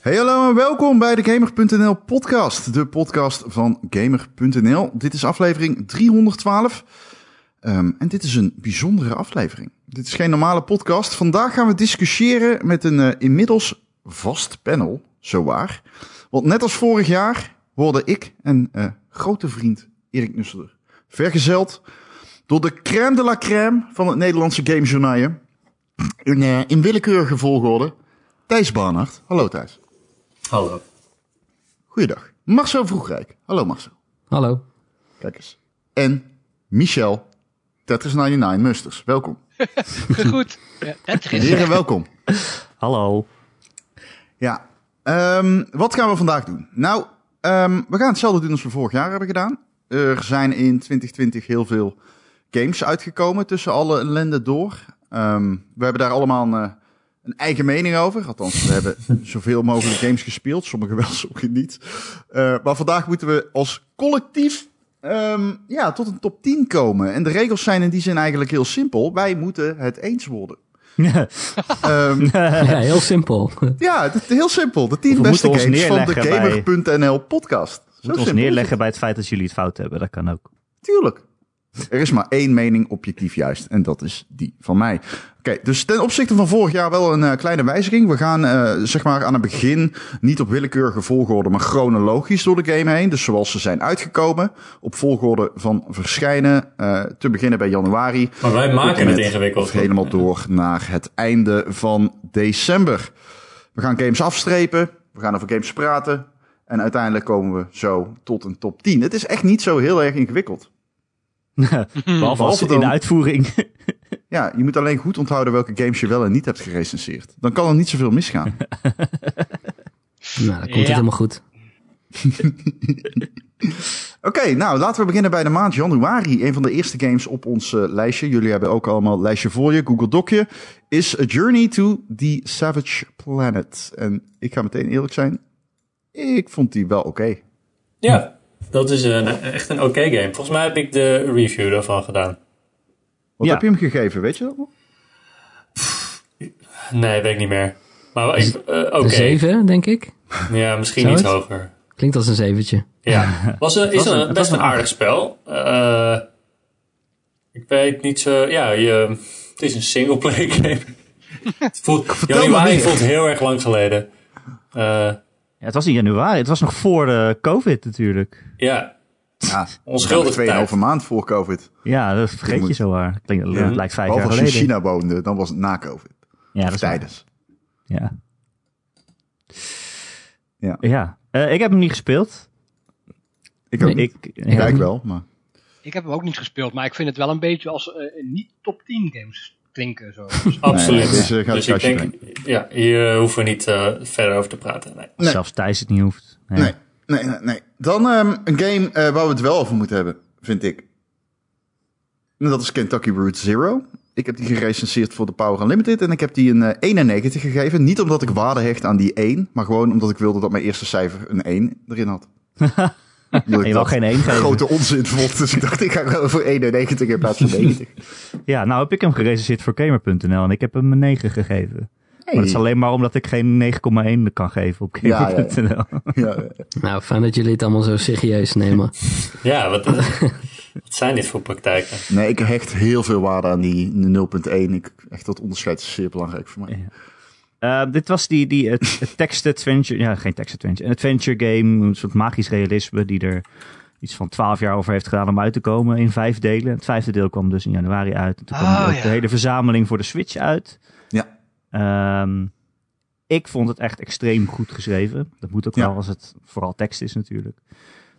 Hey hallo en welkom bij de Gamer.nl podcast, de podcast van Gamer.nl. Dit is aflevering 312 Ehm, en dit is een bijzondere aflevering. Dit is geen normale podcast. Vandaag gaan we discussiëren met een eh, inmiddels vast panel, zowaar. Want net als vorig jaar worden ik en eh, grote vriend Erik Nusselder vergezeld door de crème de la crème van het Nederlandse gamejournaal. In, eh, in willekeurige volgorde. Thijs Barnard. Hallo Thijs. Hallo. Goeiedag. Marcel Vroegrijk. Hallo Marcel. Hallo. Kijk eens. En Michel Tetris99 Musters. Welkom. Goed. Ja, Tetris. Heren, welkom. Hallo. Ja. ehm, wat gaan we vandaag doen? Nou, ehm, we gaan hetzelfde doen als we vorig jaar hebben gedaan. Er zijn in 2020 heel veel games uitgekomen tussen alle ellende door. Ehm, we hebben daar allemaal een, eh, een eigen mening over. Althans, we hebben zoveel mogelijk games gespeeld. Sommige wel, sommige niet. Eh, maar vandaag moeten we als collectief ehm, ja, tot een top 10 komen. En de regels zijn in die zin eigenlijk heel simpel. Wij moeten het eens worden. Ehm, ja, heel simpel. Nou, ja, het is heel simpel. De 10 We beste moeten ons games van de neerleggen Gamer.nl podcast. Zo Moet ons simpel is neerleggen bij het feit dat jullie het fout hebben. Dat kan ook. het. Tuurlijk. Er is maar één mening objectief juist. En dat is die van mij. Oké, dus ten opzichte van vorig jaar wel een eh, kleine wijziging. We gaan eh, zeg maar aan het begin niet op willekeurige volgorde, maar chronologisch door de game heen. Dus zoals ze zijn uitgekomen. Op volgorde van verschijnen. eh, te beginnen bij januari. Maar wij maken het Net ingewikkeld. Of helemaal door naar het einde van december. We gaan games afstrepen. We gaan over games praten. En uiteindelijk komen we zo tot een top 10. Het is echt niet zo heel erg ingewikkeld. Behalve als Behalve in dan- de uitvoering. Ja, je moet alleen goed onthouden welke games je wel en niet hebt gerecenseerd. Dan kan er niet zoveel misgaan. Nou, dan komt Ja. het helemaal goed. Oké, nou laten we beginnen bij de maand januari. Een van de eerste games op ons eh, lijstje. Jullie hebben ook allemaal een lijstje voor je, Google Docje. Is A Journey to the Savage Planet. En ik ga meteen eerlijk zijn. Ik vond die wel oké. Ja, dat is een, eh, echt een oké game. Volgens mij heb ik de review daarvan gedaan. Wat Ja. heb je hem gegeven, weet je dat nog? Nee, weet ik niet meer. Maar ik- eh, oké. Een zeven, denk ik. Ja, misschien Zou iets het? hoger. Klinkt als een zeventje. Ja, was een, is was een- een, het best was een een aardig spel. Eh, ik weet niet zo... Ja, je, het is een singleplayer game. Het voelt, maar januari meer. voelt heel erg lang geleden. Eh, Ja, het was in januari. Het was nog voor eh, COVID natuurlijk. ja, Ja, onschuldig tijd. Nou, Tweeënhalve maand voor COVID. Ja, dat vergeet Moet- je zo waar. Klinkt, Ja. Het lijkt vijf Behalve jaar als je in geleden. China woonde, dan was het na COVID. Ja, dat Of is waar. tijdens. Ja. Ja. ja. Eh, ik heb hem niet gespeeld. Ik ook Nee. niet. Ik, Ja, ja. ik wel, maar... Ik heb hem ook niet gespeeld, maar ik vind het wel een beetje als eh, een niet top 10 games klinken. Zo. Absoluut. Nee, deze gaat dus het kastje ik denk, ja, hier hoeven we niet eh, verder over te praten. Nee. Nee. Zelfs Thijs het niet hoeft. Nee. Nee, nee, nee. nee. Dan ehm, een game eh, waar we het wel over moeten hebben, vind ik. En dat is Kentucky Route Zero. Ik heb die gerecenseerd voor de Power Unlimited en ik heb die een eh, 91 gegeven. Niet omdat ik waarde hecht aan die 1, maar gewoon omdat ik wilde dat mijn eerste cijfer een 1 erin had. Omdat ik En je dat wou geen één geven. grote onzin vond, dus ik dacht ik ga gewoon voor 91 in plaats van 90. Ja, nou heb ik hem gerecenseerd voor Gamer.nl en ik heb hem een 9 gegeven. Maar dat is alleen maar omdat ik geen 9,1 kan geven op Ja, ja, ja. Gamer.nl. Ja, eh, Nou, fijn dat jullie het allemaal zo serieus nemen. Ja, wat, wat zijn dit voor praktijken? nee, ik hecht heel veel waarde aan die 0.1. Ik, echt dat onderscheid is zeer belangrijk voor mij. Eh, dit was die, die eh, t- text adventure, ja geen text adventure, een adventure game, een soort magisch realisme die er iets van twaalf jaar over heeft gedaan om uit te komen in vijf delen. Het vijfde deel kwam dus in januari uit. En toen kwam Oh, ook ja. de hele verzameling voor de Switch uit. Ja. Ehm, ik vond het echt extreem goed geschreven. Dat moet ook Ja. wel als het vooral tekst is natuurlijk.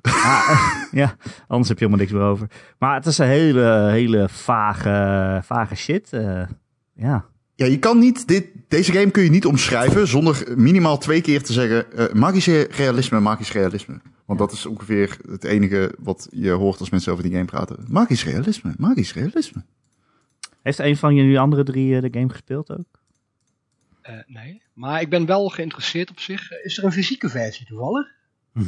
Maar, ja, anders heb je helemaal niks meer over. Maar het is een hele, hele vage, vage shit. eh, ja. Ja, je kan niet dit, deze game kun je niet omschrijven zonder minimaal twee keer te zeggen eh, magische realisme, magisch realisme. Want dat is ongeveer het enige wat je hoort als mensen over die game praten. Magisch realisme, magisch realisme. Heeft een van jullie andere drie eh, de game gespeeld ook? Eh, nee. Maar ik ben wel geïnteresseerd op zich. Eh, Is er een fysieke versie toevallig?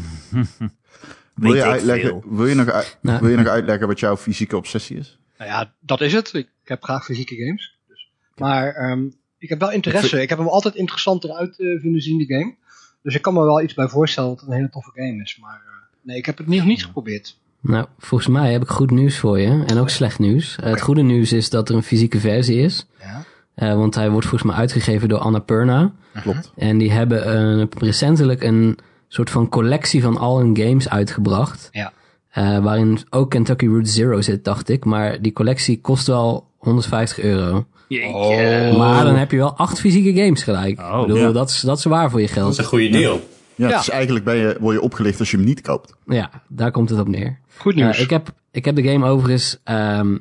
Wil je, ik veel. uitleggen, wil, je nog, uit- Nou. wil je nog uitleggen wat jouw fysieke obsessie is? Nou ja, dat is het. Ik heb graag fysieke games. Dus. Maar ehm, ik heb wel interesse. Ik heb hem altijd interessanter uit eh, vinden zien, de game. Dus ik kan me wel iets bij voorstellen dat het een hele toffe game is. Maar eh, nee, ik heb het nog niet geprobeerd. Nou, volgens mij heb ik goed nieuws voor je. En ook slecht nieuws. Eh, het goede nieuws is dat er een fysieke versie is. Ja. Eh, want hij wordt volgens mij uitgegeven door Annapurna. Uh-huh. Klopt. En die hebben een, recentelijk een soort van collectie van al hun games uitgebracht. Ja. Eh, waarin ook Kentucky Route Zero zit, dacht ik. Maar die collectie kost wel 150 euro. Jeetje. Maar dan heb je wel acht fysieke games gelijk. Oh, ik bedoel, ja. dat, is, dat is waar voor je Dat is geld. een goede deal. Ja, Ja. Het is eigenlijk ben je, word je opgelicht als je hem niet koopt. Ja, daar komt het op neer. Goed nieuws. Eh, ik, heb, ik heb de game overigens ehm,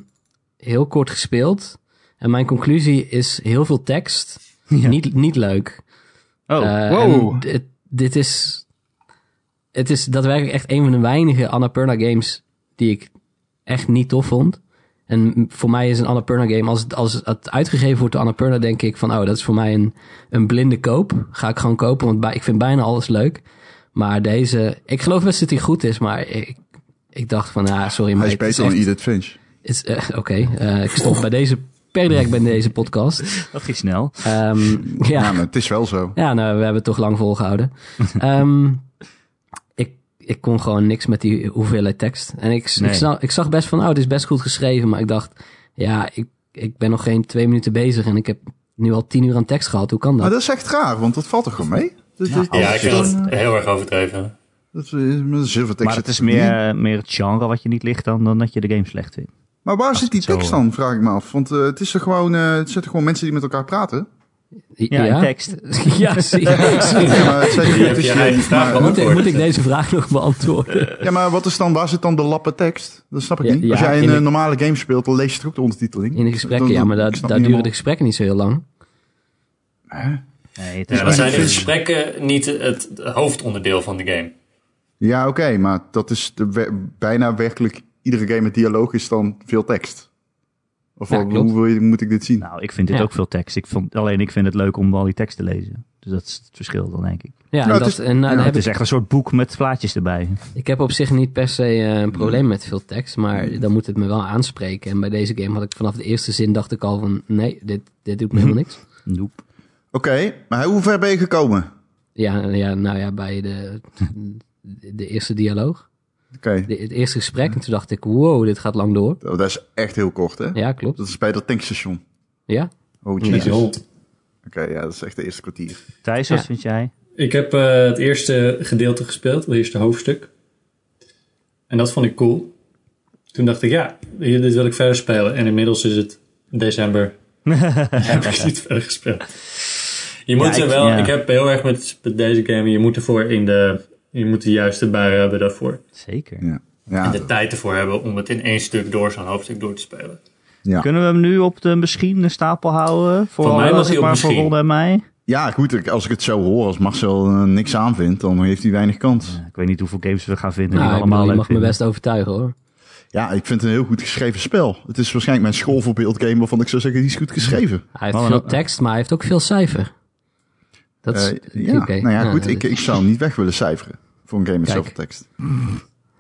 heel kort gespeeld. En mijn conclusie is heel veel tekst. Ja. Niet, niet leuk. Oh, Eh, Wow. en Dit, dit is... Het is daadwerkelijk echt een van de weinige Annapurna games die ik echt niet tof vond. En voor mij is een Annapurna game, als het, als het uitgegeven wordt door Annapurna, denk ik van, oh, dat is voor mij een, een blinde koop. Ga ik gewoon kopen, want bij, ik vind bijna alles leuk. Maar deze, ik geloof best dat hij goed is, maar ik, ik dacht van, ja, sorry, Hij maar is het is beter dan echt- Edith Finch. het is echt- Oké, eh, ik stop bij deze, per direct bij deze podcast. dat ging snel. Ehm, Ja. ja. maar het is wel zo. Ja, nou, we hebben het toch lang volgehouden. Ehm, ik, ik kon gewoon niks met die hoeveelheid tekst. En ik, Nee. ik, zag, ik zag best van, oh, dit is best goed geschreven. Maar ik dacht, ja, ik, ik ben nog geen twee minuten bezig en ik heb nu al tien uur aan tekst gehad. Hoe kan dat? Maar dat is echt raar, want dat valt toch gewoon mee? Dat, dat- Ja, ik vind dat, dat eh, heel erg overdreven. dat is met een zilvertekst Maar het is meer, eh, meer het genre wat je niet ligt dan, dan dat je de game slecht vindt. Maar waar zit die het zo, tekst dan, vraag ik me af. Want eh, het is er gewoon, eh, het zitten gewoon mensen die met elkaar praten. Ja, in tekst. ja, zie- zie- Ja, maar, het zijn- Die het heb is je geen- eigen vraag maar, Moet ik, beantwoord. moet ik deze vraag nog beantwoorden? ja, maar wat is dan, waar zit dan de lappe tekst? Dat snap ik Ja, niet. ja, Als jij een in de- eh, normale game speelt, dan lees je toch ook de ondertiteling? In de gesprekken, ja, maar daar, daar duren de gesprekken niet zo heel lang. Nee, het Dus is Ja, wel- dan zijn de gesprekken niet het hoofdonderdeel van de game. Ja, oké, maar dat is de, we- bijna werkelijk... Iedere game met dialoog is dan veel tekst. Of Ja, wat- klopt. hoe wil je, moet ik dit zien? Nou, ik vind dit Ja. ook veel tekst. Ik vond, alleen ik vind het leuk om al die tekst te lezen. Dus dat is het verschil dan, denk ik. Ja, en Nou, het dat, is- en, nou, ja, daar Het heb ik, is echt een soort boek met plaatjes erbij. ik heb op zich niet per se eh, een probleem met veel tekst, maar dan moet het me wel aanspreken. En bij deze game had ik vanaf de eerste zin dacht ik al van, nee, dit, dit doet me helemaal niks. Noep. Oké, maar hoe ver ben je gekomen? Ja, ja, nou ja, bij de, de eerste dialoog. Oké, oh, De, het eerste gesprek. En toen dacht ik, wow, dit gaat lang door. dat is echt heel kort, hè? Ja, klopt. Dat is bij dat tankstation. Ja. Oh, jezus. Ja. Oké, ja, dat is echt de eerste kwartier. Thijs, wat Ja. vind jij? Ik heb eh, het eerste gedeelte gespeeld, het eerste hoofdstuk. En dat vond ik cool. Toen dacht ik, ja, hier- dit wil ik verder spelen. En inmiddels is het december. heb ik niet verder gespeeld. Je moet Ja, er ik- wel, ja. ik heb heel erg met, met deze game, je moet ervoor in de, je moet de juiste bui hebben daarvoor. Zeker. Ja. Ja, En de tijd ervoor hebben om het in één stuk door zo'n hoofdstuk door te spelen. ja. Kunnen we hem nu op de misschien de stapel houden? Voor Voor mij alle, was zeg hij op maar, voor misschien. Ron en mij. ja, goed, ik- als ik het zo hoor, als Marcel eh, niks aanvindt, dan heeft hij weinig kans. Ik weet niet hoeveel games we gaan vinden. die Nou, we ik bedoel, allemaal je leuk mag me vinden. best overtuigen hoor. Ja, ik vind het een heel goed geschreven spel. Het is waarschijnlijk mijn schoolvoorbeeldgame waarvan ik zou zeggen, die is goed geschreven. Hij heeft Oh, veel nou, tekst, maar hij heeft ook veel cijfer. Dat is Eh, ja, oké. nou ja, goed, dat ik, is- ik zou hem niet weg willen cijferen voor een game met Kijk. zoveel tekst.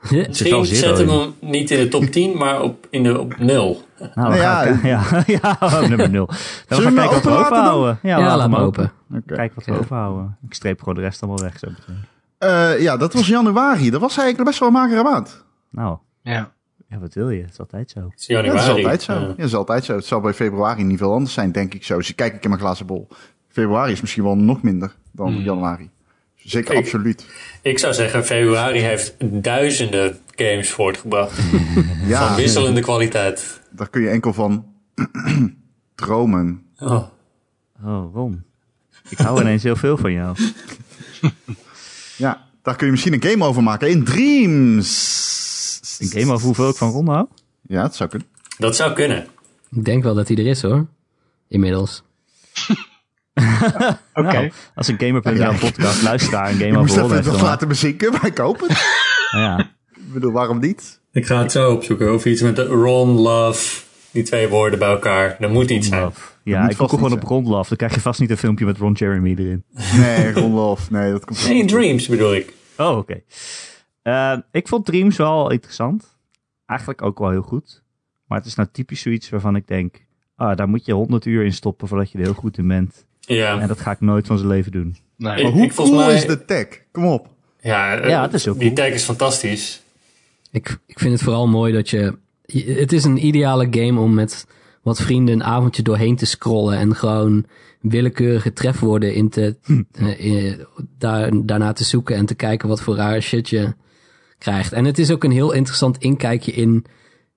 Misschien zero zetten we in. hem niet in de top 10, maar op, in de, op 0. Nou, Nou dan ja, ga ik- ja, ja, oh, nummer nul. Dan Zullen we gaan hem we kijken wat we openlaten dan? overhouden. Ja, Ja, laat laat hem maar open. open. Oké. Kijken wat we Ja. overhouden. Ik streep gewoon de rest allemaal weg. Zo. meteen. Eh, ja, dat was januari. Dat was eigenlijk best wel een magere maand. Nou, Ja. ja, wat wil je? Het is altijd zo. Het is Ja, dat januari. is altijd zo. Ja. Ja, dat is altijd zo. Het zal bij februari niet veel anders zijn, denk ik zo. Dus kijk ik in mijn glazen bol. Februari is misschien wel nog minder dan januari. Zeker Ik- absoluut. Ik zou zeggen, februari heeft duizenden games voortgebracht. Ja, Van wisselende kwaliteit. daar kun je enkel van dromen. Oh. Oh, Ron. Ik hou ineens heel veel van jou. Ja, daar kun je misschien een game over maken in Dreams. Een game over hoeveel ik van Ron hou? Ja, dat zou kunnen. Dat zou kunnen. Ik denk wel dat hij er is hoor. Inmiddels. Oké. Nou, als een gamer.nl podcast luisteraar een game Ik moest over Ron dat heeft. even dan- Nou laten bezinken, maar ik hoop het. Ja, ik bedoel, waarom niet? Ik ga het zo opzoeken. Of iets met de Ron, Love. Die twee woorden bij elkaar. Dat moet iets zijn. love. Ja, moet ik vast koek gewoon niet op Ron Love. Dan krijg je vast niet een filmpje met Ron Jeremy erin. Nee, Ron Love. Nee, dat komt wel Geen goed. dreams bedoel ik. Oh, oké. Eh, ik vond Dreams wel interessant. Eigenlijk ook wel heel goed. Maar het is nou typisch zoiets waarvan ik denk... Ah, daar moet je 100 uur in stoppen voordat je er heel goed in bent. Ja. En dat ga ik nooit van zijn leven doen. Nee. Maar Ik- hoe ik volgens cool mij- is de tech? Kom op. Ja, eh, Ja, dat is heel Die cool. tag is fantastisch. Ik, ik vind het vooral mooi dat je... je- Het is een ideale game om met wat vrienden een avondje doorheen te scrollen... en gewoon willekeurige trefwoorden in te, eh, eh, daar, daarna te zoeken... en te kijken wat voor raar shit je krijgt. En het is ook een heel interessant inkijkje in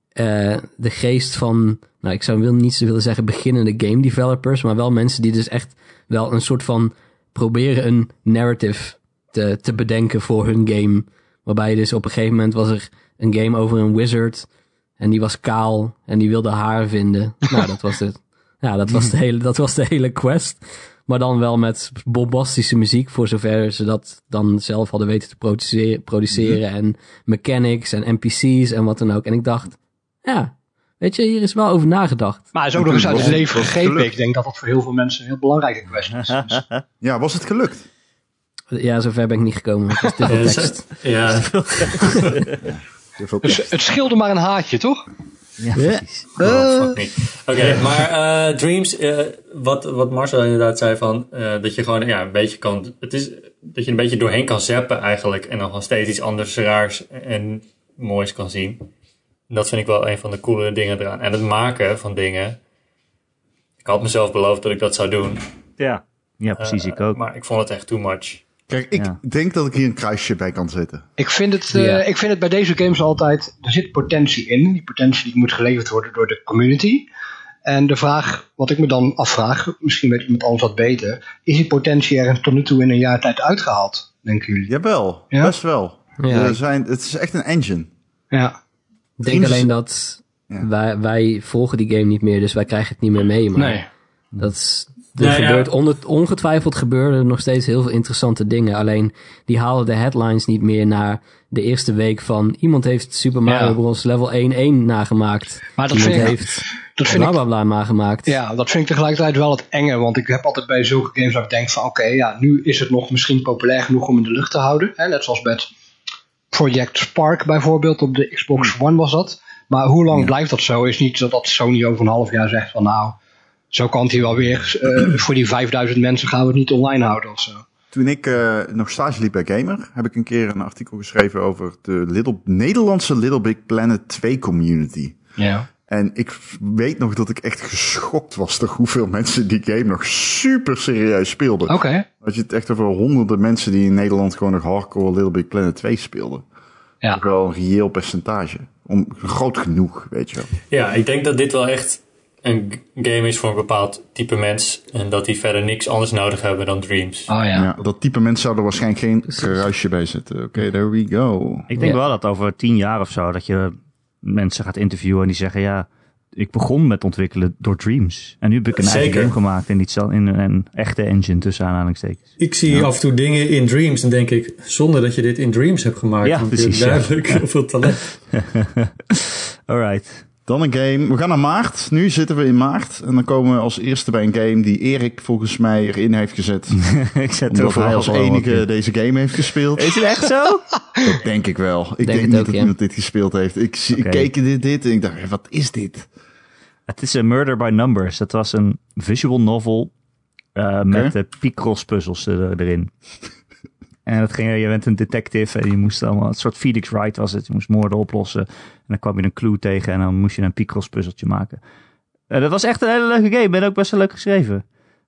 eh, de geest van... Nou, ik zou wil niet willen zeggen beginnende game developers... maar wel mensen die dus echt wel een soort van... proberen een narrative te, te bedenken voor hun game... Waarbij dus op een gegeven moment was er een game over een wizard. En die was kaal en die wilde haar vinden. Nou, dat was het. Ja, dat was de hele, dat was de hele quest. Maar dan wel met bombastische muziek, voor zover ze dat dan zelf hadden weten te produceren. produceren en mechanics en NPC's en wat dan ook. En ik dacht, ja, weet je, hier is wel over nagedacht. Maar hij is ook nog eens uit het Ja. leven gegrepen. Gelukt. Ik denk dat dat voor heel veel mensen een heel belangrijke kwestie is. Dus- Ja, was het gelukt? Ja, zover ben ik niet gekomen. Het is te veel Eh, ze- tekst. ja, Heel veel dus het scheelde maar een haatje, toch? Ja, precies. Oh, Eh. fuck me. Oké, maar eh, Dreams, eh, wat, wat Marcel inderdaad zei van, eh, dat je gewoon ja, een beetje kan, het is, dat je een beetje doorheen kan zappen eigenlijk en dan gewoon steeds iets anders raars en moois kan zien. En dat vind ik wel een van de coolere dingen eraan. En het maken van dingen. Ik had mezelf beloofd dat ik dat zou doen. Ja. ja, precies. ik ook. Eh, Maar ik vond het echt too much. Kijk, ik Ja. denk dat ik hier een kruisje bij kan zetten. Ik vind, het, eh, Ja. ik vind het bij deze games altijd, er zit potentie in. Die potentie die moet geleverd worden door de community. En de vraag, wat ik me dan afvraag, misschien weet iemand anders dat beter, is die potentie ergens tot nu toe in een jaar tijd uitgehaald, denken jullie? Jawel, Ja? best wel. Ja. Er zijn, het is echt een engine. Ja. Ik denk Dreams- alleen dat Ja. wij, wij volgen die game niet meer, dus wij krijgen het niet meer mee. Maar Nee. Dat is, er Nou ja. gebeurt onder- ongetwijfeld gebeuren er nog steeds heel veel interessante dingen. Alleen die halen de headlines niet meer naar de eerste week van iemand heeft Super Mario Ja. Bros. level 1-1 nagemaakt. Maar dat iemand vind ik- heeft Dat vind bla ik bla bla nagemaakt. Ja, dat vind ik tegelijkertijd wel het enge. Want ik heb altijd bij zulke games dat ik denk van... Oké, ja, nu is het nog misschien populair genoeg om in de lucht te houden. Hè? Net zoals met Project Spark bijvoorbeeld. Op de Xbox One was dat. Maar hoe lang blijft dat zo? Is niet dat dat Sony over een half jaar zegt van... Nou, zo kan het hier wel weer. eh, voor die 5000 mensen gaan we het niet online houden of zo. Toen ik eh, nog stage liep bij Gamer, heb ik een keer een artikel geschreven over de Little, Nederlandse Little Big Planet 2 community. Ja. En ik weet nog dat ik echt geschokt was door hoeveel mensen die game nog super serieus speelden. Oké. Dat je het echt over honderden mensen die in Nederland gewoon nog hardcore Little Big Planet 2 speelden. Ja. Ook wel een reëel percentage. Om, groot genoeg, weet je wel. Ja, ik denk dat dit wel echt een g- game is voor een bepaald type mens. En dat die verder niks anders nodig hebben dan Dreams. Oh Ja. ja. dat type mensen zouden waarschijnlijk geen kruisje bij zitten. Oké, there we go. Ik denk Ja. wel dat over tien jaar of zo, dat je mensen gaat interviewen en die zeggen, ja, ik begon met ontwikkelen door Dreams. En nu heb ik een eigen Zeker. game gemaakt in, iets, zo- in een echte engine, tussen aanhalingstekens. Ik zie af en toe dingen in Dreams en denk ik, zonder dat je dit in Dreams hebt gemaakt. Ja, want je precies, hebt ja. Duidelijk hoeveel talent. Alright. Dan een game. We gaan naar maart. Nu zitten we in maart. En dan komen we als eerste bij een game die Erik volgens mij erin heeft gezet. ik zet Omdat hij overal als gewoon wat enige in. deze game heeft gespeeld. Is het echt zo? Dat denk ik wel. Ik denk, het niet ook, dat ja. iemand dit gespeeld heeft. Ik, zie- ik Oké. keek in dit, dit en ik dacht, "Hé, wat is dit? Het is een Murder by Numbers. Dat was een visual novel eh, met de Picross puzzels er- erin. en dat ging, je bent een detective en je moest allemaal, een soort Felix Wright was het. Je moest moorden oplossen en dan kwam je een clue tegen en dan moest je een Picross puzzeltje maken. Eh, dat was echt een hele leuke game en ook best wel leuk geschreven.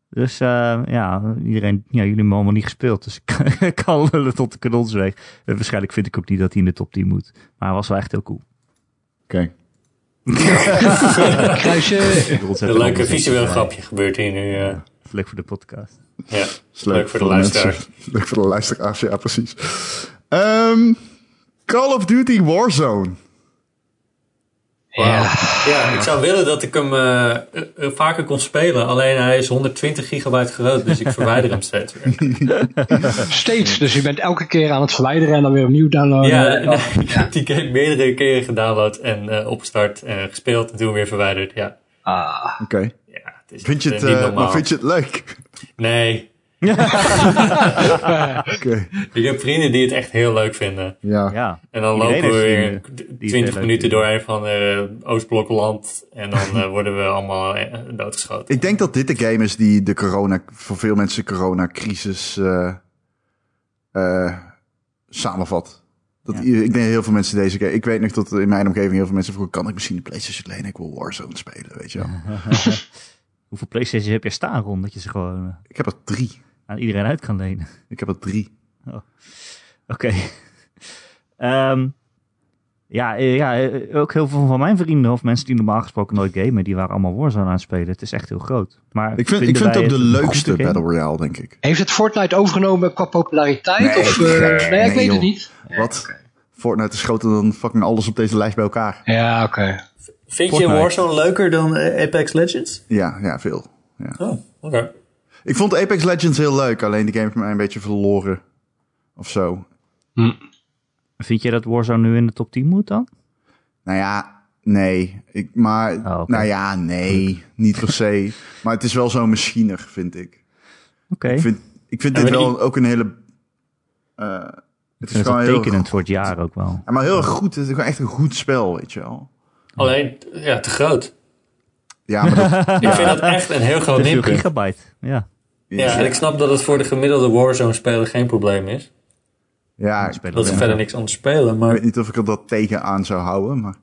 Dus eh, ja, iedereen, ja, jullie hebben hem allemaal niet gespeeld. Dus ik kan lullen tot de kanons weg. En waarschijnlijk vind ik ook niet dat hij in de top 10 moet. Maar hij was wel echt heel cool. Oké. Kruisje. Een leuke visueel grapje gebeurt hier nu. eh. Leuk voor de podcast. ja. Is Leuk voor de mensen. luisteraar. Leuk voor de luisteraars, ja precies. Ehm, Call of Duty Warzone. Wauw. Ja, ik zou willen dat ik hem eh, eh, eh, vaker kon spelen. Alleen hij is 120 gigabyte groot, dus ik verwijder hem steeds Oh, weer. Steeds. Dus je bent elke keer aan het verwijderen en dan weer opnieuw downloaden. Ja, nee, ik Oh. heb die game meerdere keren gedownload en eh, opgestart, eh, gespeeld en toen weer verwijderd. Ja, Ah. Oké. ja het is Vind, je eh, het, niet eh, normaal. maar vind je het leuk? Nee, Oké. Ik heb vrienden die het echt heel leuk vinden. Ja. Ja. En dan Iedereen lopen we heeft weer vrienden die het heel 20 leuk minuten door vinden. een van eh, Oostblokland. En dan eh, worden we allemaal eh, doodgeschoten. Ik denk dat dit de game is die de corona, voor veel mensen coronacrisis eh eh, samenvat. Dat Ja. i- ik denk heel veel mensen deze game. Ik weet nog dat in mijn omgeving heel veel mensen vroegen: kan ik misschien de PlayStation lenen? Ik wil Warzone spelen, weet je wel. Hoeveel PlayStation heb je staan rond dat je ze gewoon eh, Ik heb er drie. aan iedereen uit kan lenen? Ik heb er drie. Oké. Ehm, ja, eh, ja, eh, ook heel veel van mijn vrienden of mensen die normaal gesproken nooit gamen, die waren allemaal Warzone aan het spelen. Het is echt heel groot. Maar Ik vind, ik vinden vind het wij ook de een leukste goede game? Battle Royale, denk ik. Heeft het Fortnite overgenomen qua populariteit? Nee, of, eh, gek. nee, ik Nee, weet joh. het niet. Wat? Fortnite is groter dan fucking alles op deze lijst bij elkaar. Ja, oké. Vind Fortnite. je Warzone leuker dan eh, Apex Legends? Ja, ja, veel. Ja. Oh, oké. Ik vond Apex Legends heel leuk, alleen die game heeft mij een beetje verloren. Of zo. Vind je dat Warzone nu in de top 10 moet dan? Nou ja, nee. Ik, maar, Oh, oké. nou ja, nee. Niet per se. maar het is wel zo'n machiner, vind ik. Oké. Ik vind, ik vind Ja, dit maar wel die- ook een hele... eh, het Ik is vind het gewoon wel heel... tekenend voor het jaar ook wel. Ja, maar heel erg goed. Het is gewoon echt een goed spel, weet je wel. Alleen, ja, te groot. Ja, maar dat... Ik vind dat echt een heel groot Dat is veel minpunt. gigabyte. Ja. Ja, en ik snap dat het voor de gemiddelde Warzone-speler geen probleem is. ja, ik Spelen Dat ze we. verder niks anders spelen, maar... weet niet of ik er dat tegen aan zou houden, maar...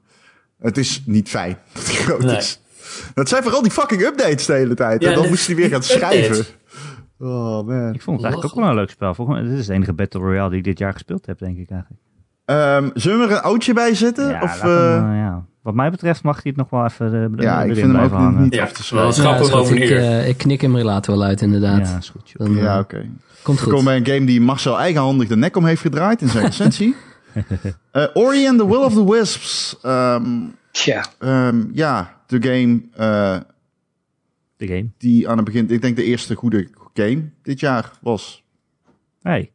Het is niet fijn dat het groot Nee. is. Dat zijn vooral die fucking updates de hele tijd. Ja, en dan de- moest hij weer gaan die updates. schrijven. Oh man. Ik vond het eigenlijk ook wel een leuk spel. Volgens mij, dit is de enige Battle Royale die ik dit jaar gespeeld heb, denk ik eigenlijk. Ehm, zullen we er een oudje bij zetten? Ja, of, laat hem, eh, eh, ja. Wat mij betreft mag hij het nog wel even eh, ja, erin ik vind hem ook blijven hangen. niet Ja, af te wel schrijven. Schrap Ja, dus is hem goed. over een ik, uur. eh, ik knik hem er later wel uit, inderdaad. Ja, is goed. joh. Dan, eh, Ja, oké. komt goed. Kom bij een game die Marcel eigenhandig de nek om heeft gedraaid in zijn recensie. Eh Ori and the Will of the Wisps. Ehm, Tja. ehm, ja, de game eh, De game. die aan het begin, ik denk de eerste goede game dit jaar was. Hey.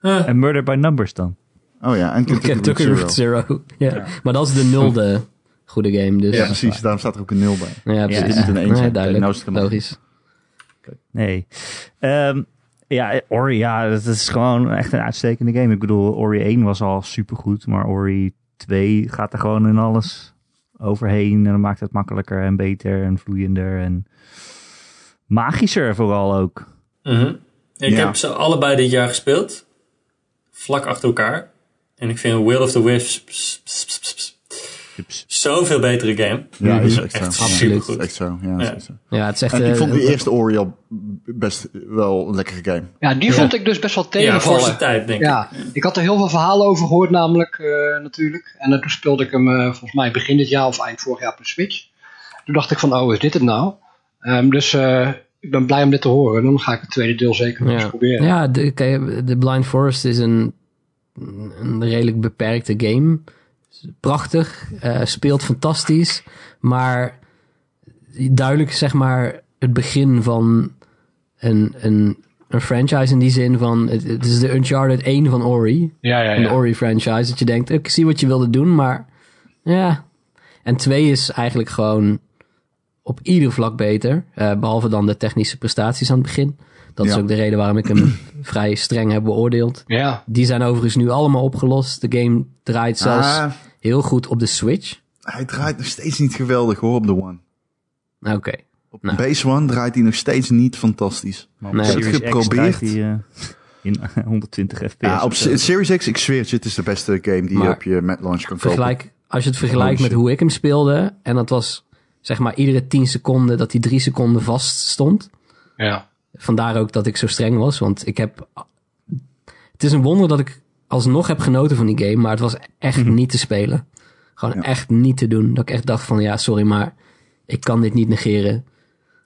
En Murder by Numbers dan. Oh ja, en Kentucky Route Kentucky Zero. Route Zero. Ja. Maar dat is de nulde goede game. Dus. Ja, precies. Daarom staat er ook een nul bij. Ja, precies. dit is niet een Nee, eentje. duidelijk. Nou is het gemaakt. Logisch. Nee. Ehm, ja, eh, Ori, ja, dat is gewoon echt een uitstekende game. Ik bedoel, Ori 1 was al supergoed, maar Ori 2 gaat er gewoon in alles overheen. En dan maakt het makkelijker en beter en vloeiender en magischer vooral ook. Mhm. Ik Ja. heb ze allebei dit jaar gespeeld. Vlak achter elkaar. En ik vind Will of the Wisps ps- ps- ps- ps- ps- Ups. zoveel betere game. Mhm. Ja, is echt Echt zo. Absoluut. Ja, is echt supergoed. zo. Ja, is Ja. echt zo. Ja, het is echt... En ik eh, vond die eerste Ori al best wel een lekkere game. Ja, die vond ik dus best wel Ja, voor tegenvallen. zijn tijd, denk ik. Ja, ik had er heel veel verhalen over gehoord namelijk, eh, natuurlijk. En eh, toen speelde ik hem eh, volgens mij begin dit jaar of eind vorig jaar op de Switch. Toen dacht ik van, oh, is dit het nou? Ehm, dus eh, ik ben blij om dit te horen. Dan ga ik het tweede deel zeker eens ja. proberen. Ja, de, kijk, de Blind Forest is een, een redelijk beperkte game. Prachtig, eh, speelt fantastisch, maar duidelijk zeg maar het begin van een, een, een franchise in die zin van het, het is de Uncharted 1 van Ori Ja, ja, in de Ori franchise. Dat je denkt, ik zie wat je wilde doen, maar ja. En twee is eigenlijk gewoon op ieder vlak beter. eh, behalve dan de technische prestaties aan het begin. Dat is Ja. ook de reden waarom ik hem vrij streng heb beoordeeld. Ja, Die zijn overigens nu allemaal opgelost. De game draait zelfs Ah, heel goed op de Switch. hij draait nog steeds niet geweldig hoor op de One. Oké. Op Nou. Base One draait hij nog steeds niet fantastisch. Maar Nee. Ik heb het geprobeerd. Die, eh, in 120 fps. Ja, op of zo. Se- Series X, ik zweer het je, het is de beste game die je eh, Maar op je met launch kan kopen. Vergelijk, als je het vergelijkt shit. met hoe ik hem speelde. En dat was zeg maar iedere 10 seconden dat hij 3 seconden vast stond. ja. Vandaar ook dat ik zo streng was, want ik heb... Het is een wonder dat ik alsnog heb genoten van die game, maar het was echt niet te spelen. Gewoon Mhm. Ja. echt niet te doen. Dat ik echt dacht van, ja, sorry, maar ik kan dit niet negeren.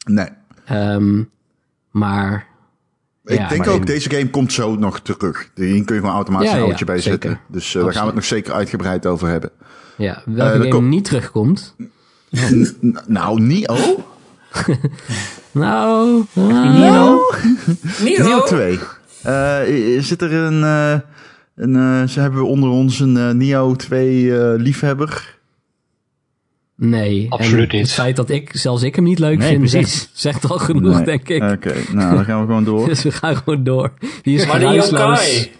Nee. Ehm, maar Ik Ja, denk maar ook, in- deze game komt zo nog terug. Hier kun je gewoon automatisch Ja, een ja, oudje bij zeker. zetten. Dus eh, daar gaan we het nog zeker uitgebreid over hebben. ja, Eh, dat welke game komt- niet terugkomt... N- nou, Nio? Nou, ah, Nio 2. Eh, zit er een... eh, een eh, ze hebben onder ons een eh, Nio 2 eh, liefhebber. Nee. en Absoluut niet. Het feit dat ik, zelfs ik hem niet leuk Nee, vind, precies. zegt, zegt al genoeg, Nee. denk ik. Oké, nou dan gaan we gewoon door. Dus we gaan gewoon door. Die is Maar die geruisloos. yokai.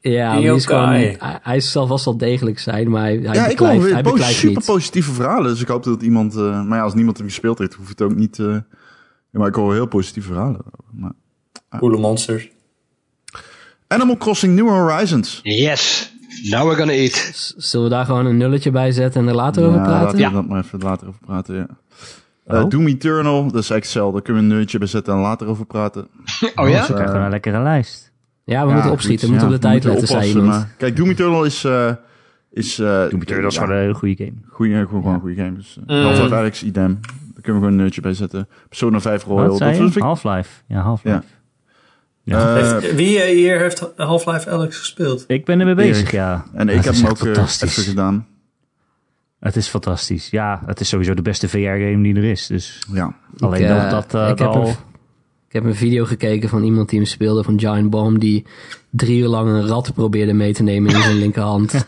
Ja, Die die is gewoon, yokai. hij, hij zal vast wel degelijk zijn, maar hij, hij ja, ik beklijft, hoor weer hij posi- beklijft super niet. positieve verhalen. Dus ik hoop dat iemand... eh, maar ja, als niemand hem gespeeld heeft, hoeft het ook niet... eh, maar ik hoor heel positieve verhalen. Maar- Coole monsters. Animal Crossing New Horizons. Yes, now we're gonna eat. Z- Zullen we daar gewoon een nulletje bij zetten en er later over Ja, laten praten? we Ja. dat maar even later over praten, ja. Eh, Oh. Doom Eternal, dat is eigenlijk hetzelfde. Daar kunnen we een neurtje bij zetten en later over praten. Oh ja? Ze krijgen wel een lekkere lijst. Ja, we moeten opschieten. We goed, moeten ja, op de tijd we letten, moeten zei oppassen, iemand. maar- Kijk, Doom Eternal is... eh is eh Doom Dat is gewoon een hele goede game. Goeie, gewoon, gewoon een goede game. Dus, eh, Half-Life Alyx, idem. Daar kunnen we gewoon een neurtje bij zetten. Persona 5 Royal. Wat zei dat vind je? ik- Half-Life. Ja, Half-Life. eh, Heeft- wie eh, hier heeft Half-Life Alex gespeeld? Ik ben ermee Erik. bezig, ja. en ik Het heb is hem echt ook eh, fantastisch. even gedaan. Het is fantastisch. Ja, het is sowieso de beste VR-game die er is. Dus Ja. alleen Ik, eh, dat, dat eh, ik heb al... een- Ik heb een video gekeken van iemand die hem speelde, van Giant Bomb, die drie uur lang een rat probeerde mee te nemen in zijn linkerhand.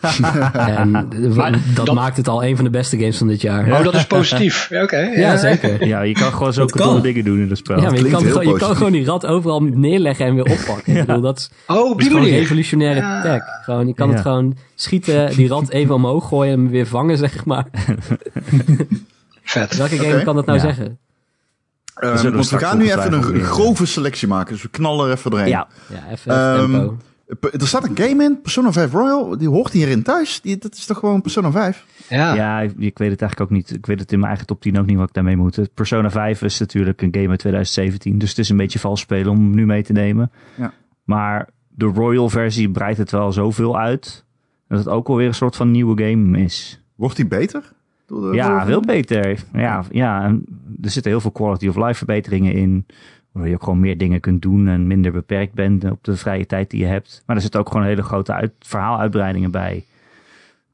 en w- dat, dat- maakt het al een van de beste games van dit jaar. Ja, Oh, dat is positief. Ja, Oké. zeker. Ja, je kan gewoon zo Dat kan. domme dingen doen in dat spel. Ja, maar je klinkt kan, heel gewoon- je kan positief. gewoon die rat overal neerleggen en weer oppakken. Ik bedoel, dat is, Oh, op dat is die Dus gewoon een manier. revolutionaire tech. Gewoon, je kan het Ja. gewoon schieten, die rat even omhoog gooien en hem weer vangen, zeg maar. Vet. Welke game Oké. kan dat nou Ja. zeggen? Eh, zullen we want we straks gaan nu even ongetwijfeld een weer, eh, grove selectie maken. Dus we knallen er even doorheen. Ja. Ja, even even Ehm, tempo. P- Er staat een game in, Persona 5 Royal, die hoort hierin thuis. Die, dat is toch gewoon Persona 5? Ja. Ja, ik, ik weet het eigenlijk ook niet. Ik weet het in mijn eigen top 10 ook niet wat ik daarmee moet. Persona 5 is natuurlijk een game uit 2017. Dus het is een beetje vals spelen om hem nu mee te nemen. Ja. Maar de Royal versie breidt het wel zoveel uit. Dat het ook alweer een soort van nieuwe game is. Wordt die beter? Door de- Ja, door- veel beter. Ja, ja en er zitten heel veel quality of life verbeteringen in. Waardoor je ook gewoon meer dingen kunt doen en minder beperkt bent op de vrije tijd die je hebt. Maar er zitten ook gewoon hele grote uit, verhaaluitbreidingen bij.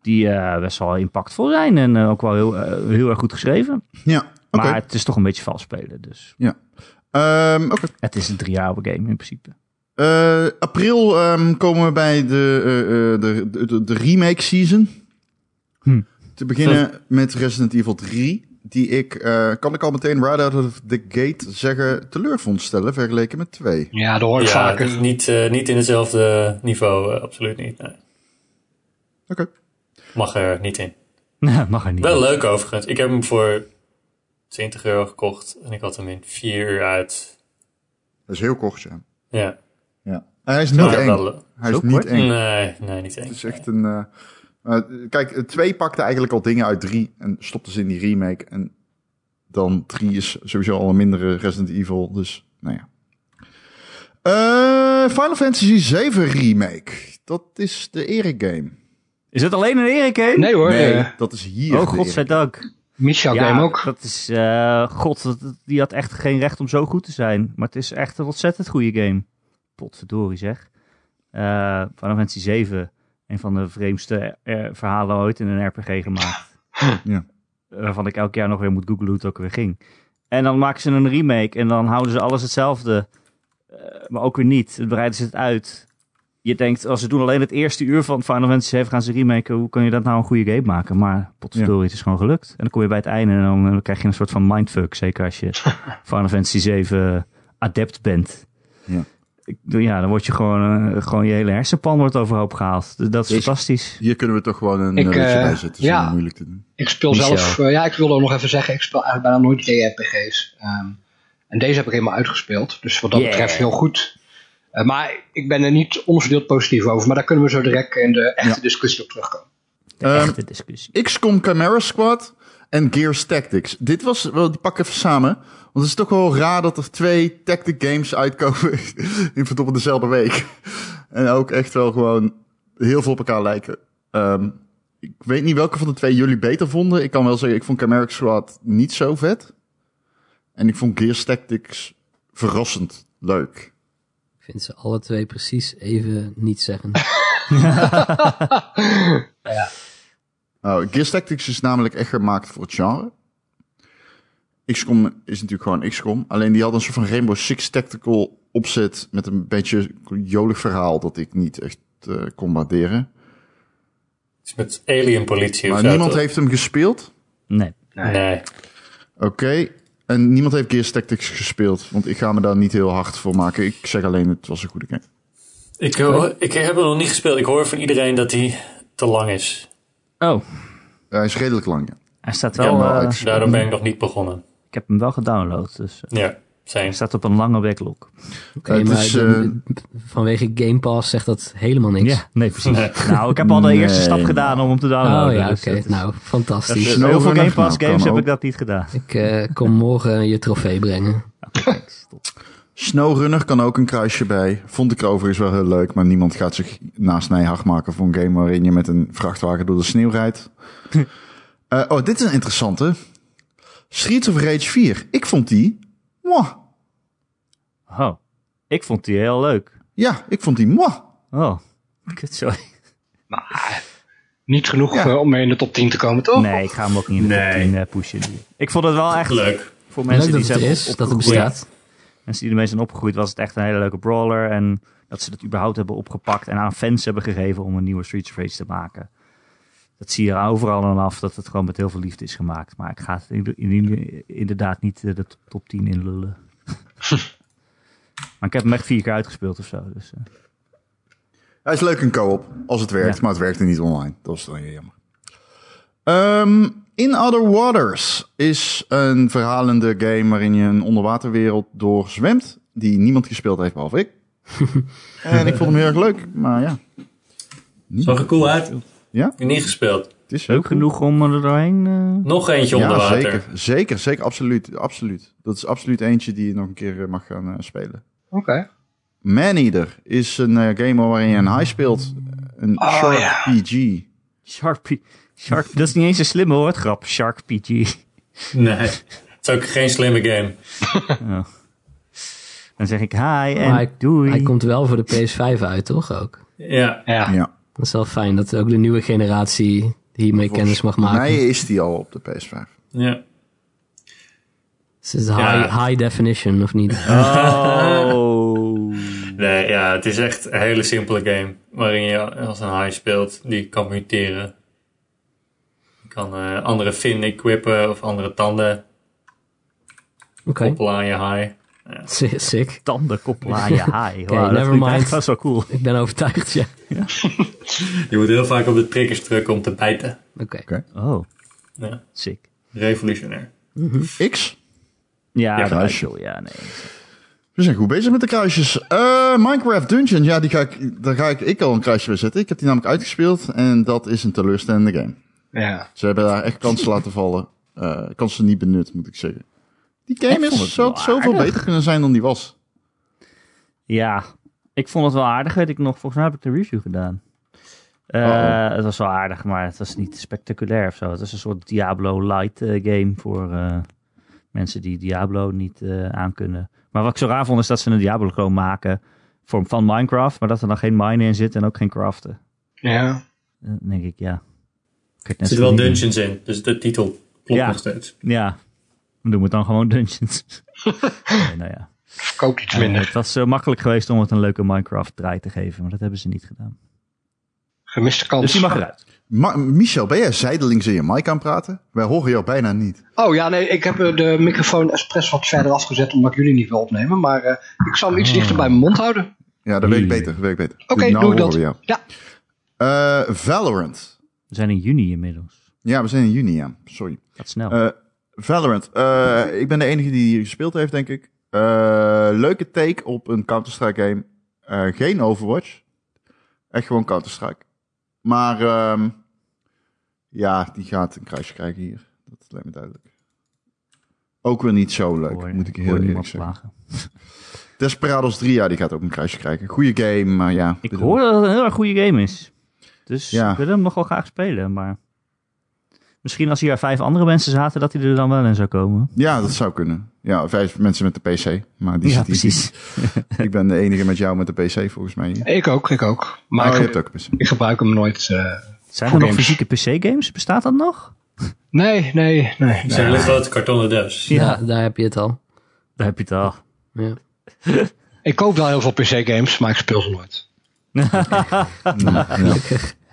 Die eh, best wel impactvol zijn en eh, ook wel heel, eh, heel erg goed geschreven. Ja, oké. Maar het is toch een beetje vals spelen. Dus Ehm, oké. het is een drie jaar oude game in principe. Eh, april ehm, komen we bij de, eh, eh, de, de, de- de remake season. Hm. Te beginnen met Resident Evil 3. Die ik, eh, kan ik al meteen right out of the gate zeggen, teleur vond stellen vergeleken met 2. Ja, dat hoor ik Ja, vaker. niet, niet, eh, niet in hetzelfde niveau, eh, absoluut niet. Nee. Oké. Mag er niet in. Nou, mag er niet. Wel eh. leuk overigens. Ik heb hem voor 20 euro gekocht en ik had hem in 4 uur uit. Dat is heel kort, ja. Ja, ja. En hij is maar niet wel eng. le- Hij is Zo niet kort? eng. Nee, nee, niet eng. Het is echt een. eh, maar, eh, kijk, eh, twee pakte eigenlijk al dingen uit drie en stopte ze in die remake. En dan drie is sowieso al een mindere Resident Evil. Dus, nou ja. Eh, Final Fantasy 7 Remake. Dat is de Erik game. Is het alleen een Erik heen? Nee hoor. eh, dat is hier. Oh, de Erik. godzijdank. Michel ja, game ook. dat is... eh, God, dat- die had echt geen recht om zo goed te zijn. Maar het is echt een ontzettend goede game. Potverdorie zeg. Eh Final Fantasy 7. Een van de vreemdste eh, verhalen ooit in een RPG gemaakt. Ja. Waarvan ik elk jaar nog weer moet googlen hoe het ook weer ging. En dan maken ze een remake. En dan houden ze alles hetzelfde. Eh, maar ook weer niet. Dan breiden ze het uit. Je denkt, als ze doen alleen het eerste uur van Final Fantasy 7 gaan ze remaken. Hoe kan je dat nou een goede game maken? Maar potverdorie, het is gewoon gelukt. En dan kom je bij het einde en dan, eh, krijg je een soort van mindfuck. Zeker als je Final Fantasy 7 adept bent. Ja. Ik bedoel, Ja, dan word je gewoon, eh, gewoon je hele hersenpan wordt overhoop gehaald. Dus Dat is Deze- fantastisch. Hier kunnen we toch gewoon een Ik, eh, rutje eh, bij zetten. ja. Ja. moeilijk te doen. Ik speel Michel. zelf, eh, ja, ik wilde ook nog even zeggen, ik speel eigenlijk bijna nooit JRPG's. Ehm, en deze heb ik helemaal uitgespeeld, dus wat dat Yeah. betreft heel goed. Eh, maar ik ben er niet onverdeeld positief over, maar daar kunnen we zo direct in de echte discussie op terugkomen. De Ehm, echte discussie. XCOM Chimera Squad en Gears Tactics. Dit was wel, die pak ik even samen. Want het is toch wel raar dat er twee tactic games uitkomen in verdomme dezelfde week. En ook echt wel gewoon heel veel op elkaar lijken. Ehm, ik weet niet welke van de twee jullie beter vonden. Ik kan wel zeggen, ik vond Chimera Squad niet zo vet. En ik vond Gears Tactics verrassend leuk. Ik vind ze alle twee precies even niet zeggen. Nou, Gears Tactics is namelijk echt gemaakt voor het genre. XCOM is natuurlijk gewoon XCOM. Alleen die had een soort van Rainbow Six Tactical opzet met een beetje jolig verhaal dat ik niet echt eh, kon waarderen. Het is met alien politie of Maar zo, niemand toch? heeft hem gespeeld. Nee. Nee. Oké. En niemand heeft Gears Tactics gespeeld, want ik ga me daar niet heel hard voor maken. Ik zeg alleen, het was een goede game. Ik, hoor- ik heb hem nog niet gespeeld. Ik hoor van iedereen dat hij te lang is. Oh, Hij is redelijk lang, ja. hij staat wel... Ja, eh, uit. Daarom ben ik nog niet begonnen. ik heb hem wel gedownload, dus eh, Ja, hij zijn. staat op een lange backlog. Eh, Nee, het maar is, dan- vanwege Game Pass zegt dat helemaal niks. Ja, nee, precies. Nou, ik heb al de Nee, eerste stap man. gedaan om hem te downloaden. Oh ja, oké. dus dat is- Nou, dat is- fantastisch. Snel Heel veel Game vanaf, Pass nou, games kan heb ook. ik dat niet gedaan. Ik eh, kom morgen je trofee brengen. Snowrunner kan ook een kruisje bij. Vond ik overigens wel heel leuk, maar niemand gaat zich naast Nijhag maken voor een game waarin je met een vrachtwagen door de sneeuw rijdt. Eh, oh, dit is een interessante. Streets of Rage 4. Ik vond die. Mwah. Oh, ik vond die heel leuk. Ja, ik vond die. Mwah. Oh, kut, sorry. Niet genoeg Ja. eh, om mee in de top 10 te komen, toch? Nee, ik ga hem ook niet in de top Oh. Nee. 10 eh, pushen. Ik vond het wel echt Leuk. voor Leuk mensen dat die het zijn er is, dat het opgegroeid- bestaat. mensen die ermee zijn opgegroeid, was het echt een hele leuke brawler. En dat ze dat überhaupt hebben opgepakt en aan fans hebben gegeven om een nieuwe Streets of Rage te maken. Dat zie je er overal aan af, dat het gewoon met heel veel liefde is gemaakt. Maar ik ga het in- in- inderdaad niet eh, de top- top 10 in lullen. maar ik heb hem echt vier keer uitgespeeld of zo. Dus, eh. Hij is leuk in co-op, als het werkt, Ja. maar het werkte niet online. Dat is dan weer jammer. Ehm, In Other Waters is een verhalende game waarin je een onderwaterwereld doorzwemt. Die niemand gespeeld heeft, behalve ik. en ik vond hem heel erg leuk, maar ja, Zag er cool uit. Ja? Ik heb niet gespeeld. het is Leuk genoeg om er doorheen... eh, Nog eentje onder Ja, water. zeker. Zeker, zeker, absoluut, absoluut. Dat is absoluut eentje die je nog een keer eh, mag gaan eh, spelen. Oké. Maneater is een eh, game waarin je een high speelt. Een Oh, sharp ja. PG. Shark P- Shark, dat is niet eens een slimme woordgrap. Shark PG. Nee. Het is ook geen slimme game. Dan zeg ik hi en Maar Oh, hij, doei. hij komt wel voor de PS5 uit, toch ook? Ja. Ja. Ja. Dat is wel fijn dat ook de nieuwe generatie hiermee kennis mag maken. Nee, is die al op de PS5. ja. Dus het is high, Ja. high definition, of niet? Oh. Nee, ja, het is echt een hele simpele game. Waarin je als een high speelt, die kan muteren. Je kan eh, andere fin equippen of andere tanden Oké, koppelen aan je high. Si- sick. Tanden koppelen aan je hi. Oh, Oké, never dat mind. Dat is wel cool. Ik ben overtuigd, ja. Je moet heel vaak op de triggers drukken om te bijten. Oké. Oh, Ja. sick. Revolutionair. X. Ja, Ja, dat kruisje. is cool. Ja, nee. We zijn goed bezig met de kruisjes. Eh, Minecraft Dungeon, ja, die ga ik, daar ga ik, ik al een kruisje bij zetten. Ik heb die namelijk uitgespeeld en dat is een teleurstellende game. Ja. Ze hebben daar echt kansen laten vallen. Eh kansen niet benut, moet ik zeggen. Die game Ik vond het is zo, wel zoveel aardig. beter kunnen zijn dan die was. Ja, ik vond het wel aardig, weet ik nog. Volgens mij heb ik de review gedaan. Oh, Eh, Uh-oh. Het was wel aardig, maar het was niet spectaculair of zo. Het is een soort Diablo light eh, game voor eh, mensen die Diablo niet eh aankunnen. Maar wat ik zo raar vond is dat ze een Diablo clone maken voor, van Minecraft, maar dat er dan geen mine in zit en ook geen craften. Ja. Eh, dan denk ik, ja. Er Kijk, net zitten wel zo niet. dungeons in, dus de titel klopt Ja. nog steeds. Ja, dan doen we het dan gewoon dungeons. nee, nou ja. Verkoopt iets Eh, minder. het was eh, makkelijk geweest om het een leuke Minecraft draai te geven, maar dat hebben ze niet gedaan. Gemiste kans. Dus die mag eruit. Ma- Michel, ben jij zijdelings in je mic aan het praten? Wij horen jou bijna niet. Oh ja, nee, ik heb eh, de microfoon expres wat verder afgezet omdat jullie niet willen opnemen. Maar eh, ik zal hem Ah. iets dichter bij mijn mond houden. Ja, dat werkt Nee. beter. dat werkt beter. Oké, nou doe horen ik dat. we jou. Ja. Eh, Valorant. We zijn in juni inmiddels. Ja, we zijn in juni aan. Sorry. Gaat snel. Eh, Valorant. Eh, ik ben de enige die hier gespeeld heeft, denk ik. Eh, leuke take op een Counter-Strike game. Eh, geen Overwatch. Echt gewoon Counter-Strike. Maar ehm, ja, die gaat een kruisje krijgen hier. Dat lijkt me duidelijk. Ook weer niet zo leuk, Hoor- moet ik je hoor heel eerlijk niemand zeggen. klagen. Desperados 3, ja, die gaat ook een kruisje krijgen. Goeie game, maar ja. Ik bedoel- hoor dat het een heel erg goede game is. Dus Ja. ik wil hem nog wel graag spelen, maar... Misschien als hier vijf andere mensen zaten, dat hij er dan wel in zou komen. Ja, dat zou kunnen. Ja, vijf mensen met de PC. Maar die ja, zit hier precies. niet. Ik ben de enige met jou met de PC, volgens mij. hier. Ik ook, ik ook. Maar oh, je ik, hebt ook een PC. ik gebruik hem nooit. eh. Zijn er Voor nog games. fysieke PC-games? Bestaat dat nog? Nee, nee, nee. Het zijn hele grote kartonnen doos. Ja, daar heb je het al. Daar heb je het al. Ja. Ik koop wel heel veel PC-games, maar ik speel ze nooit. Ja.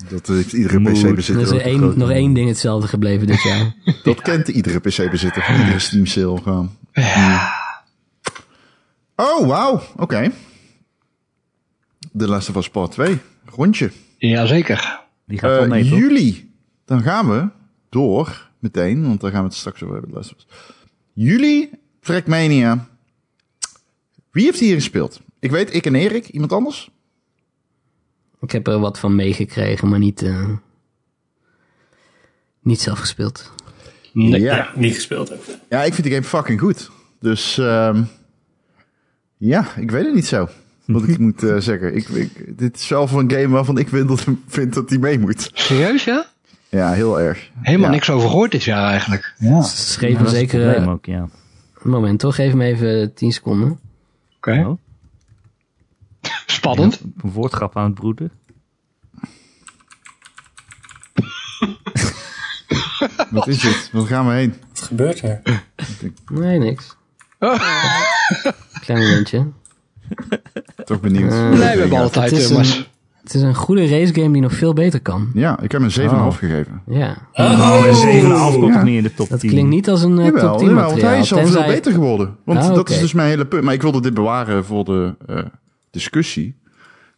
Dat heeft iedere Er Moet. PC-bezitter. is ook er één- grote nog man. één ding hetzelfde gebleven dit jaar. Dat kent iedere PC-bezitter van iedere Steam sale gewoon. Oh, wauw. Oké. De Last of Us Part 2. Rondje. Jazeker. Die gaat Eh, wel mee, toch? juli. Dan gaan we door meteen, want daar gaan we het straks over hebben. de Last of Us. Juli, Trackmania. Wie heeft hier gespeeld? Ik weet, ik en Erik. Iemand anders? Ik heb er wat van meegekregen, maar niet, eh, niet zelf gespeeld. ja. Niet gespeeld ook. Ja, ik vind die game fucking goed. Dus ehm, ja, ik weet het niet zo. Wat ik moet eh, zeggen. Ik, ik- dit is wel voor een game waarvan ik vind dat, vind dat die mee moet. Serieus, ja? Ja, heel erg. Helemaal Ja. niks over gehoord dit jaar eigenlijk. Ja. Oké. Dus Schreef Ja, hem dat is het zeker... eh, probleem ook, ja. moment, toch? Geef me even 10 seconden. Oh. Spannend. Een woordgrap aan het broeden. Oh! Wat is dit? Waar gaan we heen? Wat gebeurt er? Nee, niks. Oh, Klein momentje. Toch benieuwd. nee, we hebben eh, alle tijd, Het is Thomas. een- Het is een goede racegame die nog veel beter kan. Ja, ik heb hem een 7,5 gegeven. Ja. Oh, een 7,5 komt Ja. toch niet in de top 10. Dat klinkt niet als een eh, top Jawel, 10 jawel, want materiaal. hij is al veel tenzij- beter geworden. Want Ah, dat oké. is dus mijn hele punt. Maar ik wilde dit bewaren voor de eh, discussie.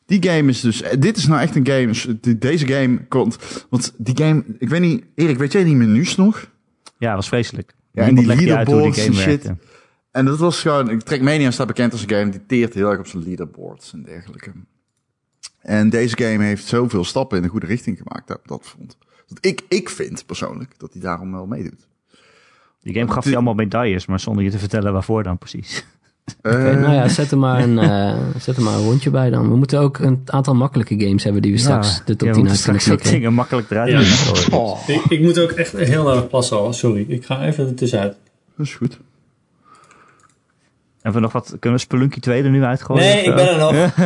Die game is dus... eh, Dit is nou echt een game... s- de- Deze game komt... Want die game... Ik weet niet... Erik, weet jij die menus nog? Ja, was vreselijk. Ja, en Niemand die legde je uit hoe die leaderboards game en werkte. En dat was gewoon... Trackmania staat bekend als een game die teert heel erg op zijn leaderboards en dergelijke. En deze game heeft zoveel stappen in de goede richting gemaakt dat dat vond. Dat ik, ik vind persoonlijk dat hij daarom wel meedoet. Die game gaf je allemaal medailles, maar zonder je te vertellen waarvoor dan precies. Oké, Eh. nou ja, zet er, maar een, eh, zet er maar een rondje bij dan. We moeten ook een aantal makkelijke games hebben die we straks de top ja, we 10 moeten uit kunnen straks ook klikken. dingen makkelijk eruit Ja. doen. Oh. Ik, ik moet ook echt heel nodig plassen al. Sorry, ik ga even er tussenuit. Dat is goed. Hebben we nog wat? Kunnen we Spelunky 2 er nu uitgooien? Nee, ik ben er nog.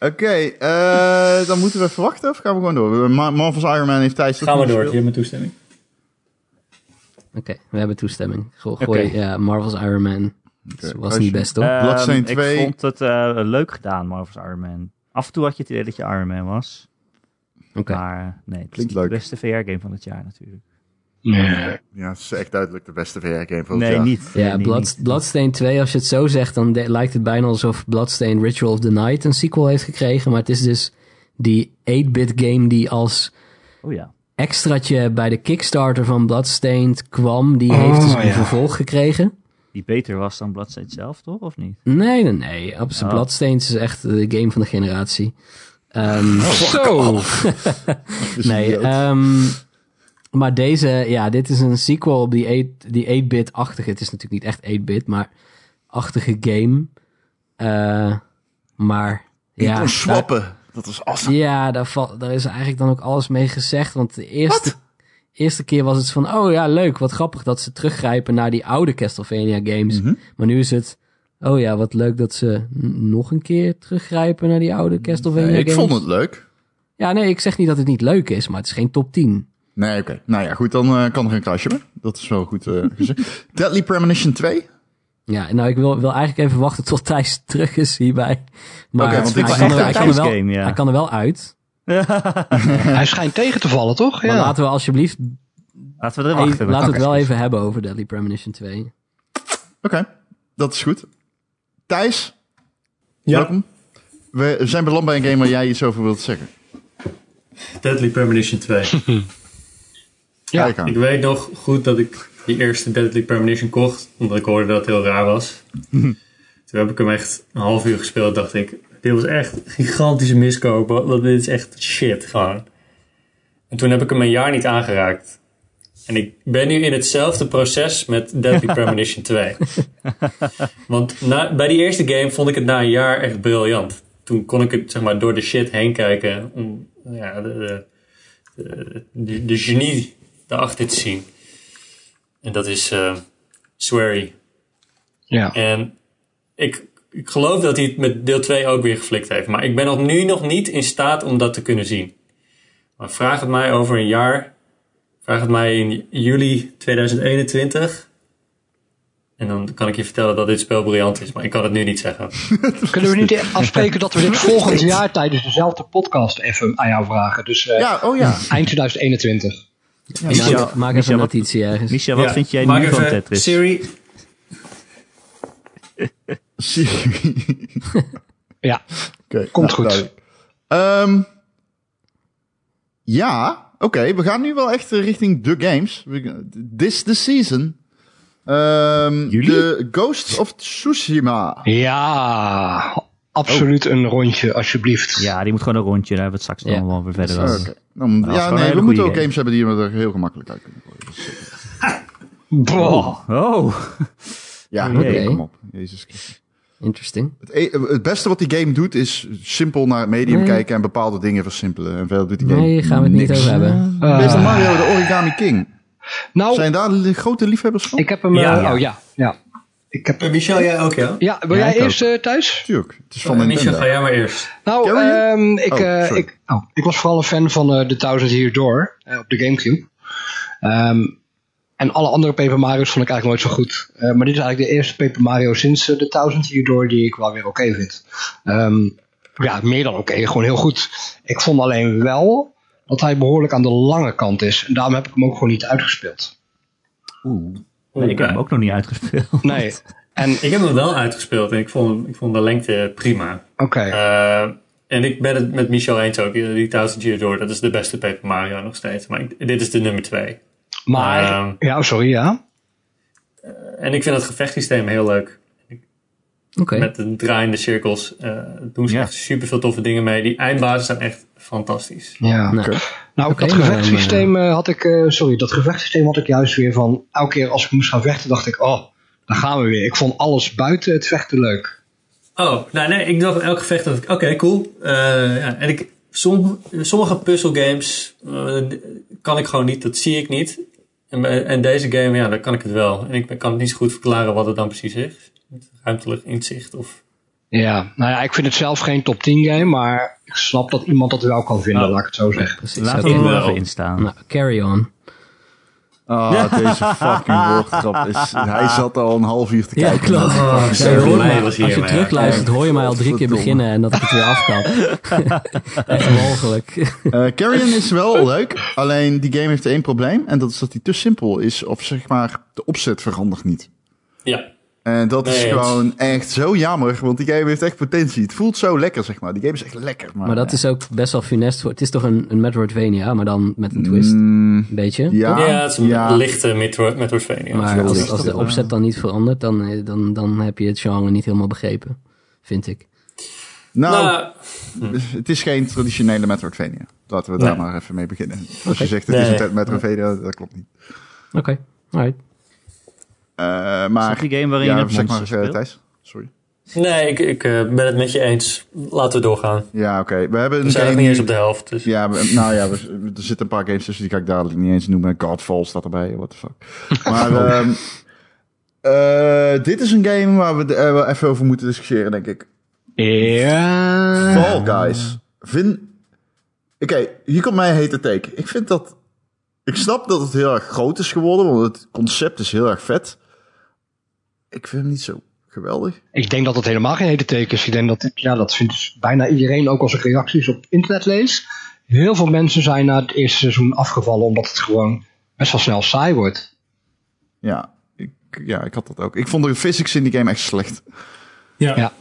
Oké, eh, dan moeten we even wachten of gaan we gewoon door? Ma- Marvel's Iron Man heeft Thijs ook Gaan we nog door. Je gespeeld. hebt mijn toestemming. Oké, we hebben toestemming. Go- Oké. Eh, Gooi ja, Marvel's Iron Man. Dat Oké, was als niet je- best, toch? Bloodstain 2. Ehm, Ik vond het eh, leuk gedaan, Marvel's Iron Man. Af en toe had je het idee dat je Iron Man was. Oké. Maar eh, nee, het is Klinkt niet de leuk. beste VR-game van het jaar natuurlijk. Nee. Ja, het is echt duidelijk de beste VR-game van het Nee, jaar. niet. Ja, nee, Blood, niet. Bloodstain 2, als je het zo zegt, dan de- lijkt het bijna alsof Bloodstain Ritual of the Night een sequel heeft gekregen. Maar het is dus die 8-bit game die als Oh ja. extraatje bij de Kickstarter van Bloodstained kwam. Die Oh, heeft dus een ja. vervolg gekregen. Die beter was dan Bloodstain zelf, toch? Of niet? Nee, nee, nee. Abs- Oh. Bloodstained is echt de game van de generatie. Ehm, Zo. Dus nee, idioot. ehm, maar deze, ja, dit is een sequel op die 8 die 8-bit-achtige. Het is natuurlijk niet echt 8-bit, maar achtige game. Eh, maar Je ja, kon daar- swappen. dat was awesome. Ja, daar, val- daar is eigenlijk dan ook alles mee gezegd. Want de eerste, eerste keer was het van... Oh ja, leuk. Wat grappig dat ze teruggrijpen naar die oude Castlevania games. Mhm. Maar nu is het... Oh ja, wat leuk dat ze n- nog een keer teruggrijpen naar die oude Castlevania ik games. vond het leuk. Ja, nee, ik zeg niet dat het niet leuk is. Maar het is geen top 10. Nee, oké. Nou ja, goed, dan eh, kan er een klasje meer. Dat is wel goed eh, gezegd. Deadly Premonition 2. Oké, Ja, nou, ik wil, wil eigenlijk even wachten tot Thijs terug is hierbij. Maar Oké, want dit hij, was kan echt er, een hij, kan er wel, Thijs-game, ja. hij kan er wel uit. Hij schijnt tegen te vallen, toch? Maar Ja. laten we alsjeblieft... Laten we er even- wachten. laten we het wel Oké. even hebben over Deadly Premonition 2. dat is goed. Thijs, Ja. welkom. We zijn beland bij een game waar jij iets over wilt zeggen. Deadly Premonition 2. Ja. Kijk aan. Ik weet nog goed dat ik die eerste Deadly Premonition kocht, omdat ik hoorde dat het heel raar was. Toen heb ik hem echt een half uur gespeeld, dacht ik, dit was echt een gigantische miskoop, want dit is echt shit gewoon. En toen heb ik hem een jaar niet aangeraakt. En ik ben nu in hetzelfde proces met Deadly Premonition 2. Want na, bij die eerste game vond ik het na een jaar echt briljant. Toen kon ik het zeg maar door de shit heen kijken om ja, de, de, de, de genie daarachter te zien. En dat is eh Swery. Ja. En ik, ik geloof dat hij het met deel 2 ook weer geflikt heeft. Maar ik ben nog nu nog niet in staat om dat te kunnen zien. Maar vraag het mij over een jaar. Vraag het mij in juli 2021. En dan kan ik je vertellen dat dit spel briljant is, maar ik kan het nu niet zeggen. Kunnen we niet afspreken dat we dit volgend jaar tijdens dezelfde podcast even aan jou vragen? Dus eh, Ja, oh ja. eind 2021. maak, Michel, maak even Michel, een wat- notitie ergens. Michel, wat Ja, vind jij maak nu van even Tetris? Siri, Siri. Ja, Oké, nou, Komt goed. duidelijk. Ehm, ja, oké. we gaan nu wel echt eh, richting de games. We- This the season. Ehm, Jullie? De Ghosts of Tsushima. ja absoluut een rondje alsjeblieft. Ja, die moet gewoon een rondje. Daar hebben we het straks Ja. nog wel weer verder Oké. over. Dus Nou, Dan- dat is ja, wel een nee, hele we moeten goeie ook games hebben die we er heel gemakkelijk uit kunnen gooien. Dus, Boah. Oh, Ja, Oké. nee, kom op. Jezus Christus. Interesting. Het, e- het beste wat die game doet is simpel naar het medium Nee. kijken en bepaalde dingen versimpelen. En verder doet die game Nee, gaan we het niet niks. over hebben. Ah. Eh, Meester Mario, de Origami King. nou, Zijn daar li- grote liefhebbers van? ik heb hem... eh, Ja. Oh ja, ja. Ik heb, eh, Michel, jij ook, ja? ja, wil Ja, jij ik eerst eh, thuis? Tuurlijk, het is van Eh, Michel, Nintendo. ga jij maar eerst. Nou, Carry you? ehm, ik, Oh, eh, sorry. ik, oh, ik was vooral een fan van eh, The Thousand Year Door eh, op de Gamecube. Ehm, en alle andere Paper Mario's vond ik eigenlijk nooit zo goed. Eh, maar dit is eigenlijk de eerste Paper Mario sinds eh, The Thousand Year Door die ik wel weer oké vind. Ehm, ja, meer dan oké, gewoon heel goed. Ik vond alleen wel dat hij behoorlijk aan de lange kant is. En daarom heb ik hem ook gewoon niet uitgespeeld. Oeh. Nee, ik heb hem ook nog niet uitgespeeld. Nee. En Ik heb hem wel uitgespeeld en ik vond, ik vond de lengte prima. oké, Eh, en ik ben het met Michel eens ook. Eh, Die 1000 Year Door, dat is de beste Paper Mario nog steeds. Maar ik- dit is de nummer twee. maar... ehm, ja, sorry, ja. En ik vind het gevechtssysteem heel leuk. Oké. Met de draaiende cirkels. eh doen ze Ja. echt super veel toffe dingen mee. Die eindbazen zijn echt fantastisch. Ja. Nou, Nou, Oké, maar dan, dat gevechtssysteem eh, had ik, eh, sorry, dat gevechtssysteem had ik juist weer van, elke keer als ik moest gaan vechten, dacht ik, oh, daar gaan we weer. Ik vond alles buiten het vechten leuk. Oh, nou nee, ik dacht elk gevecht dat ik. Oké, cool. Eh, ja, en ik, som, sommige puzzelgames eh, kan ik gewoon niet, dat zie ik niet. En, bij- en deze game, ja, dan kan ik het wel. En ik kan het niet zo goed verklaren wat het dan precies is. Ruimtelijk inzicht of. Ja, nou ja, ik vind het zelf geen top 10 game, maar ik snap dat iemand dat wel kan vinden, Nou, laat ik het zo zeggen. precies. Laten Oké. we er wel wel. even in staan. Nou, carry on. Ah, deze fucking woordgrap. Is, hij zat al een half uur te Ja, kijken. klopt. Ah, Oh, Ja, je hoort me- als je terug terugluistert, hoor je mij al drie keer Godverdomme. beginnen en dat ik het weer afkap. Echt mogelijk. Eh, Carrion is wel leuk, alleen die game heeft één probleem. En dat is dat hij te simpel is, of zeg maar, de opzet verandert niet. Ja. En dat is Nee, dat- gewoon echt zo jammer, want die game heeft echt potentie. Het voelt zo lekker, zeg maar. Die game is echt lekker. Maar, Maar dat is ook best wel funest. voor- Het is toch een, een Metroidvania, maar dan met een twist. Mm, Een beetje. ja, Ja, het is een ja. lichte Metro- Metroidvania. Maar dat als, is als de toch, eh, opzet dan niet verandert, dan, eh, dan, dan heb je het genre niet helemaal begrepen. Vind ik. Nou, Nou, het is geen traditionele Metroidvania. Laten we daar Nee. maar even mee beginnen. Als je zegt het is Nee. een Metroidvania, dat klopt niet. Oké, alright. Eh, Is maar dat die game waarin je ja, het zeg maar, monster eh, speelt? Thijs. Sorry. nee, ik, ik eh, ben het met je eens. Laten we doorgaan. Ja, oké. We hebben We een zijn nog game. niet eens op de helft. Dus. Ja, we- nou ja, we- we- er zitten een paar games tussen die ga ik dadelijk niet eens noemen. Godfall staat erbij, what the fuck. Maar Oh. ehm, eh, dit is een game waar we de- eh, wel even over moeten discussiëren, denk ik. Ja. Fall Guys. Vind... Oké, hier komt mijn hete take. Ik vind dat... Ik snap dat het heel erg groot is geworden, want het concept is heel erg vet. Ik vind hem niet zo geweldig. Ik denk dat dat helemaal geen hete teken is. Ik denk dat, dit- ja, dat vindt dus bijna iedereen, ook als ik reacties op internet lees. Heel veel mensen zijn na het eerste seizoen afgevallen, omdat het gewoon best wel snel saai wordt. Ja, ik, ja, ik had dat ook. Ik vond de physics in die game echt slecht. Ja. Ja.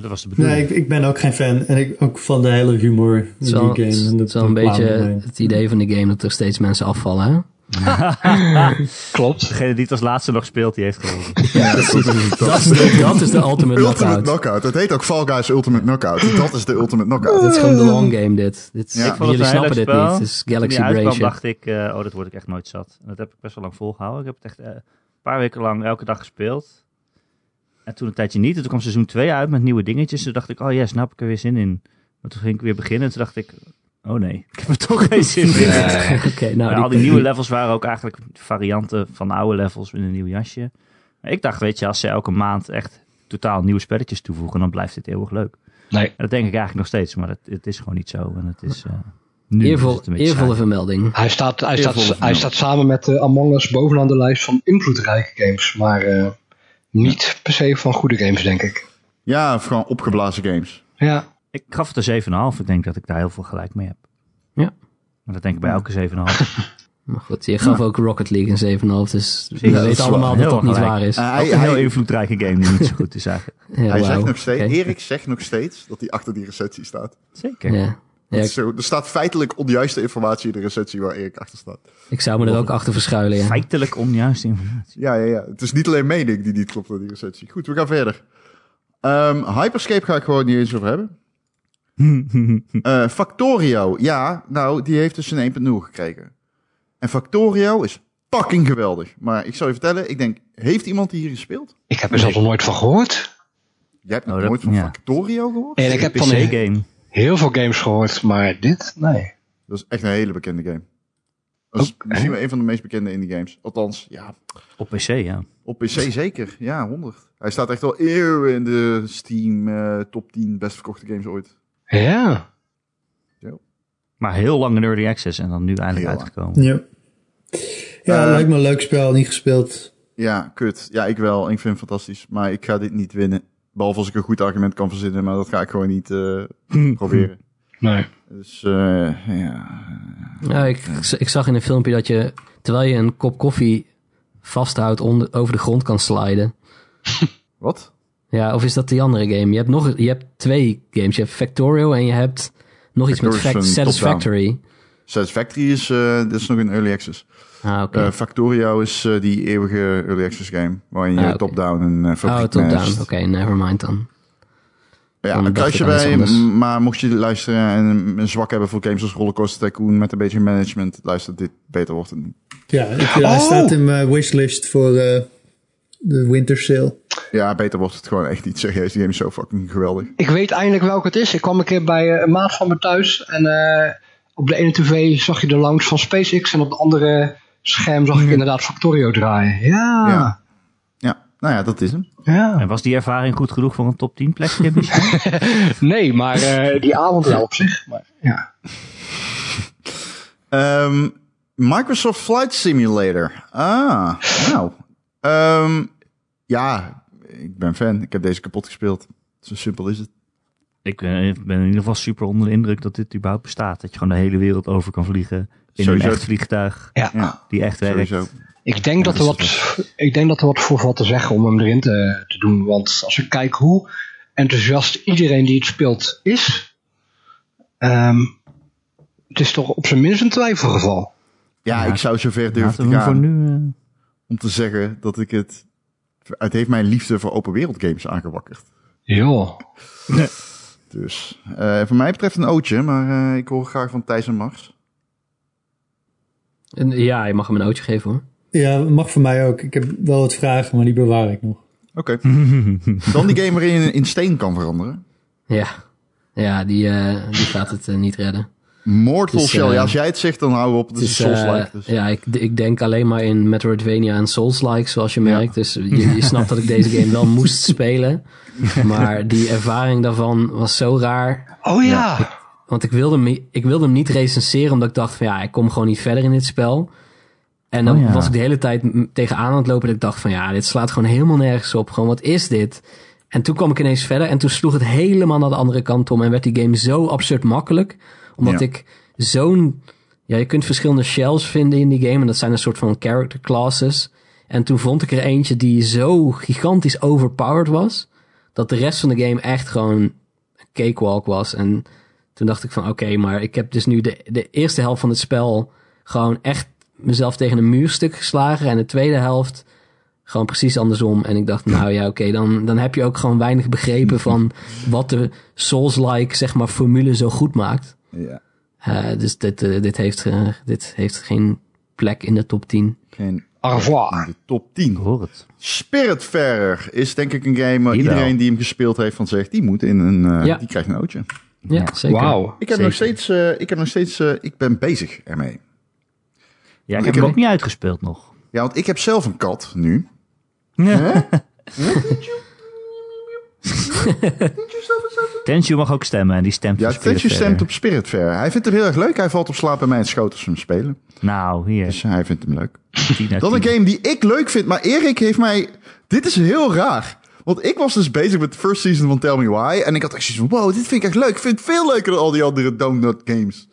Dat was de bedoeling. Nee, ik, ik ben ook geen fan. En ik ook van de hele humor in Het die is wel, game. het is- En het dat- is wel dat een beetje kwam ermee. het idee van de game dat er steeds mensen afvallen. Hè? Klopt. Degene die het als laatste nog speelt, die heeft gewonnen. Dat, is de, dat is de ultimate Ultimate knockout. Knockout. Het heet ook Fall Guys Ultimate Knockout. Dat is de Ultimate Knockout. Dit is gewoon de long game dit. dit is- Ja. Ik vond het Jullie een snappen dit heilig niet. spel. Het is Toen die Galaxy uitkwam Brazier. dacht ik, eh, oh, dat word ik echt nooit zat. En dat heb ik best wel lang volgehouden. Ik heb het echt eh, een paar weken lang elke dag gespeeld. En toen een tijdje niet. En toen kwam seizoen 2 uit met nieuwe dingetjes. Toen dacht ik, oh yes, nou heb ik er weer zin in. Maar toen ging ik weer beginnen. En toen dacht ik, oh nee, ik heb er toch geen zin in. Oké, nou, Maar al die die- nieuwe levels waren ook eigenlijk varianten van oude levels met een nieuw jasje. Maar ik dacht, weet je, als ze elke maand echt totaal nieuwe spelletjes toevoegen, dan blijft dit eeuwig leuk. Nee. En dat denk ik eigenlijk nog steeds, maar het, het is gewoon niet zo. En het is eh, nu is Eervol, het een beetje eervolle saai. vermelding. Hij staat, hij, Eervolle staat, hij vermelding. staat samen met eh, Among Us bovenaan de lijst van invloedrijke games. Maar eh, niet per se van goede games, denk ik. Ja, of gewoon opgeblazen games. Ja, Ik gaf het een 7,5. Ik denk dat ik daar heel veel gelijk mee heb. Ja. Maar dat denk ik bij elke 7,5. Maar goed, je gaf ook Rocket League een 7,5, dus we dat is weten allemaal wel dat dat heel niet gelijk. waar is. Eh, Ook hij een heel hij- invloedrijke game die niet zo goed is eigenlijk. Ja, hij wauw. zegt nog steeds, Oké. Erik zegt nog steeds dat hij achter die recensie staat. Zeker. Ja. Ja, ik, Zo, er staat feitelijk onjuiste informatie in de recensie waar Erik achter staat. ik zou me er ook achter verschuilen, ja. Feitelijk onjuiste informatie. Ja, ja, ja. Het is niet alleen mening die niet klopt aan die recensie. Goed, we gaan verder. Ehm, Hyperscape ga ik gewoon niet eens over hebben. Eh, Factorio, ja, nou, die heeft dus een 1.0 gekregen. En Factorio is fucking geweldig. Maar ik zal je vertellen, ik denk, heeft iemand die hier gespeeld? Dus ik heb er zelfs nog nooit van gehoord. Jij hebt nog Oh, dat- nooit van ja. Eh. Factorio gehoord? En ik heb van he- PC-game. heel veel games gehoord, maar dit, nee. Dat is echt een hele bekende game. Dat is Oké. misschien wel een van de meest bekende indie games. Althans, ja, Op PC, ja. op PC zeker. Ja, 100. Hij staat echt al eeuwen in de Steam eh, top 10 best verkochte games ooit. Ja, Maar heel lang in early access en dan nu eindelijk Heel lang. uitgekomen. Ja, ja Eh, lijkt me een leuk spel, niet gespeeld. Ja, kut. Ja, ik wel. Ik vind het fantastisch. Maar ik ga dit niet winnen. Behalve als ik een goed argument kan verzinnen, maar dat ga ik gewoon niet eh, proberen. nee. Dus eh, ja. Ja, ik, ik zag in een filmpje dat je, terwijl je een kop koffie vasthoudt, onder, over de grond kan sliden. Wat? Ja, of is dat die andere game? Je hebt, nog, je hebt twee games. Je hebt Factorio en je hebt nog iets met Factorio is fact, een Satisfactory. Satisfactory is, eh dit is nog een early access. Ah, oké. Eh, Factorio is eh, die eeuwige early access game. Waarin je Ah, oké. top-down en eh oh, fabriek top-down. managt. Oké, never mind dan. Ja, Dan een dacht kruisje ik aan iets bij. anders. m- Maar mocht je luisteren en een- een zwak hebben voor games als Rollercoaster Tycoon met een beetje management, luister, dit beter wordt het niet. Ja, Oh! ik, ja, hij staat in mijn wishlist voor eh, de winter sale. Ja, beter wordt het gewoon echt niet. Serieus, die game is zo fucking geweldig. Ik weet eindelijk welke het is. Ik kwam een keer bij eh, een maat van me thuis en eh, op de ene tv zag je de launch van SpaceX en op de andere scherm zag ik inderdaad Factorio draaien. Ja, Ja. ja. Ja, nou ja, dat is hem. En was die ervaring goed genoeg voor een top 10 plekje? misschien? Nee, maar eh, die avond wel op zich. Maar, ja. Ehm, Microsoft Flight Simulator. Ah, nou. Ehm, ja, ik ben fan. Ik heb deze kapot gespeeld. Zo simpel is het. ik ben, ik ben in ieder geval super onder de indruk dat dit überhaupt bestaat. Dat je gewoon de hele wereld over kan vliegen. In Sowieso. een echt vliegtuig Ja. Ja, die echt werkt. sowieso. Ik, denk dat er wat, ik denk dat er wat voor valt te zeggen om hem erin te, te doen. Want als ik kijk hoe enthousiast iedereen die het speelt is, ehm, het is toch op zijn minst een twijfelgeval. Ja, Ja. ik zou zover durven Laten we te hem voor gaan nu... eh, om te zeggen dat ik het... Het heeft mijn liefde voor open wereld games aangewakkerd. Joh. Dus eh voor mij betreft een ootje, maar eh, ik hoor graag van Thijs en Mars. En, ja, je mag hem een ootje geven hoor. Ja, mag voor mij ook. Ik heb wel wat vragen, maar die bewaar ik nog. Oké. Dan die game waarin je in steen kan veranderen. Ja, ja die, eh, die gaat het eh, niet redden. Mortal Het is, Shell. eh, ja, als jij het zegt, dan houden we op. Het is, Het is, Souls-like. eh, dus. Ja, ik, ik denk alleen maar in Metroidvania en Souls-like, zoals je merkt. Dus je, je snapt dat ik deze game wel moest spelen. Maar die ervaring daarvan was zo raar. Oh ja. Want ik wilde, hem, ik wilde hem niet recenseren, omdat ik dacht van ja, ik kom gewoon niet verder in dit spel. En dan Oh ja. was ik de hele tijd m- tegenaan aan het lopen dat ik dacht van ja, dit slaat gewoon helemaal nergens op. Gewoon, wat is dit? En toen kwam ik ineens verder en toen sloeg het helemaal naar de andere kant om en werd die game zo absurd makkelijk. Omdat Ja. ik zo'n... Ja, je kunt verschillende shells vinden in die game en dat zijn een soort van character classes. En toen vond ik er eentje die zo gigantisch overpowered was, dat de rest van de game echt gewoon een cakewalk was. En toen dacht ik van oké, maar ik heb dus nu de, de eerste helft van het spel gewoon echt mezelf tegen een muurstuk geslagen. En de tweede helft gewoon precies andersom. En ik dacht, nou ja, oké, dan, dan heb je ook gewoon weinig begrepen van wat de Souls-like, zeg maar, formule zo goed maakt. ja. Eh, dus dit, eh, dit, heeft, eh, dit heeft geen plek in de top 10. Geen Au revoir. de top 10. Ik hoor het. Spiritfarer is denk ik een game waar Die wel. iedereen die hem gespeeld heeft van zegt, die moet in een, eh, Ja. die krijgt een ootje. Ja, Ja. eh, zeker. Ik heb nog steeds, eh, ik heb nog steeds, eh, ik ben bezig ermee. Ik Ja, ik heb heb- hem ook niet uitgespeeld nog. Ja, want ik heb zelf een kat nu. Tenshu mag ook stemmen en die stemt Ja, voor Spirit Tenshu stemt verder. op Spiritfarer. Hij vindt hem heel erg leuk. Hij valt op slaap bij mij en schoot als we hem spelen. Nou, hier. Dus hij vindt hem leuk. tien uit Dan een tien. game die ik leuk vind, maar Erik heeft mij Dit is heel raar. Want ik was dus bezig met de first season van Tell Me Why. En ik had echt zoiets van, wow, dit vind ik echt leuk. Ik vind het veel leuker dan al die andere Donut Games.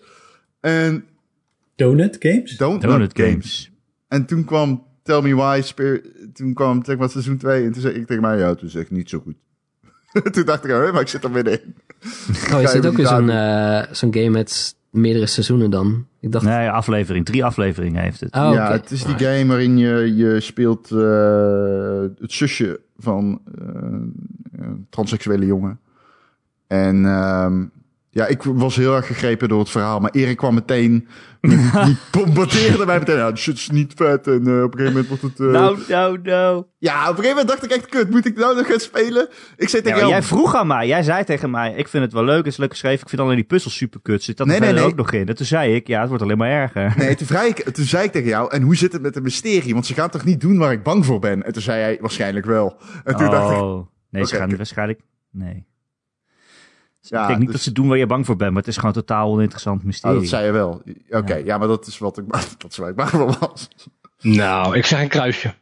En Donut Games? Donut, Donut games. Games. En toen kwam Tell Me Why, Spear, toen kwam zeg maar, seizoen 2. En toen zei ik tegen mij, ja, het is echt niet zo goed. toen dacht ik, hè, maar ik zit er middenin. Oh, je is dit hem ook weer niet zo'n eh, zo'n game met meerdere seizoenen dan? Ik dacht... Nee, aflevering. Drie afleveringen heeft het. Oh, ja, oké. het is die game waarin je, je speelt eh, het zusje van eh, een transseksuele jongen. En ehm, ja, ik was heel erg gegrepen door het verhaal. Maar Erik kwam meteen, die bombardeerde mij meteen. Nou, shit is niet vet. En eh, op een gegeven moment wordt het... eh, Nou, nou, nou. Ja, op een gegeven moment dacht ik echt, kut, moet ik nou nog gaan spelen? Ik zei Ja, tegen maar jou, jij vroeg aan mij. Jij zei tegen mij, ik vind het wel leuk. Het is leuk geschreven. Ik vind alleen die puzzels super kut. Zit dat Nee, er nee, verder nee. ook nog in? En toen zei ik, ja, het wordt alleen maar erger. Nee, toen, vrij ik, toen zei ik tegen jou, en hoe zit het met het mysterie? Want ze gaan toch niet doen waar ik bang voor ben? En toen zei hij, waarschijnlijk wel. En toen dacht ik, Oh. Nee, ze Oké, gaan oké. waarschijnlijk... Nee. Ja, ik denk niet dus- dat ze doen waar je bang voor bent, maar het is gewoon totaal oninteressant oh, mysterie. dat zei je wel. Oké, ja. maar dat is wat ik, dat is waar ik bang voor was. Nou, ik zeg een kruisje.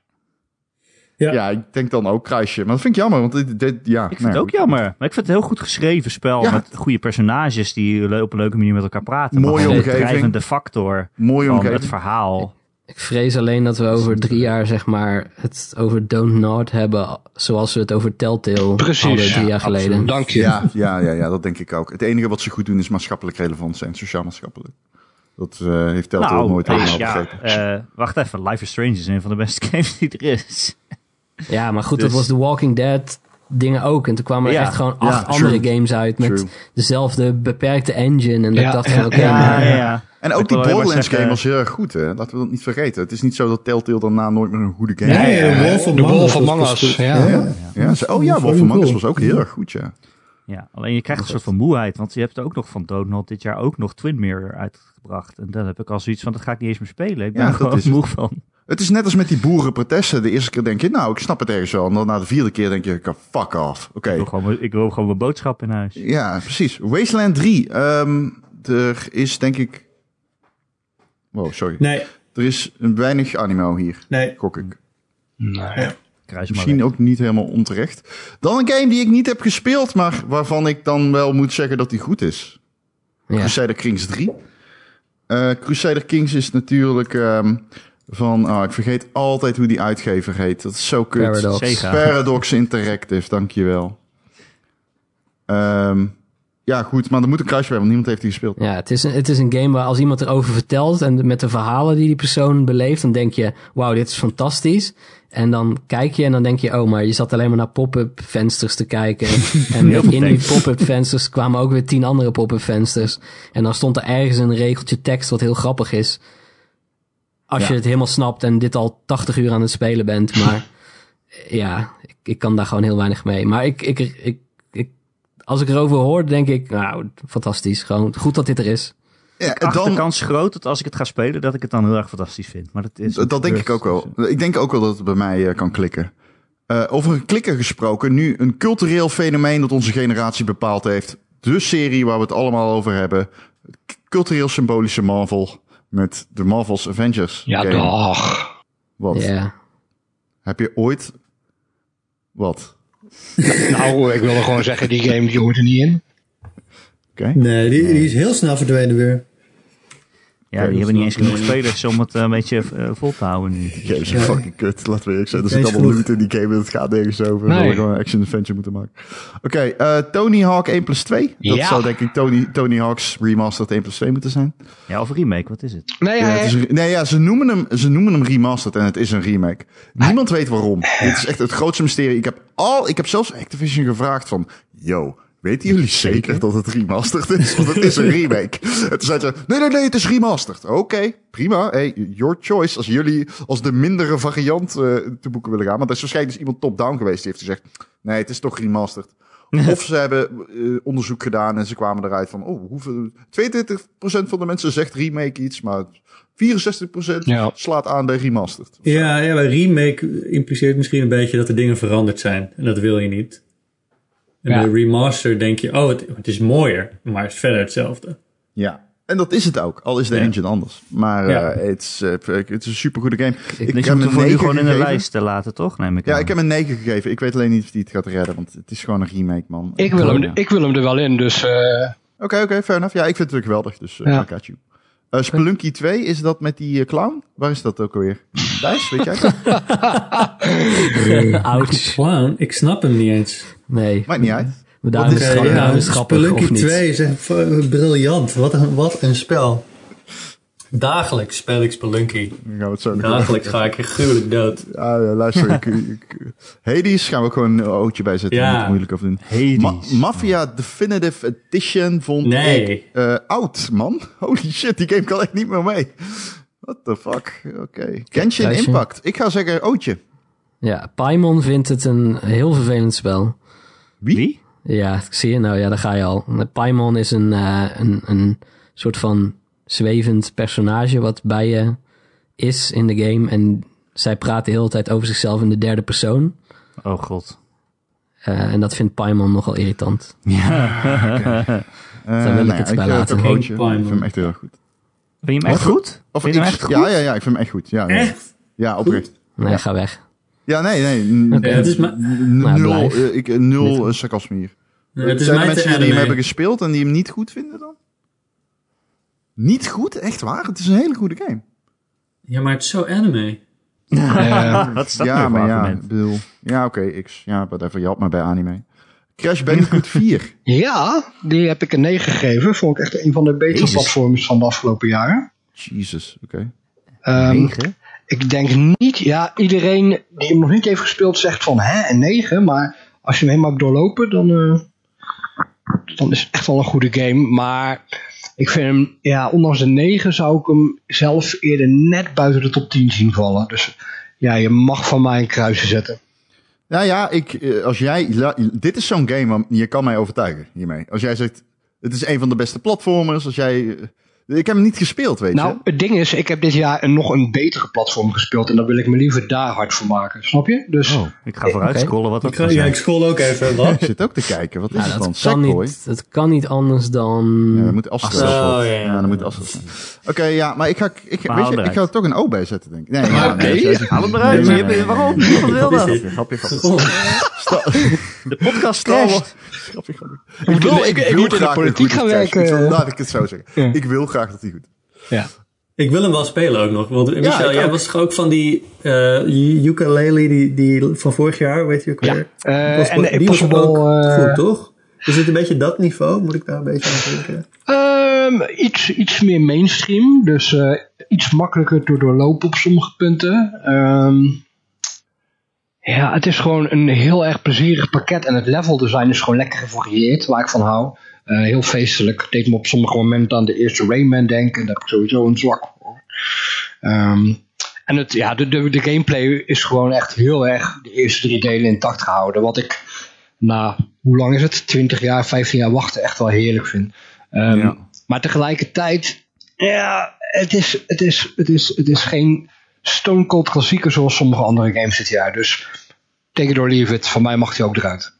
Ja. Ja. ik denk dan ook kruisje. Maar dat vind ik jammer, want dit, dit- ja. Ik vind het ook jammer. Maar ik vind het een heel goed geschreven spel. Ja. Met goede personages die le- op een leuke manier met elkaar praten. Mooie maar gewoon omgeving. De drijvende factor Mooie van het omgeving. verhaal. Ik vrees alleen dat we over drie eh, jaar, zeg maar, het over Don't Nod hebben, zoals we het over Telltale Precies, hadden drie ja, jaar geleden. Dank je. Ja, ja, ja, ja, dat denk ik ook. Het enige wat ze goed doen is maatschappelijk relevant zijn, sociaal-maatschappelijk. Dat eh, heeft Telltale nooit eh, helemaal ja, begrepen. eh, wacht even. Life is Strange is een van de beste games die er is. Ja, maar goed, Dus- dat was The Walking Dead dingen ook. En toen kwamen er Ja, echt gewoon acht ja, andere true. games uit met True. dezelfde beperkte engine. En dat Ja, ik dacht ja, van, oké, ja, maar... ja. En Ik ook die wil alleen maar Borderlands game zeggen- was heel erg goed, hè? Laten we dat niet vergeten. Het is niet zo dat Telltale daarna nooit meer een goede game Nee, de Wolf de Among Wolf Us was Among best Us. goed. Ja. Ja, ze- oh ja, Voor Wolf je Among Us goal. was ook heel erg goed, ja. Ja, alleen je krijgt een soort van moeheid. Want je hebt ook nog van Donald dit jaar ook nog Twin Mirror uitgebracht. En dan heb ik al zoiets van, dat ga ik niet eens meer spelen. Ik ben Ja, er dat gewoon is het. moe van. Het is net als met die boerenprotesten. De eerste keer denk je, nou, ik snap het ergens wel. En dan na de vierde keer denk je, fuck off. Oké. Ik wil gewoon, mijn- ik wil gewoon mijn boodschap in huis. Ja, precies. Wasteland 3. Ehm, er is denk ik... Wow, sorry. Nee, Er is een weinig animo hier, nee. gok ik. Kruis maar Misschien ook niet helemaal onterecht. Dan een game die ik niet heb gespeeld, maar waarvan ik dan wel moet zeggen dat die goed is. Ja. Crusader Kings 3. Eh, Crusader Kings is natuurlijk ehm, van... ah, ik vergeet altijd hoe die uitgever heet. Dat is zo kut. Paradox. Sega. Paradox Interactive, dankjewel. Ehm ja, goed, maar er moet een kruisje bij, want niemand heeft die gespeeld. Ja, het is, een, het is een game waar als iemand erover vertelt en met de verhalen die die persoon beleeft, dan denk je, wauw, dit is fantastisch. En dan kijk je en dan denk je, oh, maar je zat alleen maar naar pop-up vensters te kijken. En Heel in die betekend. pop-up vensters kwamen ook weer tien andere pop-up vensters. En dan stond er ergens een regeltje tekst wat heel grappig is. Als je het helemaal snapt en dit al 80 uur aan het spelen bent. Maar ja, ik, ik kan daar gewoon heel weinig mee. Maar ik, ik, ik, ik, als ik erover hoor, denk ik, nou, fantastisch. Gewoon goed dat dit er is. Ja, Ach, de Eh, dan, kans groot dat als ik het ga spelen, dat ik het dan heel erg fantastisch vind. Maar dat is dat denk ik ook wel. Ik denk ook wel dat het bij mij eh, kan klikken. Eh, over een klikker gesproken, nu een cultureel fenomeen dat onze generatie bepaald heeft. De serie waar we het allemaal over hebben. Cultureel symbolische Marvel met de Marvel's Avengers. Ja, game. dag. Wat? Ja. Heb je ooit... Wat? Nou, ik wilde gewoon zeggen, die game die hoort er niet in. Nee, die, die is heel snel verdwenen weer. Ja, die hebben niet eens genoeg spelers om het eh, een beetje eh, vol te houden nu. Dus- Die game is een fucking kut, laten we eerlijk zijn. Er Eens zit allemaal genoeg. loot in die game en het gaat nergens over. We Nee. hadden gewoon een action-adventure moeten maken. Oké, eh, Tony Hawk 1 plus 2. Dat Ja. zou denk ik Tony, Tony Hawk's Remastered 1 plus 2 moeten zijn. Ja, of een remake, wat is het? Nee, Ja, hij- het is een- nee, ja, ze noemen, hem, ze noemen hem remastered en het is een remake. Niemand weet waarom. Dit is echt het grootste mysterie. Ik heb, al, ik heb zelfs Activision gevraagd van... Yo, weten jullie zeker dat het remastered is? Want het is een remake. En toen zei ze... Nee, nee, nee, het is remastered. Oké, prima. Hey, your choice. Als jullie als de mindere variant eh, te boeken willen gaan. Want er is waarschijnlijk dus iemand top-down geweest die heeft gezegd... Nee, het is toch remastered. Of ze hebben eh, onderzoek gedaan en ze kwamen eruit van... Oh, hoeveel, 22% van de mensen zegt remake iets, maar 64% Ja. slaat aan bij remastered. Ja, ja, maar remake impliceert misschien een beetje dat er dingen veranderd zijn. En dat wil je niet. En Ja. bij remaster denk je, oh, het, het is mooier, maar het is verder hetzelfde. Ja. En dat is het ook, al is de Ja. engine anders. Maar Ja. eh, het is, eh, het is een supergoede game. Ik, Dus je moet hem voor nu negen gewoon in de gegeven. lijst eh, laten, toch? Neem ik Ja, aan. ik heb hem een 9 gegeven. Ik weet alleen niet of die het gaat redden, want het is gewoon een remake, man. Ik wil, hem, ik wil hem er wel in, dus eh, Oké, oké, fair enough. Ja, ik vind het natuurlijk geweldig, dus eh, Ja. I got you. Eh, Spelunky 2, is dat met die eh, clown? Waar is dat ook alweer? Thijs, weet jij? dat? Ouch. Clown, ik snap hem niet eens. Nee, Maakt niet uit. maar daarom is het Oké, gewoon ja, daarom is het grappig Spelunky of niet. 2 is echt v- briljant. Wat een, wat een spel. Dagelijks speel ik Spelunky. Dan gaan we het zo nog over. Dagelijks ga ik er gruwelijk dood. Ja, Ah, ja, luister, ik, ik- Hades gaan we ook gewoon een ootje bij zetten. Ja. Ja. Niet moeilijk over doen. Hades. Ma- Mafia Definitive Edition vond Nee. ik eh, oud, man. Holy shit, die game kan echt niet meer mee. What the fuck? Oké. Genshin Thijsje. Impact. Ik ga zeggen ootje. Ja, Paimon vindt het een heel vervelend spel. Wie? Ja, zie je? Nou ja, daar ga je al. Paimon is een, eh, een, een soort van zwevend personage wat bij je is in de game. En zij praat de hele tijd over zichzelf in de derde persoon. Oh god. Eh, en dat vindt Paimon nogal irritant. Uh, wil ik het bij ik, eh, laten. toch ootje. Geen Ik vind hem echt heel erg goed. Ben je hem echt Wat? goed? Of Vind je hem ik- echt goed? Ja, ja, ja, ik vind hem echt goed. Ja, ja. Ja, oprecht. Nee, ga weg. Ja, nee, nee. n- Oké. Ja, het is, ma- n- Maar nul blijf. eh, ik, eh, nul eh, sarcasme hier. nee, het is Zijn er mij te mensen die hem anime. hebben gespeeld en die hem niet goed vinden dan? Niet goed? Echt waar? Het is een hele goede game. Ja, maar het is zo anime. Wat is dat ja, nou voor maar ja, argument? ik bedoel, ja, oké, X. Ja, whatever. Je had me bij anime. Crash Bandicoot 4. ja, die heb ik een 9 gegeven. Vond ik echt een van de betere Jezus. platforms van de afgelopen jaren. Jesus, oké. Ehm, Negen? ik denk niet, ja, iedereen die hem nog niet heeft gespeeld zegt van hè, een 9, maar als je hem helemaal hebt doorlopen, dan, eh, dan is het echt wel een goede game. Maar ik vind hem, ja, ondanks de 9 zou ik hem zelf eerder net buiten de top 10 zien vallen. Dus ja, je mag van mij een kruisje zetten. Nou ja, ik, eh, als jij, la- dit is zo'n game, waar- je kan mij overtuigen hiermee. Als jij zegt, het is een van de beste platformers, als jij... eh, Ik heb hem niet gespeeld, weet Nou, je. het ding is, ik heb dit jaar een, nog een betere platform gespeeld en daar wil ik me liever daar hard voor maken, snap je? Dus Ik ga vooruit Oké. scrollen wat dat Ik ga- kan ja, zijn. ik scroll ook even. Wat? Ik zit ook te kijken, wat is Ja, het dan? Nou, dat, kan Sackboy? niet, dat kan niet anders dan... Ja, dan Eh, moet Astro. Astro. of wat. Oh, ja, ja. dan moet Astro. zijn. Oké, ja, maar ik ga, ik, Maar weet haal je, ik eruit. ga er toch een O bij zetten, denk ik. Nee, ja, Oké. nee, nee. Haal hem eruit. Nee, je nee, hebt- nee, Waarom? Niemand wil Wat is dat. dit? Grapje, grapje. Oh, De podcast Star crasht. Wars. Grappig, grappig. Ik bedoel, ik, ik wil moet in de graag politiek dat hij goed gaan is. werken. Ik wil- Laat ik het zo zeggen. Ja. Ik wil graag dat hij goed is. ik wil hem wel spelen ook nog. Want eh, Michel, ik jij ook. was toch ook van die eh ukulele die, die van vorig jaar, weet je ook Ja. weer? Eh, Was- en de die was Impossible, ook eh, goed, toch? Is het een beetje dat niveau? Moet ik daar een beetje aan denken? Ehm, iets, iets meer mainstream, dus eh, iets makkelijker te doorlopen op sommige punten. Ehm, ja, het is gewoon een heel erg plezierig pakket en het leveldesign is gewoon lekker gevarieerd, waar ik van hou. Eh, heel feestelijk. Deed me op sommige momenten aan de eerste Rayman denken, daar heb ik sowieso een zwak voor. Ehm, en het, ja, de, de, de gameplay is gewoon echt heel erg de eerste drie delen intact gehouden, wat ik na, hoe lang is het? 20 jaar, 15 jaar wachten echt wel heerlijk vind. Ehm, Ja. Maar tegelijkertijd, ja, het is, het is, het is, het is geen stone cold klassieker zoals sommige andere games dit jaar. Dus take it or leave it, van mij mag die ook eruit.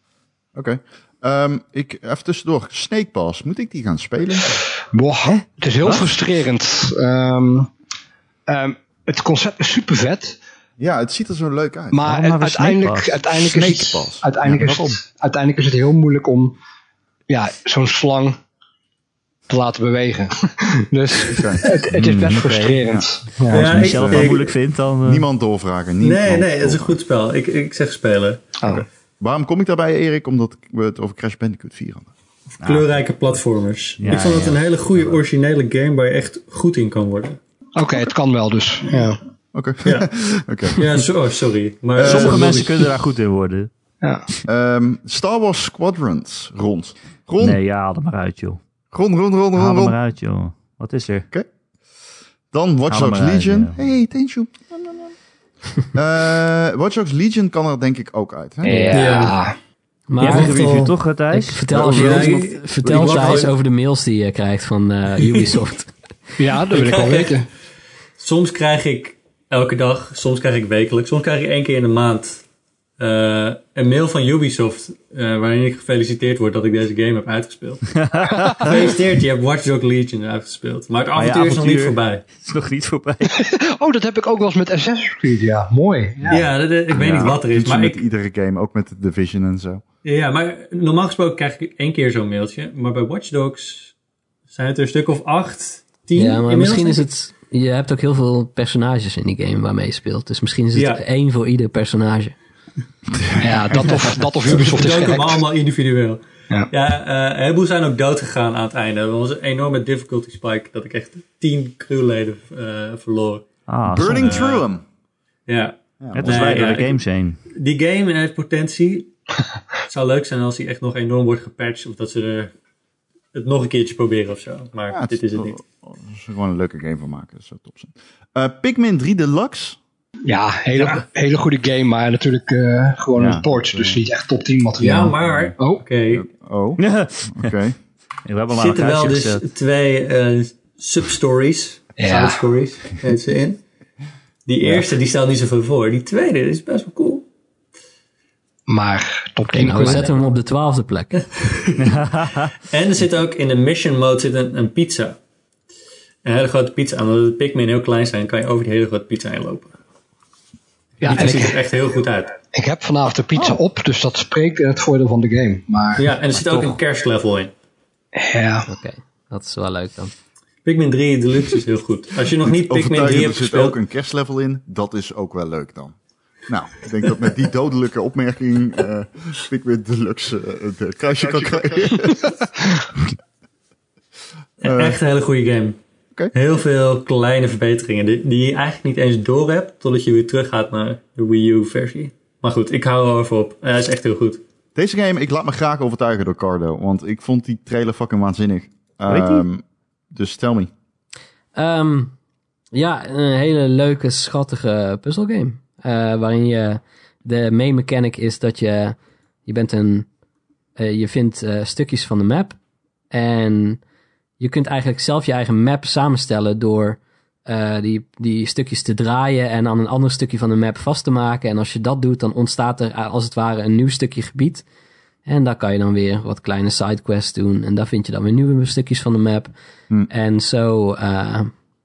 Oké. Ehm, ik, even tussendoor. Snake Pass, moet ik die gaan spelen? Boah, het is heel frustrerend. Ehm, ehm, het concept is super vet, Ja, het ziet er zo leuk uit. maar Waarom nou weer uiteindelijk, Snake uiteindelijk, is het, Snake Pass. uiteindelijk, Ja, is het, uiteindelijk is het heel moeilijk om ja, zo'n slang te laten bewegen. dus Oké. het, het is best frustrerend. Ja. Als je Michel het wel moeilijk vindt, dan... eh, Niemand doorvragen. Niemand Nee, nee, het is een doorvragen. goed spel. Ik, ik zeg spelen. Oh. Waarom kom ik daarbij, Erik? Omdat we het over Crash Bandicoot 4 hadden. Kleurrijke platformers. Ja, ik vond het ja. een hele goede originele game waar je echt goed in kan worden. Oké, het kan wel dus. Ja. Oké. Ja. Oké. Ja, so- oh, sorry. Maar, Sommige eh, mensen kunnen daar goed in worden. Ja. Ehm, Star Wars Squadrons. Rond. Rond, Nee, ja, haal er maar uit, joh. rond, rond, rond, Haal rond, er rond. maar uit, joh. Wat is er? Dan Watch Haal hem Dogs eruit, Legion. ja. Hey, Tenshu. Eh Watch Dogs Legion kan er denk ik ook uit. Hè? Ja. Maar Jij Ja, vond de echt review al- toch, eh, ik, Thijs? vertel als Ja, je, ik- ons- vertel ik ons wacht Thijs even. over de mails die je krijgt van eh, Ubisoft. ja, dat wil ik wel weten. Soms krijg ik elke dag, soms krijg ik wekelijks, soms krijg ik één keer in de maand eh, een mail van Ubisoft eh, waarin ik gefeliciteerd word dat ik deze game heb uitgespeeld. gefeliciteerd, je hebt Watch Dogs Legion uitgespeeld. Maar het je avontuur is nog niet avontuur- voorbij. Het is nog niet voorbij. Oh, dat heb ik ook wel eens met Assassin's Creed, ja. Mooi. Ja, dat- eh, ik weet niet wat er is. Iets Maar met ik, iedere game, ook met de Division en zo. Ja, maar normaal gesproken krijg ik één keer zo'n mailtje. Maar bij Watch Dogs zijn het er een stuk of acht, tien Ja, maar inmiddels, misschien is denk ik. het... Je hebt ook heel veel personages in die game waarmee je speelt. Dus misschien is het Ja. één voor ieder personage. Ja, dat of, dat of Ubisoft is Ze Dus doken hem gehackt. allemaal individueel. Ja. Ja, eh, een heleboel zijn ook dood gegaan aan het einde. Dat was een enorme difficulty spike dat ik echt tien crewleden eh, verloor. Ah, Burning zonde. through them. Ja, Net als Nee, wij door ja, de ik- games heen. die game heeft potentie. het zou leuk zijn als die echt nog enorm wordt gepatcht. Of dat ze er het nog een keertje proberen of zo. Maar Ja, dit is het niet. Ze er gewoon een leuke game van maken. Dat zou top zijn. Eh, Pikmin 3 Deluxe. Ja, hele, hele goede game, maar natuurlijk eh, gewoon Ja. een port. Dus niet echt top 10 materiaal. Ja, maar... Oké, Oh, Oh, oké. Ja, we hebben Er hem aan zitten elkaar wel dus gezet. twee eh, substories, Ja. side stories, heet ze in. Die eerste die stelt niet zoveel voor. Die tweede is best wel cool. maar top Oké, 10 nou, we gewoon. zetten hem op de twaalfde plek. En er zit ook in de mission mode zit een, een pizza. Een hele grote pizza. En Omdat de Pikmin heel klein zijn, kan je over die hele grote pizza heen lopen. Ja, Die en ziet ik, er echt heel goed uit. ik heb vanavond de pizza op, dus dat spreekt in het voordeel van de game. Maar ja, Ja, en er zit ook een kerstlevel in. Oké, dat is wel leuk dan. Pikmin 3 Deluxe is heel goed. Als je nog niet Pikmin 3 Overtuigend, er hebt zit gespeeld, ook een kerstlevel in. Dat is ook wel leuk dan. Nou, ik denk dat met die dodelijke opmerking eh Pikmin Deluxe eh, het eh, kruisje kan krijgen. een echt een hele goede game. eh, Oké. Heel veel kleine verbeteringen die, die je eigenlijk niet eens door hebt totdat je weer teruggaat naar de Wii U versie. Maar goed, ik hou er even op. Eh, Hij is echt heel goed. Deze game, ik laat me graag overtuigen door Cardo. Want ik vond die trailer fucking waanzinnig. heet die? Ehm, dus tell me. Ehm, ja, een hele leuke, schattige puzzelgame. Eh, waarin je... De main mechanic is dat je... Je bent een... eh, je vindt eh, stukjes van de map. En je kunt eigenlijk zelf je eigen map samenstellen door... eh, die, die stukjes te draaien en aan een ander stukje van de map vast te maken. En als je dat doet, dan ontstaat er eh, als het ware een nieuw stukje gebied. En daar kan je dan weer wat kleine sidequests doen. En daar vind je dan weer nieuwe stukjes van de map. En zo, eh,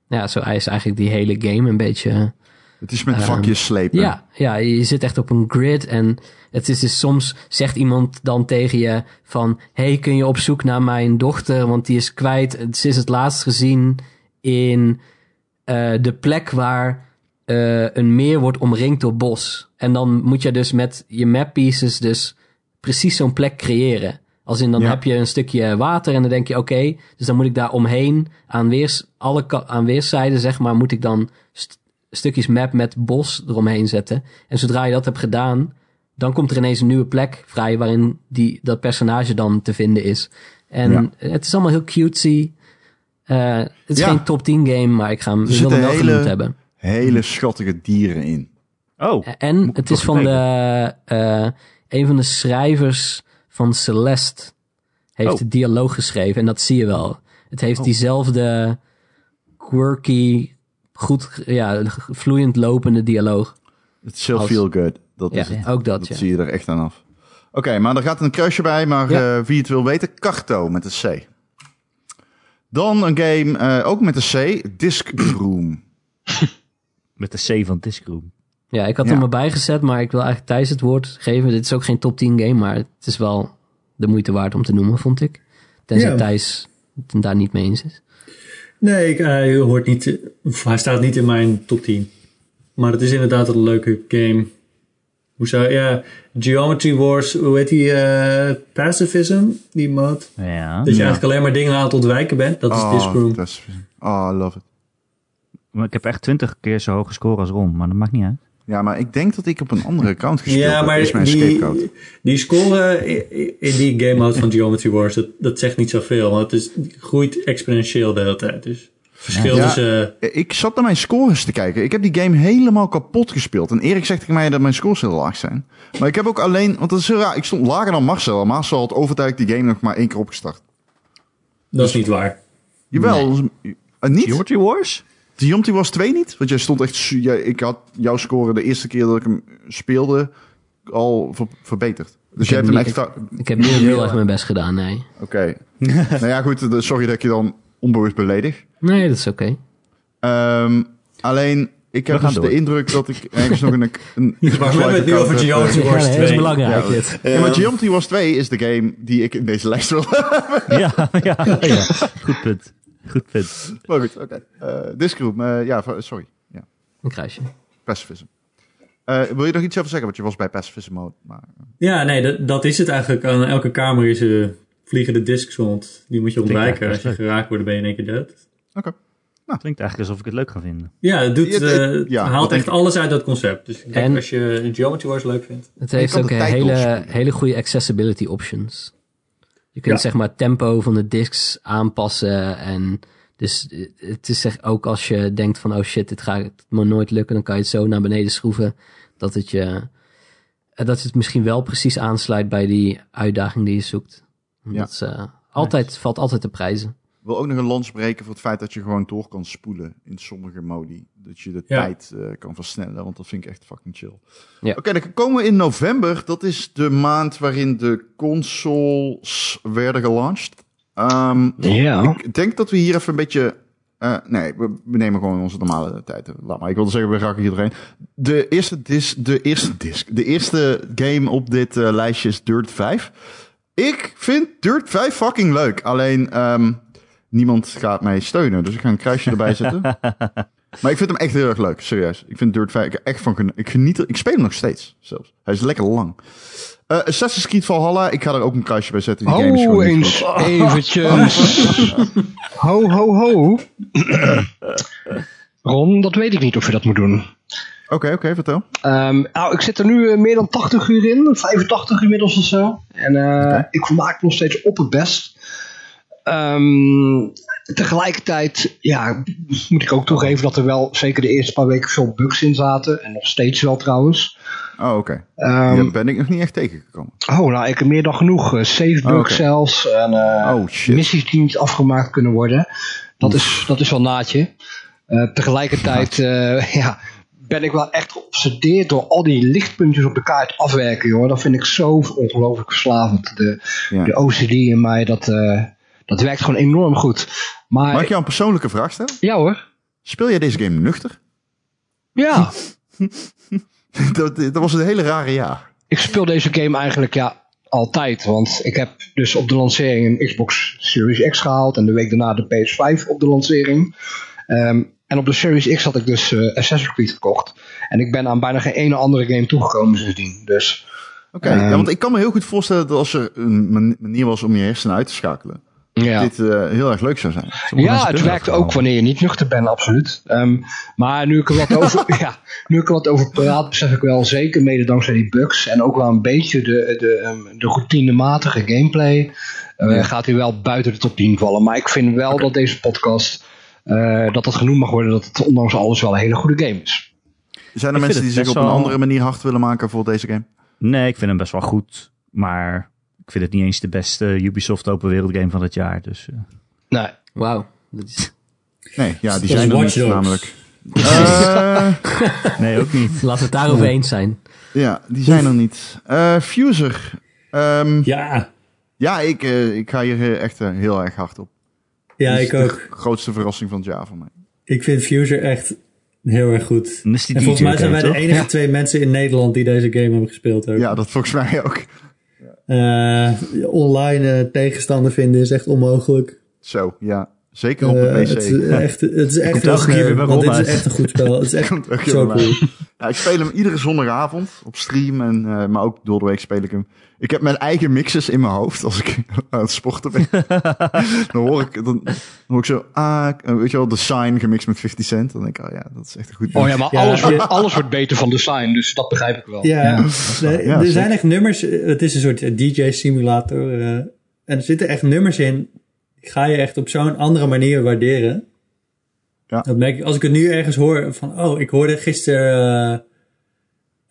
ja, zo is eigenlijk die hele game een beetje. Het is met vakjes slepen. Ja, ja, je zit echt op een grid. En het is dus soms zegt iemand dan tegen je van... hey, kun je op zoek naar mijn dochter? Want die is kwijt. Ze is het laatst gezien in eh, de plek waar eh, een meer wordt omringd door bos. En dan moet je dus met je map pieces dus precies zo'n plek creëren. Als in dan Ja. heb je een stukje water en dan denk je oké, dus dan moet ik daar omheen aan, weers, alle ka- aan weerszijden zeg maar, moet ik dan st- stukjes map met bos eromheen zetten. En zodra je dat hebt gedaan, dan komt er ineens een nieuwe plek vrij waarin die, dat personage dan te vinden is. En Ja. het is allemaal heel cutesy. Eh, het is Ja. geen top 10 game, maar ik ga hem, ik wil zitten hem wel hele- genoemd hebben. Hele schattige dieren in. Oh, Eh, En ik het toch is van de, eh, een van de schrijvers van Celeste heeft Oh. de dialoog geschreven. En dat zie je wel. Het heeft Oh. diezelfde quirky, goed, ja, vloeiend lopende dialoog. It's so Als- feel good. Dat Ja, is het. ook dat, Dat ja. zie je er echt aan af. Oké, maar er gaat een kruisje bij. Maar Ja. eh, wie het wil weten, Karto met een C. Dan een game, eh, ook met een C, Disc Room. Met de C van Discroom. Ja, ik had Ja. hem erbij gezet, maar ik wil eigenlijk Thijs het woord geven. Dit is ook geen top 10 game, maar het is wel de moeite waard om te noemen, vond ik. Tenzij Ja. Thijs het daar niet mee eens is. Nee, ik, hij, hoort niet, of hij staat niet in mijn top 10. Maar het is inderdaad een leuke game. Hoe zou, ja, Geometry Wars, hoe heet die, eh, Pacifism, die mode. Ja. Dat je eigenlijk alleen maar dingen aan het ontwijken bent. Dat is oh, Discroom. dat is- oh, I love it. Maar ik heb echt twintig keer zo hoge score als Ron, maar dat maakt niet uit. Ja, maar ik denk dat ik op een andere account gespeeld Ja, heb. maar is mijn scapegoat. die, die score eh, in die game mode van Geometry Wars, dat, dat zegt niet zoveel. Want het is, het groeit exponentieel de hele tijd. Dus verschil Ja. tussen... eh, Eh, Ik zat naar mijn scores te kijken. Ik heb die game helemaal kapot gespeeld. En Erik zegt tegen mij dat mijn scores heel laag zijn. Maar ik heb ook alleen... Want dat is heel raar. Ik stond lager dan Marcel. En Marcel had overtuigd die game nog maar één keer opgestart. Dat is niet waar. Jawel. Eh, niet? Georgie Wars? Diomti was 2 niet? Want jij stond echt... su- jij- ik had jouw score de eerste keer dat ik hem speelde... al ver- verbeterd? Dus je heb hebt hem echt... niet- sta- Ik heb niet heel erg mijn best gedaan, nee. Oké. nou ja, goed. de- Sorry dat ik je dan onbewust beledig. Nee, dat is oké. Ehm, alleen, ik heb gaan dus door. de indruk dat ik ergens nog een... een we hebben het nu over Geometry Ja, Wars nee, dat 2. is belangrijk. dit. Ja, want Geometry Wars 2 is de game die ik in deze lijst wil. Ja, ja, ja. Goed punt. Goed punt. maar goed, oké. Eh, Discroom, eh, ja, v- sorry. Ja, Een kruisje. pacifism. Eh, wil je nog iets over zeggen? Want je was bij pacifism mode. Maar... Ja, nee, dat, dat is het eigenlijk. Aan elke kamer is eh vliegende discs rond. Die moet je ontwijken. Als eigenlijk je best geraakt wordt, ben je in één keer dood. Klinkt eigenlijk alsof ik het leuk ga vinden. Ja, het, doet, Ja, eh, het- het ja, dat haalt denk echt alles uit dat concept. Dus ik denk En- als je Geometry Wars leuk vindt. Het heeft kan ook de eh, tijd hele, losspelen. hele goede accessibility options. Je kunt zeg maar het tempo van de discs aanpassen. En dus eh, het is zeg ook als je denkt van oh shit, dit gaat me nooit lukken. Dan kan je het zo naar beneden schroeven. Dat het je eh, dat het misschien wel precies aansluit bij die uitdaging die je zoekt. Ja. Dat is, eh, altijd, valt altijd te prijzen. Ik wil ook nog een lans breken voor het feit dat je gewoon door kan spoelen in sommige modi. Dat je de Ja. tijd eh, kan versnellen, want dat vind ik echt fucking chill. Ja. Oké, dan komen we in november. Dat is de maand waarin de consoles werden gelanceerd. Ehm, Ja. ik denk dat we hier even een beetje... eh, nee, we, we nemen gewoon onze normale tijd. Laat maar, ik wilde zeggen, we raken iedereen. De eerste disc, de eerste disc, de eerste game op dit eh, lijstje is Dirt 5. Ik vind Dirt 5 fucking leuk. Alleen ehm, niemand gaat mij steunen. Dus ik ga een kruisje erbij zetten. maar ik vind hem echt heel erg leuk. Serieus. Ik vind Dirt 5 ik heb echt van geno- ik geniet. er- Ik speel hem nog steeds zelfs. Hij is lekker lang. Eh Assassin's Creed Valhalla. Ik ga er ook een kruisje bij zetten. Die game is gewoon Oh, niet goed. eens eventjes. ho, ho, ho. Ron, dat weet ik niet of je dat moet doen. Oké, oké, vertel. Ehm, nou, ik zit er nu eh, meer dan 80 uur in, 85 inmiddels of zo. En eh, ik maak nog steeds op het best. Ehm, tegelijkertijd, ja, moet ik ook toegeven dat er wel zeker de eerste paar weken veel bugs in zaten. En nog steeds wel trouwens. Oh, oké. Ehm, Daar ben ik nog niet echt tegengekomen. Oh, nou, ik heb meer dan genoeg. eh, save bugs Oh, oké. zelfs. En, eh, Oh, shit. missies die niet afgemaakt kunnen worden. Dat, is, dat is wel naadje. Eh, tegelijkertijd eh, ja, ben ik wel echt geobsedeerd door al die lichtpuntjes op de kaart afwerken, joh. Dat vind ik zo ongelooflijk verslavend. De, Ja. de OCD in mij, dat, eh, dat werkt gewoon enorm goed. Maar, Mag ik jou een persoonlijke vraag stellen? ja hoor. Speel jij deze game nuchter? Ja, dat, dat was een hele rare jaar. ik speel deze game eigenlijk ja, altijd. Want ik heb dus op de lancering een Xbox Series X gehaald. En de week daarna de PS5 op de lancering. Ehm, en op de Series X had ik dus eh Assassin's Creed gekocht. En ik ben aan bijna geen ene andere game toegekomen sindsdien. Dus Oké, Ehm. ja, want ik kan me heel goed voorstellen dat als er een man- manier was om je hersenen uit te schakelen, ja. dit eh, heel erg leuk zou zijn. Ja, het dus werkt ook wanneer je niet nuchter bent, absoluut. Ehm, maar nu ik, er wat over, ja, nu ik er wat over praat, besef ik wel zeker, mede dankzij die bugs en ook wel een beetje de, de, ehm, de routinematige gameplay, eh, gaat hij wel buiten de top 10 vallen. Maar ik vind wel dat deze podcast, eh, dat dat genoemd mag worden, dat het ondanks alles wel een hele goede game is. Zijn er Ik vind mensen het die zich op best een wel- andere manier hard willen maken voor deze game? Nee, ik vind hem best wel goed. Maar ik vind het niet eens de beste Ubisoft open wereld game van het jaar. Dus eh, Nee, Wauw. Dat is Nee, ja, die Dat is zijn er Watch niet, Dogs. namelijk. Eh, nee, ook niet. Laten we het daarover eens zijn. ja, die zijn er niet. Eh, Fuser. Ehm, Ja, ja, ik, eh, ik ga hier eh, echt eh, heel erg hard op. ja Dit Dus is ik ook. De grootste verrassing van het jaar voor mij. Ik vind Fuser echt heel erg goed. En dat is die En volgens DJ mij zijn wij game, de toch? enige twee mensen in Nederland die deze game hebben gespeeld. Ook. Ja, dat volgens mij ook. Eh, Online eh, tegenstander vinden is echt onmogelijk. Zo, ja. Zeker op de Eh, PC. het, is echt, het is echt Komt heel elke keer sneu, weer bij want Rob dit is uit. echt een goed spel. Het is echt Komt ook heel zo bij cool. mij. Ja, ik speel hem iedere zondagavond op stream, en, eh, maar ook door de week speel ik hem. Ik heb mijn eigen mixes in mijn hoofd als ik aan het sporten ben. dan, hoor ik, dan, dan hoor ik zo, ah, eh, weet je wel, de sign gemixt met 50 cent. Dan denk ik, oh ja, dat is echt een goed Oh ja, maar Ja, alles, ja. wordt, alles wordt beter van design, dus dat begrijp ik wel. Ja, Ja, Nee, er zeker. zijn echt nummers. eh, Het is een soort eh, DJ-simulator. eh, en er zitten echt nummers in. Die ga je echt op zo'n andere manier waarderen. Ja. Dat merk ik. Als ik het nu ergens hoor van... Oh, ik hoorde gisteren...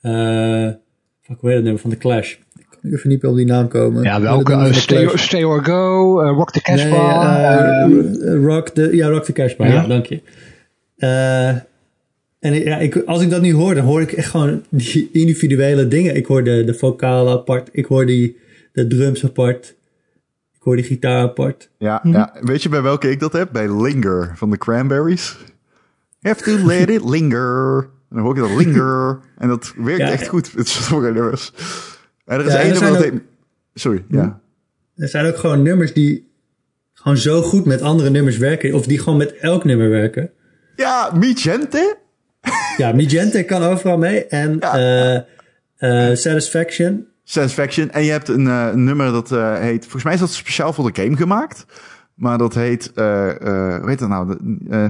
eh eh fuck, hoe heet het nummer? Van de Clash. Ik kan even niet op die naam komen. Ja, welke? Dat eh, is stay, or, Stay or Go, eh, Rock the Nee, Casbah. eh, eh, ehm, eh, rock the, ja, Rock the Cash Bar. Ja. Ja, dank je. Eh, En ja, ik, als ik dat nu hoor, dan hoor ik echt gewoon die individuele dingen. Ik hoor de, de vocalen apart, ik hoor die, de drums apart, ik hoor die gitaar apart. Ja, ja, weet je bij welke ik dat heb? Bij Linger van de Cranberries. Have to let it linger. En dan hoor ik dat linger. En dat werkt Ja. echt goed. Het is voor nummers. En er is Ja, één er nummer zijn dat ook- Mhm. heet- Sorry, ja. Er zijn ook gewoon nummers die gewoon zo goed met andere nummers werken, of die gewoon met elk nummer werken. Ja, Mi Gente. Ja, Magenta kan overal mee en eh, eh, Satisfaction. Satisfaction. En je hebt een eh, nummer dat eh, heet... Volgens mij is dat speciaal voor de game gemaakt. Maar dat heet... eh, eh, hoe heet dat nou? De, eh,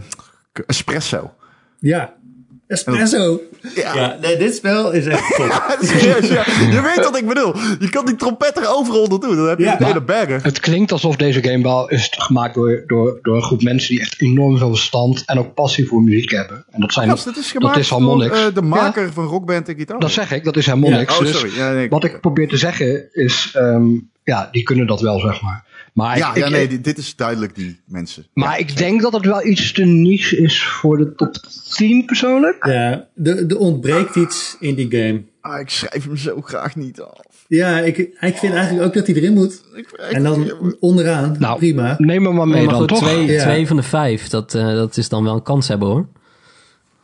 espresso. Ja, Espresso. Ja. Ja, nee, dit spel is echt top. Serieus, ja. Je weet wat ik bedoel. Je kan die trompet er overal onder doen. Dan heb je Ja. een hele berg. Het klinkt alsof deze game wel is gemaakt door, door, door een groep mensen die echt enorm veel verstand en ook passie voor muziek hebben. En dat zijn Ja, dat is gemaakt dat is door Harmonix. eh, de Ja, maker van Rockband en Guitar. dat zeg ik, dat is Harmonix. Ja, oh, Dus sorry. Ja, nee, ik- wat ik probeer te zeggen is, ehm, ja, die kunnen dat wel, zeg maar. Maar, ja, ik, ja, ik- nee, dit- dit is duidelijk die mensen. maar ik denk dat het wel iets te niche is voor de top 10 persoonlijk. Eh, ja. Er er ontbreekt iets in die game. Ah, ik schrijf hem zo graag niet af. Ja, ik, ik vind eigenlijk ook dat hij erin moet. Ik, ik- En dan onderaan, Nou, prima. Neem hem maar mee maar dan goed, toch. twee, Ja. twee van de vijf, dat, eh, dat is dan wel een kans hebben hoor.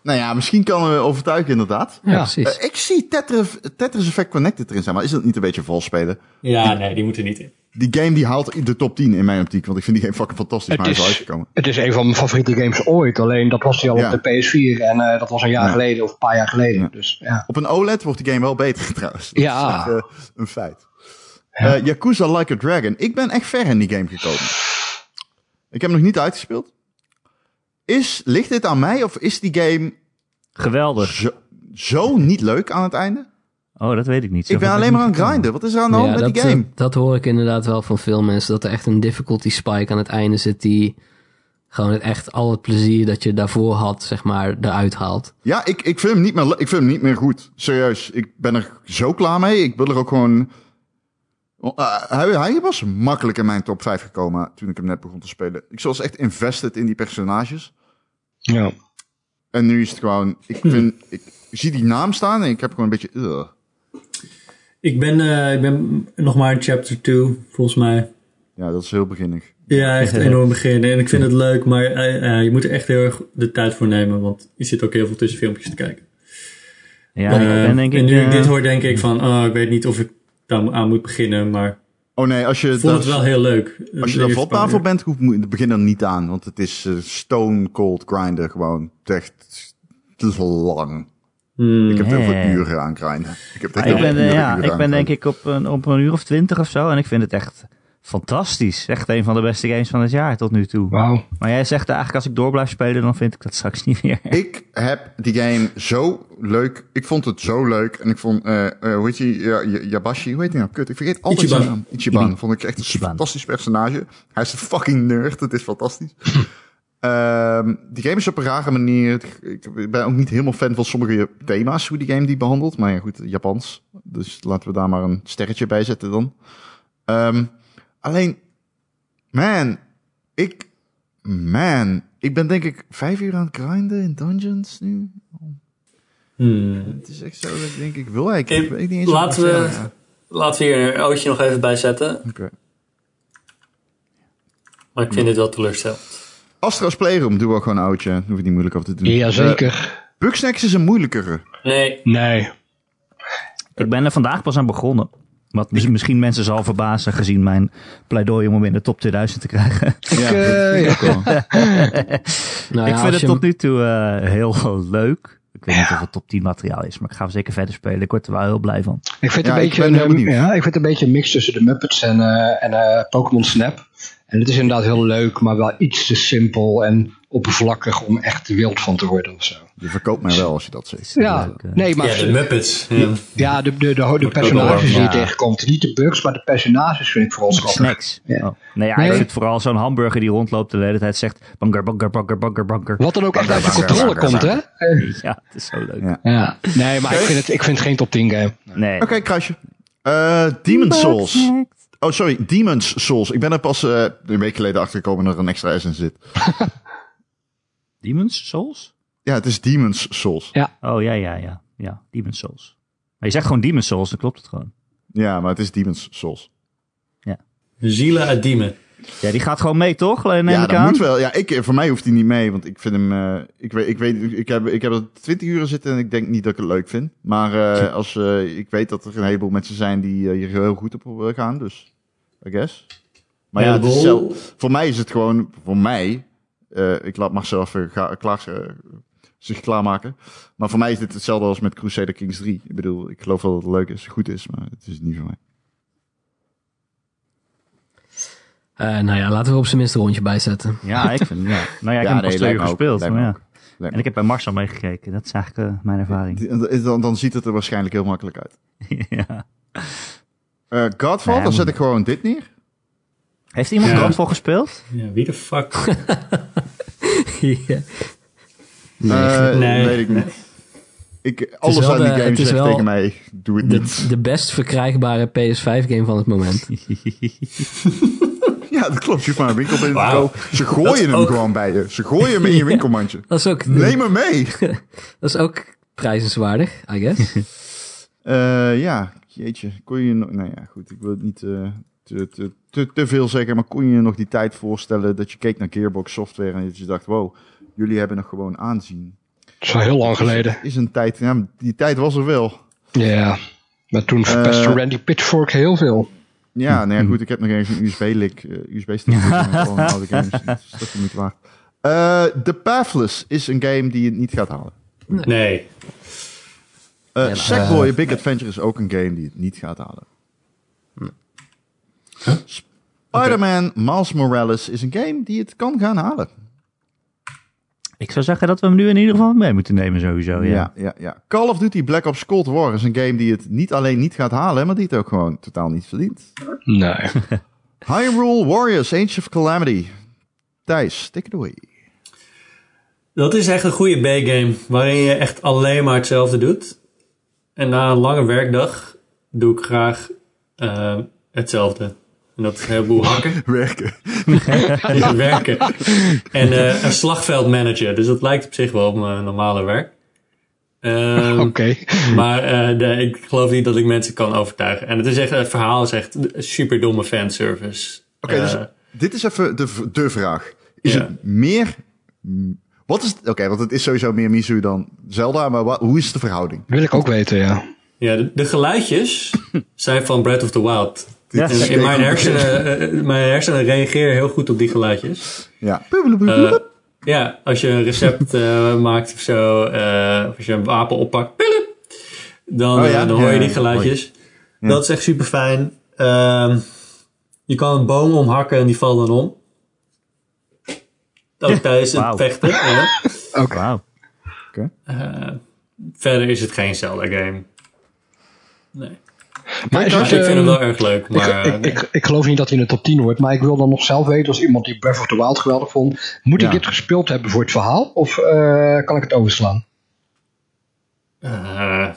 Nou ja, misschien kan we overtuigen inderdaad. Ja, Ja. precies. Eh, ik zie Tetris, Tetris Effect Connected erin staan, maar is dat niet een beetje vals spelen? ja, nee, die moeten niet in. Die game die haalt de top 10 in mijn optiek, want ik vind die game fucking fantastisch, Het maar hij is wel is, uitgekomen. het is een van mijn favoriete games ooit. Alleen dat was die al Ja. op de PS4 en eh, dat was een jaar Ja. geleden of een paar jaar geleden. Ja. Dus ja. Op een OLED wordt die game wel beter trouwens. Dat Ja. is echt, eh, een feit. Eh, Yakuza Like a Dragon. Ik ben echt ver in die game gekomen. Ik heb hem nog niet uitgespeeld. Is, ligt dit aan mij of is die game e- Geweldig. zo, zo niet leuk aan het einde? Oh, dat weet ik niet. Zo Ik ben ver alleen maar aan niet het grinden. Wat is er aan de Ja, hand met dat, eh, die game? dat, dat hoor ik inderdaad wel van veel mensen. Dat er echt een difficulty spike aan het einde zit die gewoon het echt al het plezier dat je daarvoor had, zeg maar, eruit haalt. Ja, ik, ik, vind hem niet meer, le- ik vind hem niet meer goed. Serieus, ik ben er zo klaar mee. Ik wil er ook gewoon... Eh, hij, hij was makkelijk in mijn top 5 gekomen toen ik hem net begon te spelen. Ik was echt invested in die personages. ja. En nu is het gewoon... Ik, vind, ik zie die naam staan en ik heb gewoon een beetje... ugh. Ik ben, eh, ik ben nog maar in chapter 2, volgens mij. Ja, dat is heel beginnig. Ja, echt enorm beginnen. En ik vind het leuk, maar eh, eh, je moet er echt heel erg de tijd voor nemen. Want je zit ook heel veel tussen filmpjes te kijken. Ja, ik Eh, ben denk ik... en nu ik eh, dit hoor, denk ik van, oh, ik weet niet of ik daar aan moet beginnen. Maar Oh nee, als je, ik vond daar- het wel heel leuk. Eh, als je De daar eerste vatbaar paar voor uur. bent, hoef- moet- begin er niet aan. Want het is eh, stone cold grinder gewoon. Het is echt het is lang. Hmm. Ik heb er Nee. veel uren aan grinden. Ik heb er echt ik heel ben, veel eh, uren ja, aan ik ben grinden. denk ik op een, op een uur of twintig of zo. En ik vind het echt fantastisch. Echt een van de beste games van het jaar tot nu toe. Wauw. Maar jij zegt eigenlijk als ik door blijf spelen, dan vind ik dat straks niet meer. Ik heb die game zo leuk. Ik vond het zo leuk. En ik vond, eh eh, hoe heet die? Ja, Ja- Yabashi, hoe heet die nou? Kut, ik vergeet altijd Ichiban. zijn naam. Ichiban. Vond ik echt een Ichiban. fantastisch personage. Hij is een fucking nerd. Het is fantastisch. Ehm, die game is op een rare manier. Ik ben ook niet helemaal fan van sommige thema's, hoe die game die behandelt. Maar ja, goed, Japans. Dus laten we daar maar een sterretje bij zetten dan. Ehm, alleen, man, ik, man, ik ben denk ik vijf uur aan het grinden in dungeons nu. Hmm. Het is echt zo dat ik denk, ik wil eigenlijk, Ik- ik weet niet eens wat Laten ik moet we, zeggen. laten we hier een ootje nog even bij zetten. Oké. Maar ik vind dit wel teleurstellend. Astro's Playroom doen we ook gewoon een oudje. Daar hoef je niet moeilijk over te doen. Jazeker. Eh, Bugsnax is een moeilijkere. Nee, nee. Ik ben er vandaag pas aan begonnen. Wat mis- misschien mensen zal verbazen gezien mijn pleidooi om hem in de top 2000 te krijgen. Ja, eh, dat vind ik ook wel. Nou ja, ik als vind het je tot hem- nu toe eh, heel leuk. Ik weet niet of het top 10 materiaal is, maar ik ga hem zeker verder spelen. Ik word er wel heel blij van. Ik vind, Ja, een ik beetje ben heel een, benieuwd. ja, ik vind een beetje een mix tussen de Muppets en, eh, en eh, Pokémon Snap. En het is inderdaad heel leuk, maar wel iets te simpel en oppervlakkig om echt wild van te worden of zo. Je verkoopt mij wel als je dat zegt. Ja, leuk, eh. nee, maar ja, de Muppets. Ja. ja, de, de, de, ho- de personages die je Ja. tegenkomt. Niet de bugs, maar de personages vind ik vooral schattig. Snacks. Ja. Oh. Nee, ja, Nee. ik vind vooral zo'n hamburger die rondloopt de hele tijd zegt... Banger, banger, banger, banger, banger. Wat dan ook echt uit de controle komt, hè? Ja, het is zo leuk. Ja. Ja. Nee, maar ik vind, het, ik vind het geen top 10 game. Nee. Oké, krasje. Eh Demon's Souls. Oh, sorry. Demon's Souls. Ik ben er pas eh, een week geleden achter gekomen dat er een extra S in zit. Demon's Souls? Ja, het is Demon's Souls. Oh ja, ja, ja. Ja, Demon Souls. Maar je zegt gewoon Demon Souls, dan klopt het gewoon. Ja, maar het is Demon's Souls. Zila Adime. Ja, die gaat gewoon mee, toch? Neem ja, ik dat aan. moet wel. Ja, ik, eh, voor mij hoeft hij niet mee, want ik vind hem... eh, ik, weet, ik, weet, ik, heb, ik heb er 20 uur in zitten en ik denk niet dat ik het leuk vind. Maar eh, als, eh, ik weet dat er een heleboel mensen zijn die eh, hier heel goed op eh, gaan, dus I guess. Maar ja, het is zelf, voor mij is het gewoon, voor mij, eh, ik laat Marcel even ga, klaar, eh, zich klaarmaken. Maar voor mij is dit hetzelfde als met Crusader Kings 3. Ik bedoel, ik geloof wel dat het leuk is, goed is, maar het is niet voor mij. Eh, nou ja, laten we er op zijn minst een rondje bijzetten. Ja, ik vind ja. Nou ja, ik Ja, heb hem nee, pas twee lijkt uur me ook, gespeeld. lijkt maar me ja. ook, me En ik heb bij Marcel meegekeken. Dat is eigenlijk eh, mijn ervaring. Die- Dan, dan ziet het er waarschijnlijk heel makkelijk uit. ja. Eh, Godfall, Nee, dan zet moet- ik gewoon dit neer. Heeft iemand Ja. Godfall gespeeld? Ja, wie de fuck? ja. Eh, Nee. Weet ik niet. Ik, alles wel aan die de- game het is zegt wel tegen mij, doe het De, niet. de best verkrijgbare PS5-game van het moment. Ja, dat klopt. Je hoeft maar een winkel binnen te Wauw. komen. Ze gooien hem gewoon bij je. Ze gooien hem in je winkelmandje. Dat is ook, Neem hem mee. dat is ook prijzenswaardig, I guess. Nou, Eh, ja, jeetje. Kon je nog... Nou ja, goed. Ik wil het niet eh, te, te, te, te veel zeggen. Maar kon je je nog die tijd voorstellen dat je keek naar Gearbox Software en dat je dacht, wow, jullie hebben nog gewoon aanzien. Het is al heel lang geleden. Is een tijd... Ja, die tijd was er wel. Ja, maar toen verpestte Eh. Randy Pitchfork heel veel. Ja, nou ja, goed. Ik heb nog ergens een USB-link, USB-stick met al mijn oude games. Dus dat is niet waar. Eh The Pathless is een game die je niet gaat halen. Nee. Eh Sackboy A Big Adventure is ook een game die het niet gaat halen. Spider-Man Miles Morales is een game die het kan gaan halen. Ik zou zeggen dat we hem nu in ieder geval mee moeten nemen sowieso. Ja. Ja, ja, ja. Call of Duty Black Ops Cold War is een game die het niet alleen niet gaat halen, maar die het ook gewoon totaal niet verdient. Nee. Hyrule Warriors Age of Calamity. Thijs, take it away. Dat is echt een goede B-game, waarin je echt alleen maar hetzelfde doet. En na een lange werkdag doe ik graag eh, hetzelfde. En dat is een heleboel hakken. Werken. Ja, werken. En eh, een slagveldmanager. Dus dat lijkt op zich wel op mijn normale werk. Ehm, Oké. Maar eh, nee, ik geloof niet dat ik mensen kan overtuigen. En het, is echt, het verhaal is echt super domme fanservice. Oké, Eh, dus dit is even de, v- de vraag. Is Ja. het meer... mm, Wat is... het- Oké, want het is sowieso meer Mizu dan Zelda, maar wa- hoe is de verhouding? Wil ik ook weten, ja. ja, de, de geluidjes zijn van Breath of the Wild. Ja. Dit is In mijn tegen- hersenen, eh, mijn hersenen reageren heel goed op die geluidjes. Ja. Eh, ja, als je een recept eh, maakt of zo, eh, of als je een wapen oppakt, pilip, dan, Oh eh, ja? dan hoor Ja, je die ja, geluidjes. Ja. Dat is echt super fijn. je kan een boom omhakken en die valt dan om. Ook tijdens het Wauw. vechten. ja. Wauw. Eh, verder is het geen Zelda-game. Nee. Maar is Maar het, ik vind ehm, hem wel erg leuk, ik, maar... eh, ik, ik, ik geloof niet dat hij in de top 10 hoort, maar ik wil dan nog zelf weten, als iemand die Breath of the Wild geweldig vond, moet Ja. ik dit gespeeld hebben voor het verhaal of eh, kan ik het overslaan? eh,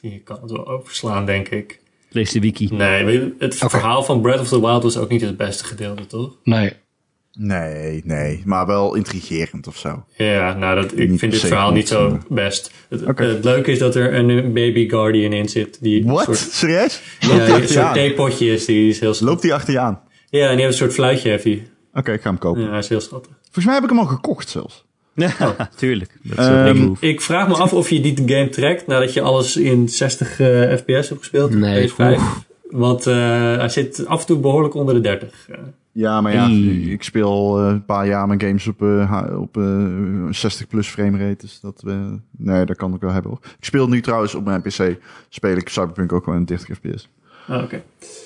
je kan het wel overslaan, denk ik. Lees de wiki. Nee, weet je, het Oké. verhaal van Breath of the Wild was ook niet het beste gedeelte, toch? Nee. Nee, nee. Maar wel intrigerend of zo. Eh. Ja, nou, dat, Niet ik vind per dit se verhaal goed, niet zo best. Het, het leuke is dat er een baby guardian in zit. Die een Wat? soort, Serieus? ja, die een achter je soort aan? theepotje is. Die is heel schattig. Loopt die achter je aan? Ja, en die heeft een soort fluitje, heeft hij. Oké, ik ga hem kopen. Ja, hij is heel schattig. Volgens mij heb ik hem al gekocht zelfs. Ja, tuurlijk. Dat is Ehm, een move. Ik vraag me af of je die game trekt nadat je alles in 60 eh, fps hebt gespeeld. op Nee, PS5. Want eh, hij zit af en toe behoorlijk onder de 30. Eh, Ja, maar ja, Hey. ik speel eh, een paar jaar mijn games op, eh, ha- op eh, 60 plus framerate. Dus dat, eh, nee, dat kan ik wel hebben hoor. Ik speel nu trouwens op mijn PC, speel ik Cyberpunk ook gewoon in 30 fps. ah, Oké.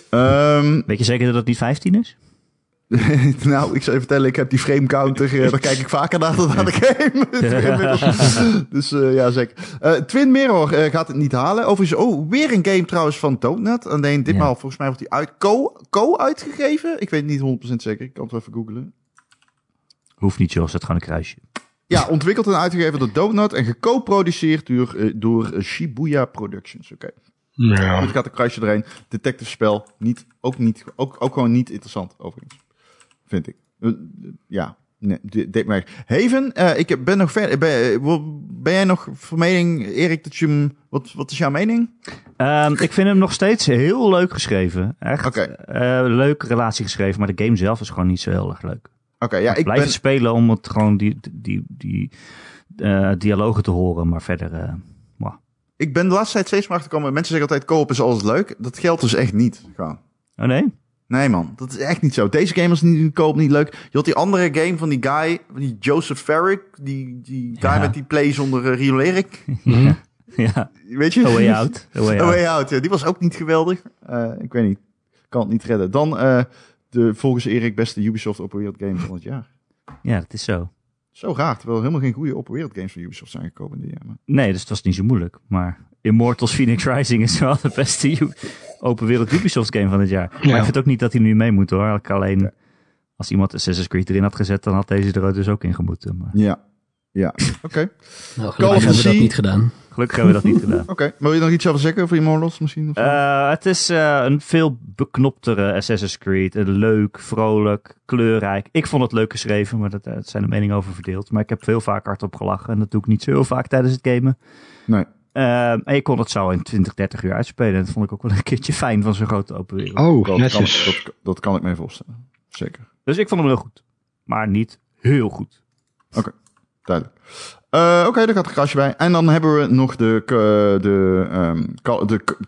Ehm, Weet je zeker dat het niet 15 is? nou, ik zou je vertellen, ik heb die frame counter. eh, daar kijk ik vaker naar dan naar de game. Inmiddels. dus eh, ja, zeker. Eh, Twin Mirror eh, gaat het niet halen. Overigens, oh, weer een game trouwens van Toadnet. Alleen ditmaal, volgens mij wordt die uit Co, Co uitgegeven. Ik weet het niet 100% zeker. Ik kan het wel even googlen. Hoeft niet, joh. Zet gewoon een kruisje. Ja, ontwikkeld en uitgegeven door Donut en geco-produceerd door, eh, door Shibuya Productions. Oké, Ja. goed gaat een kruisje erheen. Detective spel, niet, ook, niet, ook, ook gewoon niet interessant overigens, vind ik. Eh, eh, ja, Nee, dit deed mij. Haven, eh, ik heb- ben nog verder. Ben, eh, wil- ben jij nog van mening, Erik, dat je hem. Wat, wat is jouw mening? Ehm, ik vind hem nog steeds heel leuk geschreven. Echt Oké. eh, leuke relatie geschreven, maar de game zelf is gewoon niet zo heel erg leuk. Oké, ja, ik Blijf ben. het spelen om het gewoon die, die, die eh, dialogen te horen, maar verder... eh, Ik ben de laatste tijd steeds meer achterkomen. Mensen zeggen altijd: koop is alles leuk. Dat geldt dus echt niet. Gewoon. oh nee? Nee, man, dat is echt niet zo. Deze game is niet koop, niet leuk. Je had die andere game van die guy, van die Joseph Farrick, die, die guy Ja. met die play zonder eh, riolering. ja, Weet je? A Way Out. A Way A Out. Way Out, ja, die was ook niet geweldig. Eh, ik weet niet, kan het niet redden. Dan eh, de volgens Erik beste Ubisoft Open Wereld Game van het jaar. Ja, dat is zo. Zo raar, terwijl er helemaal geen goede Open Wereld Games van Ubisoft zijn gekomen dit jaar. Maar... Nee, dus het was niet zo moeilijk. Maar Immortals Phoenix Rising is wel de beste U- open wereld Ubisoft game van het jaar. Maar ik vind ook niet dat hij nu mee moet hoor. Eigenlijk Alleen als iemand Assassin's Creed erin had gezet, dan had deze er dus ook in gemoeten. Maar Ja, ja, oké. Nou, Call of gelukkig hebben we Sea. dat niet gedaan. gelukkig hebben we dat niet gedaan. Oké, wil je nog iets over zeggen over Immortals misschien? Of zo? Eh, het is eh, een veel beknoptere Assassin's Creed. Eh, Leuk, vrolijk, kleurrijk. Ik vond het leuk geschreven, maar dat, eh, daar zijn de meningen over verdeeld. Maar ik heb veel vaak hardop gelachen. En dat doe ik niet zo heel vaak tijdens het gamen. Nee. Eh, en je kon het zo in 20, 30 uur uitspelen. En dat vond ik ook wel een keertje fijn van zo'n grote open wereld. Oh, dat, kan, netjes. dat, dat kan ik me voorstellen. Zeker. Dus ik vond hem heel goed. Maar niet heel goed. Duidelijk. Eh, Oké, daar gaat een krasje bij. En dan hebben we nog de, eh, de, ehm, Call, de K-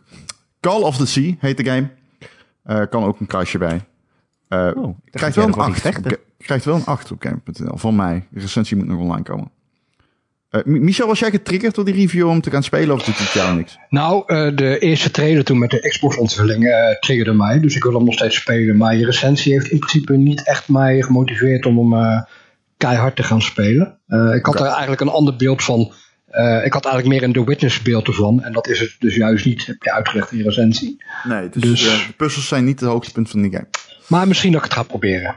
Call of the Sea, heet de game. Eh, kan ook een krasje bij. Eh Oh, ik dacht dat krijgt, wel jij een nog wat ging 8 op, vechten. Ga- krijgt wel een 8 op game.nl van mij. De recensie moet nog online komen. Eh, Mi- Michel, was jij getriggerd door die review om te gaan spelen of doet het jou niks? Nou, eh, de eerste trailer toen met de Xbox-onthulling eh, triggerde mij. Dus ik wil hem nog steeds spelen. Maar je recensie heeft in principe niet echt mij gemotiveerd om hem eh, keihard te gaan spelen. Eh, ik had er eigenlijk een ander beeld van. Eh, ik had eigenlijk meer een The Witness beeld ervan. En dat is het dus juist niet, heb je uitgelegd in je recensie. Nee, Dus- de puzzels zijn niet het hoogtepunt van die game. Maar misschien dat ik het ga proberen.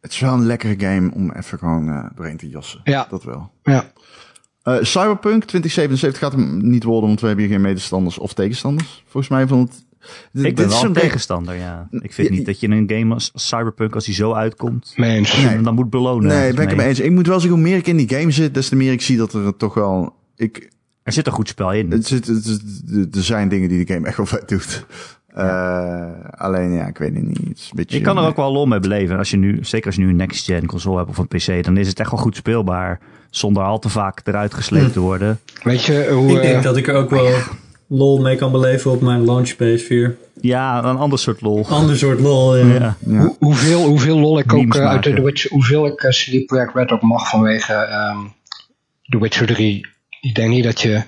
Het is wel een lekkere game om even gewoon eh, doorheen te jassen. Ja. Dat wel. Ja. Eh, Cyberpunk 2077 gaat hem niet worden, want we hebben hier geen medestanders of tegenstanders. Volgens mij van het. Dit- Ik dit ben is wel zo'n een game- tegenstander, ja. Ik vind niet dat je een game als Cyberpunk, als hij zo uitkomt, Mee eens. dat je hem dan moet belonen. Nee, ergens ben ik het mee mee. eens. Ik moet wel zeggen, hoe meer ik in die game zit, des te meer ik zie dat er toch wel. Ik, Er zit een goed spel in. het zit, het- het- er zijn dingen die de game echt wel vet doet. Eh, alleen ja, ik weet het niet. Het is een beetje, Je kan er ook wel lol mee beleven. Als je nu, zeker als je nu een next-gen console hebt of een PC, dan is het echt wel goed speelbaar. Zonder al te vaak eruit gesleept te Hm. worden. Weet je eh, hoe... Ik denk eh, dat ik er ook wel lol mee kan beleven op mijn launch PS4. Ja, een ander soort Oh, lol. Ander soort lol, ja. Ja. Ja. Hoe- hoeveel, hoeveel lol ik ook Memes eh, uit maken. The Witcher, hoeveel ik eh, CD Projekt Red ook mag vanwege ehm The Witcher 3. Ik denk niet dat je.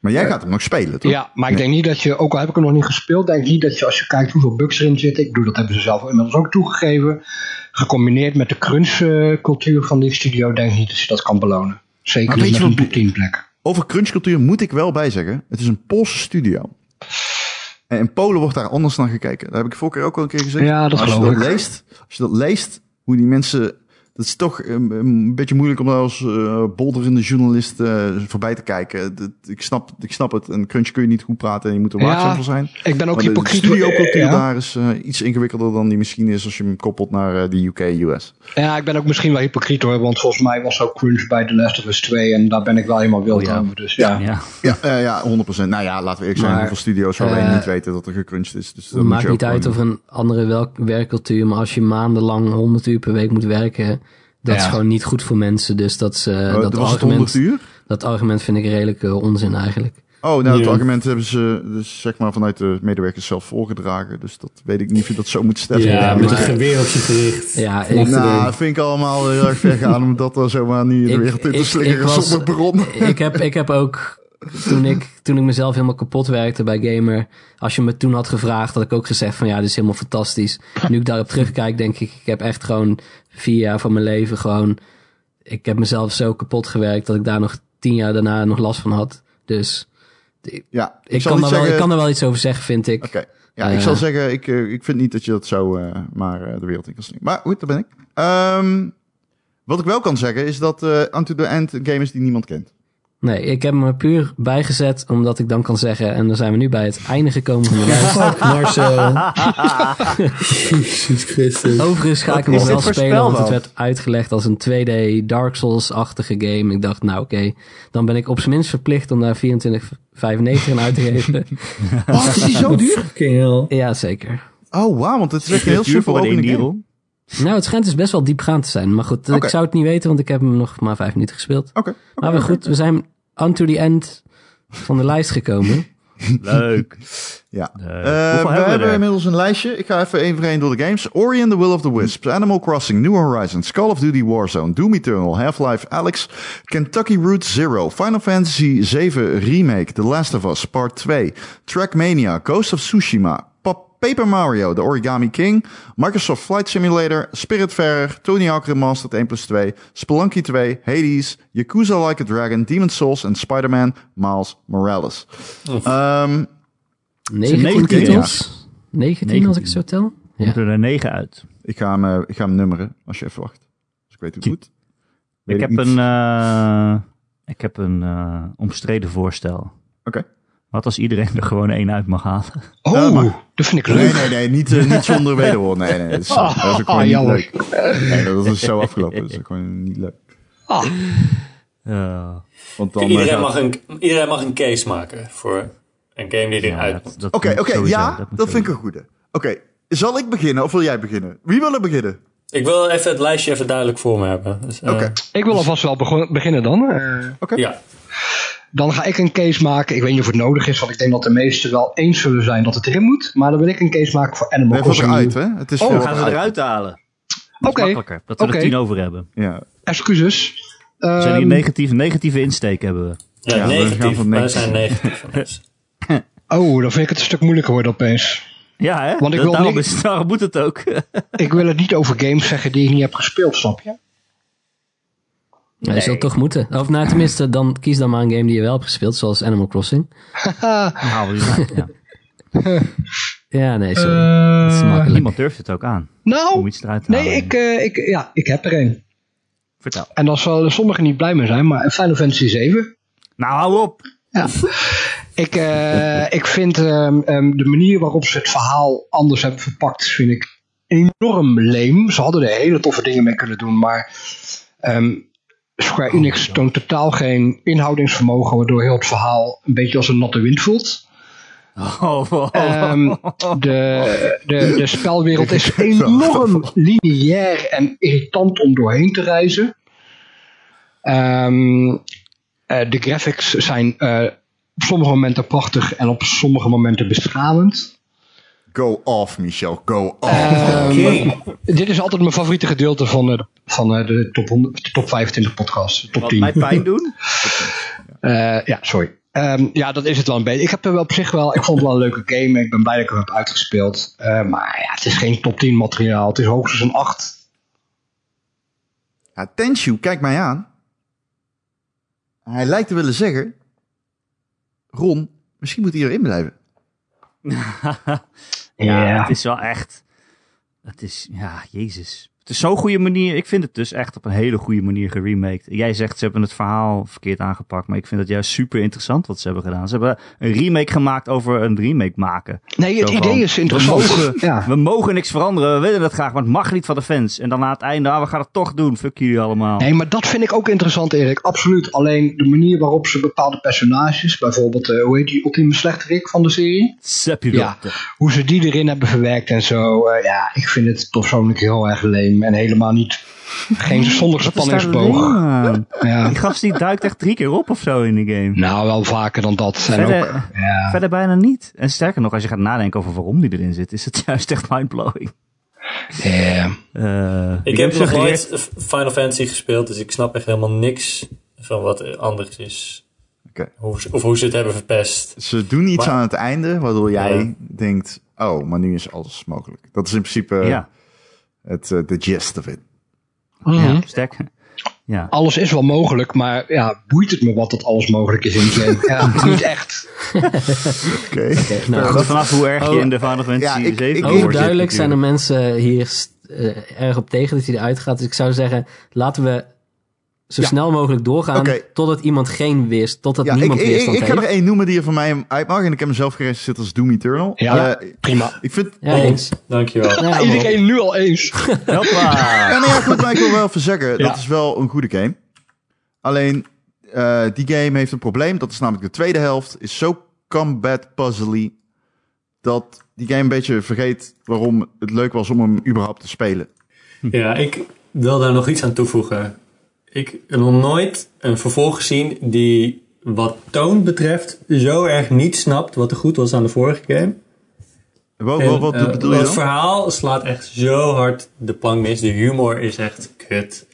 Maar jij gaat hem nog spelen, toch? Ja, maar ik denk niet dat je, ook al heb ik hem nog niet gespeeld, denk ik niet dat je als je kijkt hoeveel bugs erin zitten. Ik bedoel, dat hebben ze zelf inmiddels ook toegegeven. Gecombineerd met de crunch-cultuur van die studio, denk ik niet dat je dat kan belonen. Zeker Maar niet weet met je een wat- top 10 plek. Over crunchcultuur moet ik wel bij zeggen. Het is een Poolse studio. En in Polen wordt daar anders naar gekeken. Dat heb ik vorige keer ook al een keer gezegd. Ja, dat Maar als je geloof dat ik. leest, als je dat leest, hoe die mensen. Dat is toch een, een beetje moeilijk om daar als eh, bolderende journalist eh, voorbij te kijken. Dat- ik, snap, ik snap het. Een crunch kun je niet goed praten en je moet er Ja, waakzaam voor zijn. Ik ben ook Maar de- de hypocriet. studiocultuur ja. daar is eh, iets ingewikkelder dan die misschien is als je hem koppelt naar eh, de UK, US. Ja, ik ben ook misschien wel hypocriet hoor, want volgens mij was ook crunch bij The Last of Us 2 en daar ben ik wel helemaal wild Oh ja. over. Dus ja. Ja. Ja, eh, ja 100%. Nou ja, laten we eerlijk zijn. Maar, hoeveel studio's waarbij je eh, niet weten dat er gecrunched is. Dus dat moet je maakt ook niet uit gewoon- of er een andere welk werkcultuur, maar als je maandenlang 100 uur per week moet werken, dat Ja. is gewoon niet goed voor mensen. Dus dat, is, eh, Eh, dat, was het argument, 100 uur? dat argument vind ik redelijk eh, onzin eigenlijk. Oh, nou, het Ja. argument hebben ze dus zeg maar vanuit de medewerkers zelf voorgedragen. Dus dat weet ik niet of je dat zo moet stellen. Ja, met een maar- geweer op je gericht. Ja, ik, Vanaf de Nou, deur. dat vind ik allemaal heel erg ver gaan om dat dan zomaar nu de Ik- wereld in te ik- ik slingeren was- zonder bron. ik, heb, ik heb ook, toen ik, toen ik mezelf helemaal kapot werkte bij Gamer, als je me toen had gevraagd, had ik ook gezegd van ja, dit is helemaal fantastisch. Nu ik daarop terugkijk, denk ik, ik heb echt gewoon vier jaar van mijn leven gewoon, ik heb mezelf zo kapot gewerkt dat ik daar nog tien jaar daarna nog last van had. Dus Ja, ik, zal niet kan, daar wel, ik zeggen- kan er wel iets over zeggen, vind ik. Oké. Ja, ik Eh. zal zeggen, ik, eh, ik vind niet dat je dat zo eh, maar eh, de wereld in kan slingen. Maar goed, daar ben ik. Ehm, wat ik wel kan zeggen is dat eh Unto the End een game is die niemand kent. Nee, ik heb hem er puur bijgezet omdat ik dan kan zeggen, en dan zijn we nu bij het einde gekomen van de lijst. Fuck Marcel. Jezus Christus. Overigens ga ik hem Is nog wel dit spelen, want het voorspelbaar? werd uitgelegd als een 2D Dark Souls-achtige game. Ik dacht, nou oké, dan ben ik op zijn minst verplicht om daar 24,95 aan uit te geven. Oh, is die zo duur? Fucking hell. ja, zeker. Oh, wauw, want het is echt een heel Duur super voor een opening indie game. rol. Nou, het schijnt dus best wel diepgaand te zijn. Maar goed, Oké. ik zou het niet weten, want ik heb hem nog maar vijf minuten gespeeld. Oké. Maar we goed, we zijn onto the end van de lijst gekomen. Leuk. Ja. Eh, Eh, hoeveel we hebben er? inmiddels een lijstje. Ik ga even één voor één door de games. Ori and the Will of the Wisps, Animal Crossing, New Horizons, Call of Duty Warzone, Doom Eternal, Half-Life Alex, Kentucky Route Zero, Final Fantasy 7 Remake, The Last of Us Part 2, Trackmania, Ghost of Tsushima, Pap Paper Mario, The Origami King, Microsoft Flight Simulator, Spiritfarer, Tony Hawk Remastered 1 plus 2, Spelunky 2, Hades, Yakuza Like a Dragon, Demon's Souls en Spider-Man Miles Morales. Ehm, 19 19 titels. 19 als ik het zo tel. Ja. Moeten er negen uit. Ik ga hem, eh, ik ga hem nummeren, als je even wacht. Dus ik weet hoe het moet. Weet Ik heb niet. een, eh, ik heb een eh, omstreden voorstel. Oké. Wat als iedereen er gewoon één uit mag halen? Ja, Oh, maar- dat vind ik Nee, leuk. nee, nee, niet, eh, niet zonder wederhoor. Nee, nee, dat is, dat is ook gewoon Ah, niet jammer. leuk. Nee, dat is dus zo afgelopen, dat is ook gewoon niet leuk. Ah, Eh, Want dan, eh, Iedereen gaat- mag, een, iedereen mag een case maken voor een game die ja, eruit dat- moet. dat Oké, moet oké, sowieso, ja, dat, vind moet ik een sowieso. goede. Oké, zal ik beginnen of wil jij beginnen? Wie wil er beginnen? Ik wil even het lijstje even duidelijk voor me hebben. Dus, eh, Oké, Ik wil alvast wel begon- beginnen dan. Eh, Ja, dan ga ik een case maken. Ik weet niet of het nodig is, want ik denk dat de meesten wel eens zullen zijn dat het erin moet. Maar dan wil ik een case maken voor Animal nee, was Crossing. eruit, hè? Het is Oh, voor gaan ze eruit. eruit halen? Oké, Dat is makkelijker. Dat we Oké. er tien over hebben. Ja, excuses. We zijn hier Ehm, negatief, negatieve insteek hebben we. ja, Ja, we gaan negatief. van Wij negatief. zijn negatief van ons. oh, dan vind ik het een stuk moeilijker worden opeens. Ja, hè? Want ik wil daarom, niks- is, daarom moet het ook. Ik wil het niet over games zeggen die ik niet heb gespeeld, snap je? Ja, Je zult toch moeten. Of nou, tenminste, dan kies dan maar een game die je wel hebt gespeeld, zoals Animal Crossing. Haal die eruit, ja. Ja, Eh, nee, sorry. dat Eh, is makkelijk. Niemand durft het ook aan om Nou, iets eruit te halen. nee, ik, eh, ik, ja, ik heb er een. Vertel. En daar zullen sommigen niet blij mee zijn, maar Final Fantasy 7. Nou, hou op. Ik, eh, ik vind ehm, ehm, de manier waarop ze het verhaal anders hebben verpakt, vind ik enorm leem. Ze hadden er hele toffe dingen mee kunnen doen, maar ehm, Square Enix toont totaal geen inhoudingsvermogen, waardoor heel het verhaal een beetje als een natte wind voelt. Oh, oh, Ehm, de, de, de spelwereld is enorm lineair en irritant om doorheen te reizen. Ehm, eh, de graphics zijn eh, op sommige momenten prachtig en op sommige momenten beschamend. Go off, Michel, go Eh, off. Ehm, Dit is altijd mijn favoriete gedeelte van, eh, van eh, de, top 100, de top 25 podcast. de Top wat 10. mij pijn doen. Eh, ja, sorry. Ehm, ja, dat is het wel een beetje. Ik heb er wel op zich wel. Ik vond het wel een leuke game. Ik ben blij dat ik hem heb uitgespeeld. Eh, maar ja, het is geen top 10 materiaal. Het is hoogstens een 8. Ja, Tenshu, kijk mij aan. Hij lijkt te willen zeggen... Ron, misschien moet hij erin blijven. Ja, Ja. het is wel echt. Het is, ja, jezus. Het is zo'n goede manier. Ik vind het dus echt op een hele goede manier geremaked. Jij zegt ze hebben het verhaal verkeerd aangepakt. Maar ik vind het juist super interessant wat ze hebben gedaan. Ze hebben een remake gemaakt over een remake maken. Nee, het Zo idee van, is interessant. We mogen, Ja. we mogen niks veranderen. We willen dat graag. Maar het mag niet van de fans. En dan aan het einde, ah, we gaan het toch doen. Fuck jullie allemaal. Nee, maar dat vind ik ook interessant, Erik. Absoluut. Alleen de manier waarop ze bepaalde personages, bijvoorbeeld, eh, hoe heet die ultieme slechterik van de serie? Sep je Ja. dat. Hoe ze die erin hebben verwerkt en zo. eh, ja, ik vind het persoonlijk heel erg leem. En helemaal niet. Geen zonder Wat is daar spanningsboog. leem aan? Ja. Die gast die duikt echt drie keer op of zo in de game. Nou, wel vaker dan dat. En ook, Verder, ja. verder bijna niet. En sterker nog, als je gaat nadenken over waarom die erin zit, is het juist echt mindblowing. eh, Eh Ik heb nog suggereert- nooit Final Fantasy gespeeld, dus ik snap echt helemaal niks van wat er anders is. Oké. Hoe ze- of hoe ze het hebben verpest. Ze doen iets Maar- aan het einde, waardoor jij Ja. denkt: oh, maar nu is alles mogelijk. Dat is in principe eh, Ja, het, eh, de gist of it. ja, Mhm. sterker. Ja. alles is wel mogelijk, maar ja, boeit het me wat dat alles mogelijk is in die game? ja, niet echt. Oké. Nou, goed, vanaf hoe erg Oh. je in de Final Fantasy Ja, ik- 7 ik- wordt, hoor zit Overduidelijk zijn er natuurlijk. mensen hier st- eh, erg op tegen dat hij eruit gaat. Dus ik zou zeggen, laten we zo Ja. snel mogelijk doorgaan Oké. totdat iemand geen wist, totdat Ja, ik, niemand ik, weerstand ik, ik ga er heeft. één noemen die er van mij uit mag. En ik heb hem zelf geregistreerd als Doom Eternal. Ja, Eh, prima. Nou, ik vind... Ja, eens. Dankjewel. Ja, kom op. Iedereen nu al eens. Hoppa. Ja, nou ja, goed, maar ik wil wel even zeggen, Ja. dat is wel een goede game. Alleen, eh, die game heeft een probleem. Dat is namelijk de tweede helft. Is zo combat puzzly dat die game een beetje vergeet waarom het leuk was om hem überhaupt te spelen. Ja, ik wil daar nog iets aan toevoegen. Ik heb nog nooit een vervolg gezien die wat toon betreft zo erg niet snapt wat er goed was aan de vorige game. Wat, En, wat, wat eh, bedoel je Het dan? verhaal slaat echt zo hard de plank mis. De humor is echt kut.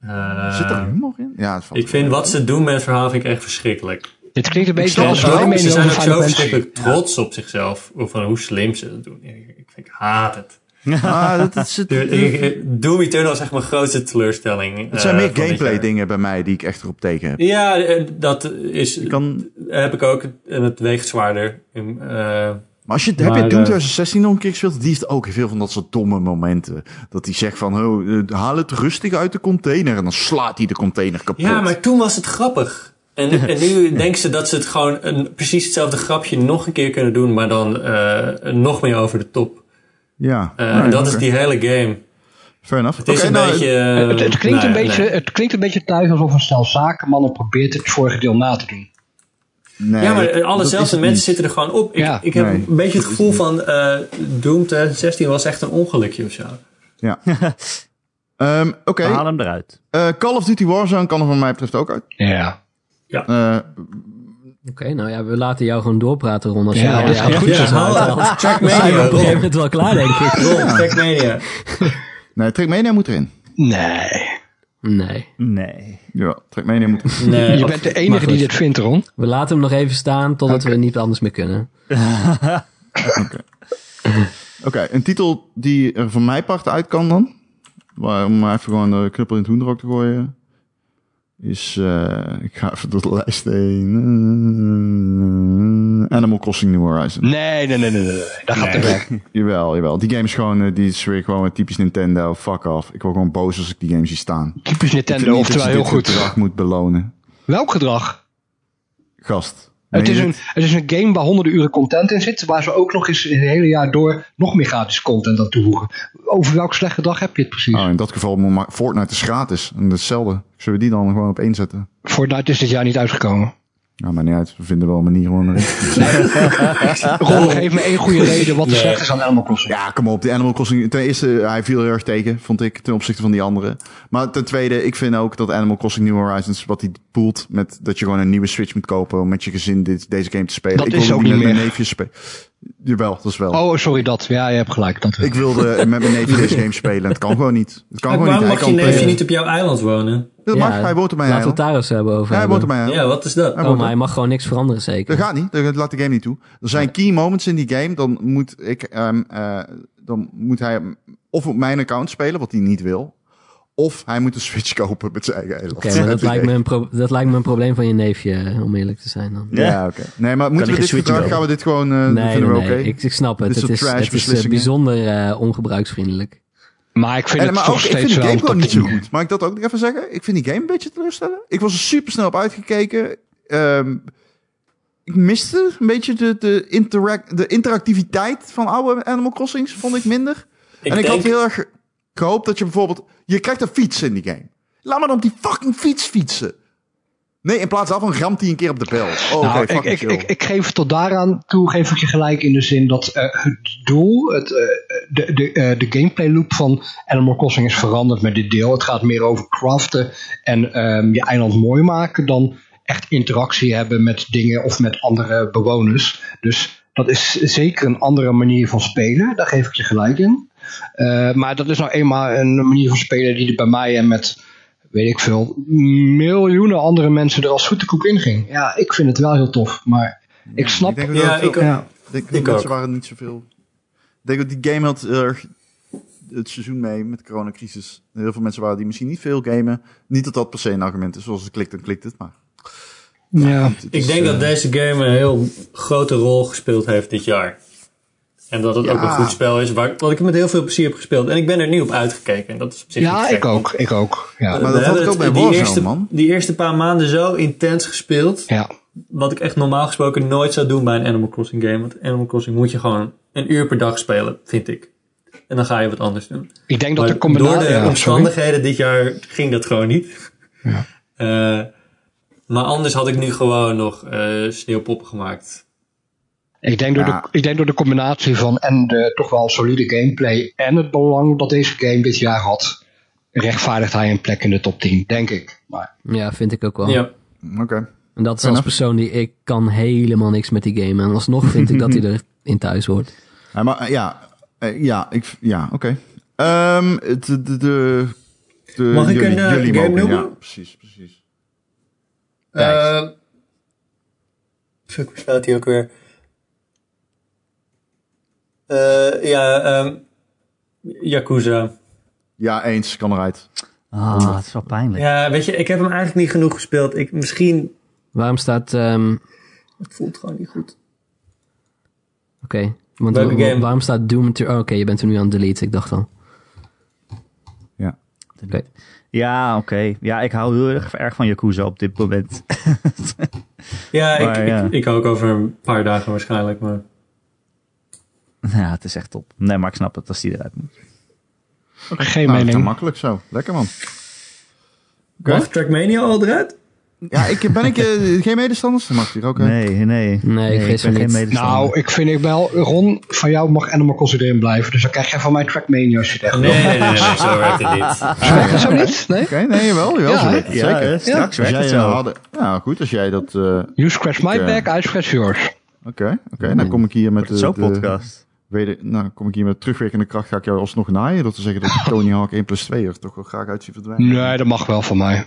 Eh, Zit daar humor in? Ja, het valt ik vind wat ze doen met het verhaal vind ik echt verschrikkelijk. Dit klinkt een Ik beetje snap als het wel. mijn ze mening zijn over ook zo Final Fantasy. verschrikkelijk trots op zichzelf. Over hoe slim ze dat doen. Ik, ik, ik haat het. Ah, dat, dat zit- Dude, ik- ik- Doom Eternal is echt mijn grootste teleurstelling. het zijn eh, meer van dit gameplay jaar. dingen bij mij die ik echt erop tegen heb. Ja, eh, dat is, Ik kan, heb ik ook. En het weegt zwaarder. In, eh, maar als je, heb Maar, je eh, Doom 2016 nog een keer gespeeld? Die heeft ook veel van dat soort domme momenten. Dat hij zegt van, oh, eh, haal het rustig uit de container. En dan slaat hij de container kapot. Ja, maar toen was het grappig. En, en nu denken ze dat ze het gewoon een, precies hetzelfde grapje nog een keer kunnen doen, maar dan eh, nog meer over de top. Ja, Eh, Nee, dat is oké. die hele game. Fair enough. Het is Oké, een nou, beetje. Eh, Het, het klinkt nou een ja, beetje, nee. het klinkt een beetje thuis alsof een stel zakenmannen probeert het vorige deel na te doen. nee, ja, dat- maar eh, dat alle is zelfde het mensen niet. zitten er gewoon op. Ik, Ja, ik heb nee, een beetje het gevoel van eh Doom 2016 was echt een ongelukje of zo. Ehm, Oké, We halen hem eruit. eh, Call of Duty Warzone kan er van mij betreft ook uit. Ja. Eh, Oké, nou ja, we laten jou gewoon doorpraten, Ron. Als Ja, jij dat is ja, goed. goed is. haal dat. Trackmania, op een gegeven Rob. moment wel klaar, denk ik. Rob, Trackmania. nee, Trackmania moet erin. Eh, Nee. Nee. Nee. Ja, Trackmania moet erin. Nee, Je bent de maar enige goed. die dit vindt, Ron. We laten hem nog even staan totdat we niet anders meer kunnen. Oké, een titel die er van mijn part uit kan dan. Maar Om maar even gewoon de knuppel in het hoenderok te gooien. Is, eh, ik ga even door de lijst heen. Animal Crossing New Horizon. Nee, nee, nee, nee, nee. nee. Daar gaat het weg. Jawel, jawel. Die game is gewoon, eh, die is weer gewoon typisch Nintendo. Fuck off. Ik word gewoon boos als ik die game zie staan. Typisch Ik vind Nintendo, niet oftewel dat je heel dit goed. gedrag moet belonen. Welk gedrag? Gast. Het meen is, je een, dit? het is een game waar honderden uren content in zit, waar ze ook nog eens het hele jaar door nog meer gratis content aan toevoegen. Over welk slecht gedrag heb je het precies? Oh, in dat geval, moet maar- Fortnite is gratis. En hetzelfde. Zullen we die dan gewoon op één zetten? Fortnite is dit jaar niet uitgekomen. Nou, maar niet uit. We vinden wel een manier om erin. Ron, geef me één goede reden wat er slecht is aan Animal Crossing. Ja, kom op. Die Animal Crossing. Ten eerste, eh, hij viel heel erg tegen, vond ik, ten opzichte van die andere. Maar ten tweede, ik vind ook dat Animal Crossing New Horizons, wat hij poelt met dat je gewoon een nieuwe Switch moet kopen om met je gezin dit, deze game te spelen. Dat ik is wil ook met niet mijn meer. neefjes spelen. Jawel, dat is wel. Oh, sorry, dat. Ja, je hebt gelijk. Dat wel. Ik wilde met mijn neefje deze game spelen. Het kan gewoon niet. Het kan gewoon niet. Waarom Hij mag kan je neefje tegen- niet op jouw eiland wonen? Dat Ja, mag. Hij woont op mijn Laten we eiland. het daar eens hebben over. Ja, hij woont op hebben. mijn eiland. Ja, wat is dat? Hij Oh, woont maar hij op- mag gewoon niks veranderen, zeker. Dat gaat niet. Dat laat de game niet toe. Er zijn key moments in die game. Dan moet ik, ehm, eh, dan moet hij hem of op mijn account spelen, wat hij niet wil. Of hij moet een Switch kopen met zijn eigen eiland. Oké, maar dat Het lijkt, me idee. een pro- dat lijkt me een probleem van je neefje, eh, om eerlijk te zijn dan. Ja, oké. Nee, maar moeten we geen dit Switch gedrag, kopen? gaan we dit gewoon, eh Nee, vinden we nee, oké? nee, ik, ik snap het. Dit Het soort is, trash het is eh, beslissingen. bijzonder eh, ongebruiksvriendelijk. Maar ik vind En- het maar toch ook, ik steeds vind de wel game gewoon een niet top zo 10. goed. Mag ik dat ook nog even zeggen? Ik vind die game een beetje teleurstellend. Ik was er super snel op uitgekeken. Ehm, ik miste een beetje de, de, interact, de interactiviteit van oude Animal Crossings, vond ik minder. en ik denk- had heel erg ge- gehoopt dat je bijvoorbeeld... Je krijgt een fiets in die game. Laat maar dan op die fucking fiets fietsen. Nee, in plaats daarvan ramt hij een keer op de bel. Oh, oké, Nou, ik, fucking ik, chill. ik, ik geef tot daaraan toe, geef ik je gelijk in de zin dat eh, het doel, het, eh, de, de, eh, de gameplay loop van Animal Crossing is veranderd met dit deel. Het gaat meer over craften en ehm, je eiland mooi maken dan echt interactie hebben met dingen of met andere bewoners. Dus dat is zeker een andere manier van spelen, daar geef ik je gelijk in. Eh, maar dat is nou eenmaal een manier van spelen die er bij mij en met weet ik veel, miljoenen andere mensen er als zoete koek in ging. Ja, ik vind het wel heel tof, maar ik snap... denk dat Ja, dat veel- ik, ja. Ik denk dat Ik mensen ook. waren niet zoveel. Ik denk dat die game had heel erg het seizoen mee met de coronacrisis. Heel veel mensen waren die misschien niet veel gamen. Niet dat dat per se een argument is. Zoals het klikt, dan klikt het. Maar ja. het Ik is, denk eh, dat deze game een heel grote rol gespeeld heeft dit jaar. En dat het Ja. ook een goed spel is, waar, wat ik met heel veel plezier heb gespeeld. En ik ben er niet op uitgekeken. En dat is op zich Ja, niet gek, ik ook. Ik ook. Ja. Maar We dat had hebben ik ook het bij die Warzone, eerste- man. Die eerste paar maanden zo intens gespeeld. ja. Wat ik echt normaal gesproken nooit zou doen bij een Animal Crossing game. Want Animal Crossing moet je gewoon een uur per dag spelen, vind ik. En dan ga je wat anders doen. Ik denk dat Maar de combinatie... door de ja, sorry. omstandigheden dit jaar ging dat gewoon niet. Eh, maar anders had ik nu gewoon nog eh, sneeuwpoppen gemaakt. Ik denk, door Ja. de, ik denk door de combinatie van en de toch wel solide gameplay en het belang dat deze game dit jaar had, rechtvaardigt hij een plek in de top 10, denk ik. Maar Ja, vind ik ook wel. Ja. Oké. En dat is Fair als enough. persoon die ik kan helemaal niks met die game. En alsnog vind ik dat hij erin thuis hoort. Ja, maar eh, ja, eh, ja, ik, ja, oké. Ehm, het- de, de, de, de- Mag ik jullie, een, eh, jullie game mogen, noemen? Ja, precies, precies. Eh, fuck, hoe staat die ook weer? Eh, ja, ehm Yakuza. Ja, eens, kan eruit. Ah, het is wel pijnlijk. Ja, weet je, ik heb hem eigenlijk niet genoeg gespeeld. Ik, misschien, Waarom staat... ehm, het voelt gewoon niet goed. Oké, want Welke wa- wa- game? waarom staat Doom... Eternal- Oh, oké, je bent er nu aan het deleten. Ik dacht al. Ja. Oké. Ja, oké. Ja, ik hou heel erg, erg van Yakuza op dit moment. Ja, Maar, ik, ja. Ik, ik ook over een paar dagen waarschijnlijk, maar... ja, het is echt top. Nee, maar ik snap het als die eruit moet. geen Nou, dat kan mening. makkelijk zo. Lekker man. Mag Trackmania al eruit? Ja, ik, ben ik eh, geen medestanders? Dan mag hier ook. eh. Nee, nee. Nee, ik vrees ben van geen niet. medestander. Nou, ik vind ik wel, Ron, van jou mag Animal Crossing erin blijven, dus dan krijg jij van mij Trackmania als je het echt Nee, nee, nee, nee, nee, zo werkt het niet. Werkt dat zo niet? Nee? Oké, nee, jawel, jawel. Ja, zo hè? werkt het ja, zeker. hè, straks Als werkt het jij, eh, zo. hadden- ja, goed, als jij dat... eh, Oké, You scratch my Ik, eh, back, I scratch yours. oké, Hmm. dan kom ik hier met... de- Zo'n de- podcast. Weder, nou, kom ik hier met terugwerkende kracht, ga ik jou alsnog naaien. Dat te zeggen dat ik Tony Hawk 1 plus 2 er toch wel graag uit zie verdwijnen. Nee, dat mag wel van mij.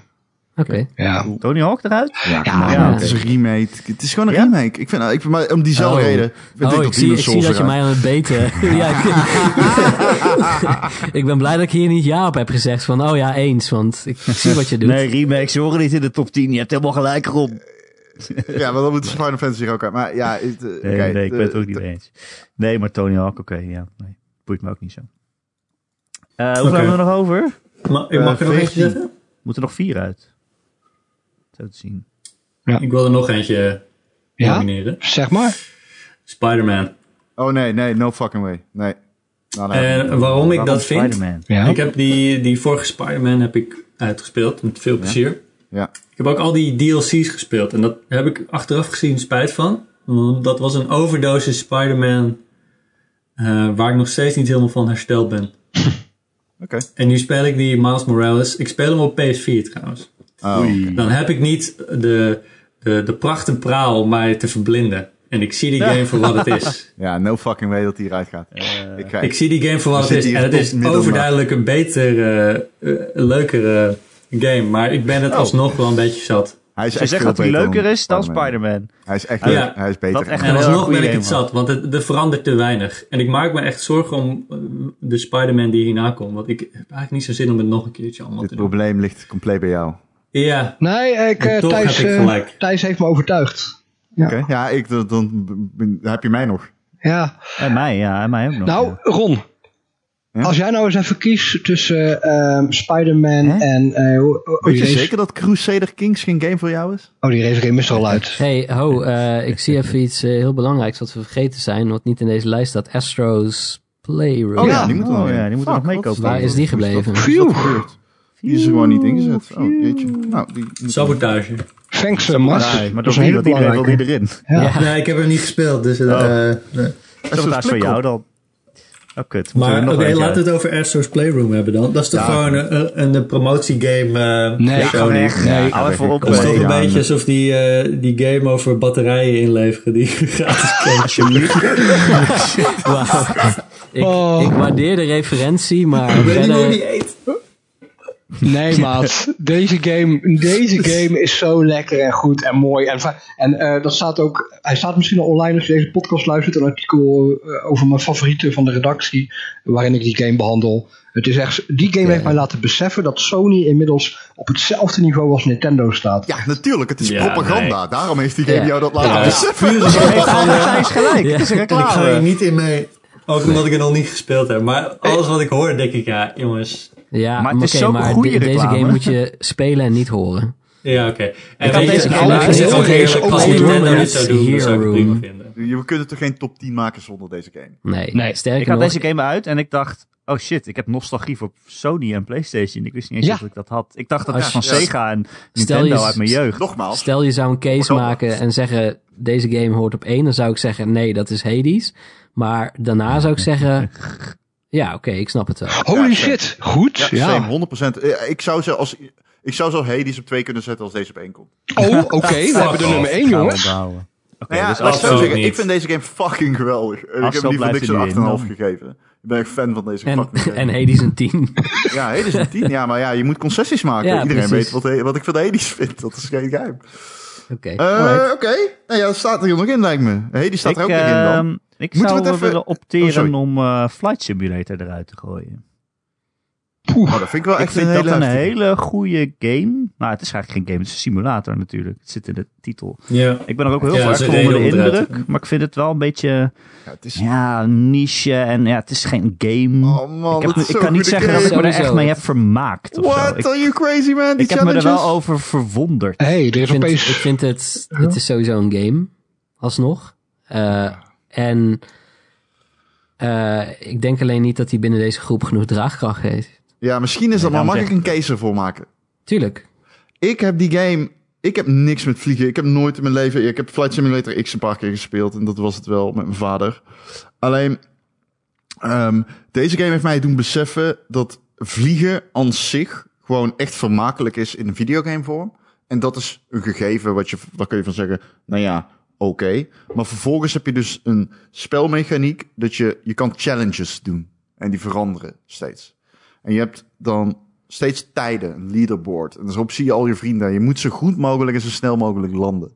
Oké. Ja. Tony Hawk eruit? Ja, Ja, man, ja. het is een remake. Het is gewoon een Ja? remake. Ik vind, ik vind, maar om diezelfde Oh. reden. vind Oh, dat ik zie, ik Demon's zie Souls dat je eruit. mij aan het beten... ja, ik, ik ben blij dat ik hier niet ja op heb gezegd. Van, oh ja, eens. Want ik zie wat je doet. Nee, remakes horen niet in de top 10. Je hebt helemaal gelijk, Rob. Nee, Ja, maar dan moet Final Fantasy er ook uit. Maar ja, het, eh, Nee, oké, ik ben het de- ook niet mee eens. Nee, maar Tony Hawk, oké. ja, nee. Boeit me ook niet zo. Eh hoeveel hebben we er nog over? Ma ik mag er nog eentje zeggen? Moeten er nog vier uit. Zo te zien. Ik wil er nog eentje Ja? nomineren. Zeg maar. Spider-Man. Oh nee, nee, no fucking way. Nee. Nou, nou, En Eh, waarom ik dat vind? Spider-Man. Ja. Ik eh, heb die, die vorige Spider-Man heb ik uitgespeeld met veel plezier. Ja. Ik heb ook al die DLC's gespeeld en dat heb ik achteraf gezien spijt van. Want dat was een overdosis Spider-Man eh, waar ik nog steeds niet helemaal van hersteld ben. Oké. En nu speel ik die Miles Morales. Ik speel hem op PS4 trouwens. Oh, oké. Dan heb ik niet de, de, de pracht en praal om mij te verblinden. En ik zie die game voor wat het is. Ja, no fucking way dat die eruit gaat. Eh, ik ga, Ik zie die game voor wat Dan het zit is. hij En het op is middelmaat. overduidelijk een betere, eh, leukere game. Maar ik ben het Oh. alsnog wel een beetje zat. hij is Ze echt zegt veel dat hij beter leuker is dan Spider-Man. Hij is echt Ja. leuk. Hij is beter. Dat echt En Een hele alsnog ben goede ik het game, man. zat, want het, er verandert te weinig. En ik maak me echt zorgen om eh, de Spider-Man die hierna komt. Want ik heb eigenlijk niet zo zin om het nog een keertje allemaal Dit te doen. probleem ligt compleet bij jou. Ja, Nee, ik, eh, En toch Thijs, heb ik eh, gelijk. Thijs heeft me overtuigd. Oké, ja, ik, dan, dan ben- heb je mij nog. Ja. En mij, ja. En mij ook nog. Nou, ja. Ron. Ja? Als jij nou eens even kiest tussen ehm, Spider-Man Hè? en... eh, hoe- hoe- oh, Weet die je race, zeker dat Crusader Kings geen game voor jou is? oh, die race game is er al uit. hey, ho, eh, ik zie even iets eh, heel belangrijks wat we vergeten zijn, wat niet in deze lijst staat. Astro's Playroom. Oh ja, die moeten we Oh nog ja, in. die moeten we Fuck, nog wat- meekopen. Waar is die gebleven? Hoe is dat gebeurd? Die is er gewoon niet ingezet. Oh, jeetje. Nou, die moet- sabotage. Thanks, eh, Mars. Nee, dat maar dat is een hele wil iedereen wil belangrijke. die erin. Nee, ik heb hem niet gespeeld. Dus, eh, Oh. nee. Dat is voor jou dan. Oh, kut. Moeten we er Maar nog oké, eentje laten we het over Astro's Playroom hebben dan. Dat is toch gewoon een, een, een promotiegame? eh, Nee, uit? Ja, ga weg. Nee, Hou even op. Dat is toch mee. een ja, beetje nee. alsof die, eh, die game over batterijen inleveren die gratis komt. Alsjeblieft. Wauw. ik, Oh. ik waardeer de referentie, maar Ik weet niet hoe verder... die eet. Nee, maat. Deze game, deze game is zo lekker en goed en mooi. En, va- en eh, dat staat ook... Hij staat misschien al online als je deze podcast luistert. Een artikel eh, over mijn favorieten van de redactie. Waarin ik die game behandel. Het is echt, die game heeft mij laten beseffen dat Sony inmiddels op hetzelfde niveau als Nintendo staat. Ja, natuurlijk. Het is Ja, propaganda. Daarom heeft die game Ja. jou dat laten Ja. beseffen. Hij heeft gelijk. Het is een En ik ga Eh, reclame. hier niet in mee. Ook omdat ik het nog niet gespeeld heb. Maar alles wat ik hoor, denk ik, ja, jongens. Ja, Maar het is oké, zo'n maar goede de- deze reclame. game moet je spelen en niet horen. Ja, oké. En Ik had weet je, deze het game geluid is ook ook heel heerlijk. erg Als opgedrongen Nintendo dit met zou doen, dan zou ik het prima Heroes. vinden. Je- We kunnen toch geen top 10 maken zonder deze game? Nee, Nee, sterker ik had nog, deze game uit en ik dacht, oh shit, ik heb nostalgie voor Sony en Playstation. Ik wist niet eens Ja. dat ik dat had. Ik dacht dat Als- is van Ja. Sega en Stel Nintendo je- uit mijn jeugd. Nogmaals. Stel je zou een case Verdomme. maken en zeggen deze game hoort op één, dan zou ik zeggen nee, dat is Hades. Maar daarna zou ik zeggen ja, oké, ik snap het wel. Ja, Holy same. shit, goed. Ja, Ja, same, 100%. Eh, Ik zou ze als... Ik zou zo Hades op twee kunnen zetten als deze op één komt. Oh, oké, we hebben de nummer 1, Gaan we jongens. bouwen. Oké, Nou ja, dus laat ik als zo ook zeggen, niet. ik vind deze game fucking geweldig. En ik heb hem Afstand niet voor blijft niks er niet in, een 8,5 dan. gegeven. Ik ben echt fan van deze En, fucking game. en Hades een 10. Ja, Hades is een 10. Ja, maar ja, je moet concessies maken. Ja, Iedereen precies. weet wat, wat ik van Hades vind. Dat is geen geheim. Oké. Eh, Oké. Nou ja, dat staat er nog in, lijkt me. Hades staat ik, er ook nog in dan. ehm, ik Moeten we zou het wel even- willen Oh, sorry. opteren om eh, Flight Simulator eruit te gooien. Oh, dat vind ik wel ehm, ik echt vind een dat hele... een heftige. hele goede game. Nou, het is eigenlijk geen game, het is een simulator natuurlijk. Het zit in de titel. Ja. Ik ben er ook heel Ja, dat erg is van een onder de reden om eruit te indruk. Maar ik vind het wel een beetje Ja, het is... ja, niche. En ja, het is geen game. Oh man, ik heb dat me- is ik zo'n kan niet goede zeggen dat game. ik me er Sowieso. echt mee heb vermaakt. Of zo. What? Ik, Are you crazy, man? Die ik heb me er wel challenges? over verwonderd. hey, er is ik, vind, opeens... ik vind het, het is sowieso een game, alsnog. Eh, en eh, ik denk alleen niet dat hij binnen deze groep genoeg draagkracht heeft. Ja, misschien is dat, maar daarom mag zeg ik een case ervoor maken? Tuurlijk. Ik heb die game. Ik heb niks met vliegen. Ik heb nooit in mijn leven. Ik heb Flight Simulator X een paar keer gespeeld. En dat was het wel met mijn vader. Alleen. ehm, deze game heeft mij doen beseffen dat vliegen aan zich gewoon echt vermakelijk is in een videogame vorm. En dat is een gegeven wat je, waar kun je van zeggen, nou ja, oké. Maar vervolgens heb je dus een spelmechaniek dat je, je kan challenges doen. En die veranderen steeds. En je hebt dan steeds tijden, een leaderboard. En daarop zie je al je vrienden. Je moet zo goed mogelijk en zo snel mogelijk landen.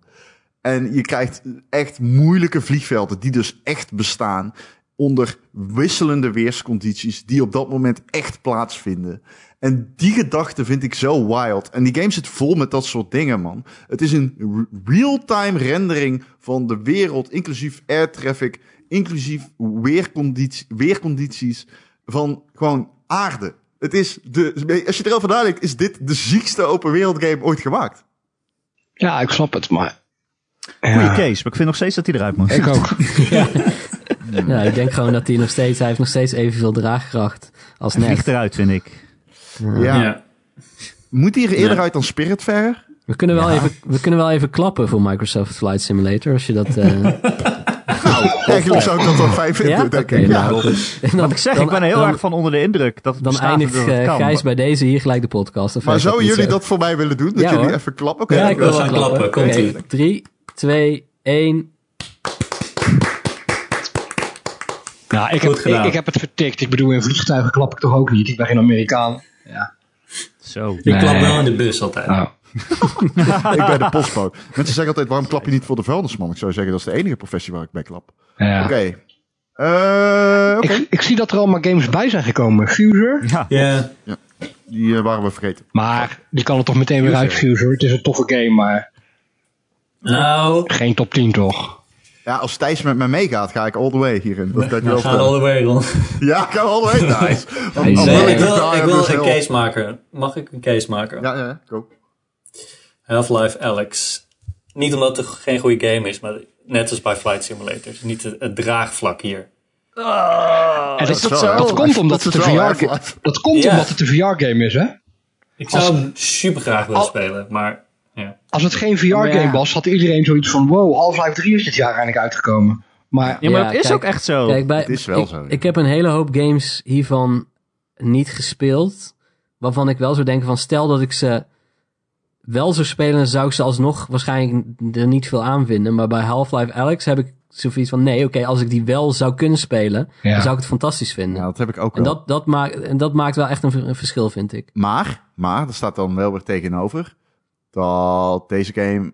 En je krijgt echt moeilijke vliegvelden, die dus echt bestaan. Onder wisselende weerscondities die op dat moment echt plaatsvinden. En die gedachte vind ik zo wild. En die game zit vol met dat soort dingen, man. Het is een r- real-time rendering van de wereld, inclusief air traffic, inclusief weerconditie- weercondities van gewoon aarde. Het is de, als je erover nadenkt, is dit de ziekste open wereld game ooit gemaakt. Ja, ik snap het, maar... Goeie Ja, case, maar ik vind nog steeds dat hij eruit moet. ik ook. Ja, Nou, ik denk gewoon dat hij nog steeds, hij heeft nog steeds evenveel draagkracht als Hij net. vliegt eruit, vind ik. Ja. Ja. Moet die er eerder Ja. uit dan Spiritfarer? We kunnen, wel even, we kunnen wel even klappen voor Microsoft Flight Simulator als je dat. eh, Nou, eigenlijk zou ik dat wel fijn vinden, ja, denk Oké, ik. Ja. nou. Dan- Wat ik zeg, dan- ik ben er heel dan- erg van onder de indruk. Dat het Dan bestaat en eindigt dat het eh, kan. Gijs bij deze hier gelijk de podcast. of Maar hij gaat zouden niet jullie zeggen. dat voor mij willen doen? Dat Ja, jullie hoor. even klappen? Oké. Ja, ik wil We wel gaan klappen. klappen, komt-ie. Oké, Drie, twee, één. Ja, ik heb, Goed gedaan. ik, ik heb het vertikt. Ik bedoel, in vliegtuigen klap ik toch ook niet? Ik ben geen Amerikaan. Zo. Ik klap wel in de bus altijd. Nou, Ik ben de postbode. Mensen zeggen altijd, waarom klap je niet voor de vuilnisman? Ik zou zeggen, dat is de enige professie waar ik bij klap. ja. Oké. Eh, Oké, ik, ik zie dat er allemaal games bij zijn gekomen. Fuser. Ja. Ja. die eh, waren we vergeten. Maar die kan er toch meteen weer uit, Fuser. Het is een toffe game, maar Nou, geen top 10 toch? Ja, als Thijs met mij meegaat, ga ik all the way hierin. Dat kan ik we wel gaan vertellen. all the way rond. Ja, ik ga all the way, Thijs. Want Nee, anders Nee, wil ik wil, daar ik wil dus een heel- case maken. Mag ik een case maken? Ja, ja, ik ook. Half-Life Alex. Niet omdat het geen goede game is, maar net als bij Flight Simulator. Niet het, het draagvlak hier. en dat, Oh, is wel, hè? dat komt omdat Dat het is een wel, hè, VR game- Half-Life. dat komt Ja. omdat het een VR-game is, hè? Ik zou hem super graag willen Al- spelen, maar ja. Als het geen VR-game was, had iedereen zoindiets van... Wow, Half-Life 3 is dit jaar eindelijk uitgekomen. Maar Ja, maar Ja, dat is kijk. ook echt zo. Kijk, bij, Oh, Het is wel ik, zo, ja. Ik heb een hele hoop games hiervan niet gespeeld. Waarvan ik wel zou denken van stel dat ik ze wel zou spelen, dan zou ik ze alsnog waarschijnlijk er niet veel aan vinden. Maar bij Half-Life Alex heb ik zoiets van nee, oké, als ik die wel zou kunnen spelen, Ja. dan zou ik het fantastisch vinden. Ja, dat heb ik ook en, wel. dat, dat maakt, en dat maakt wel echt een, v- een verschil, vind ik. Maar, maar, er staat dan wel weer tegenover dat deze game.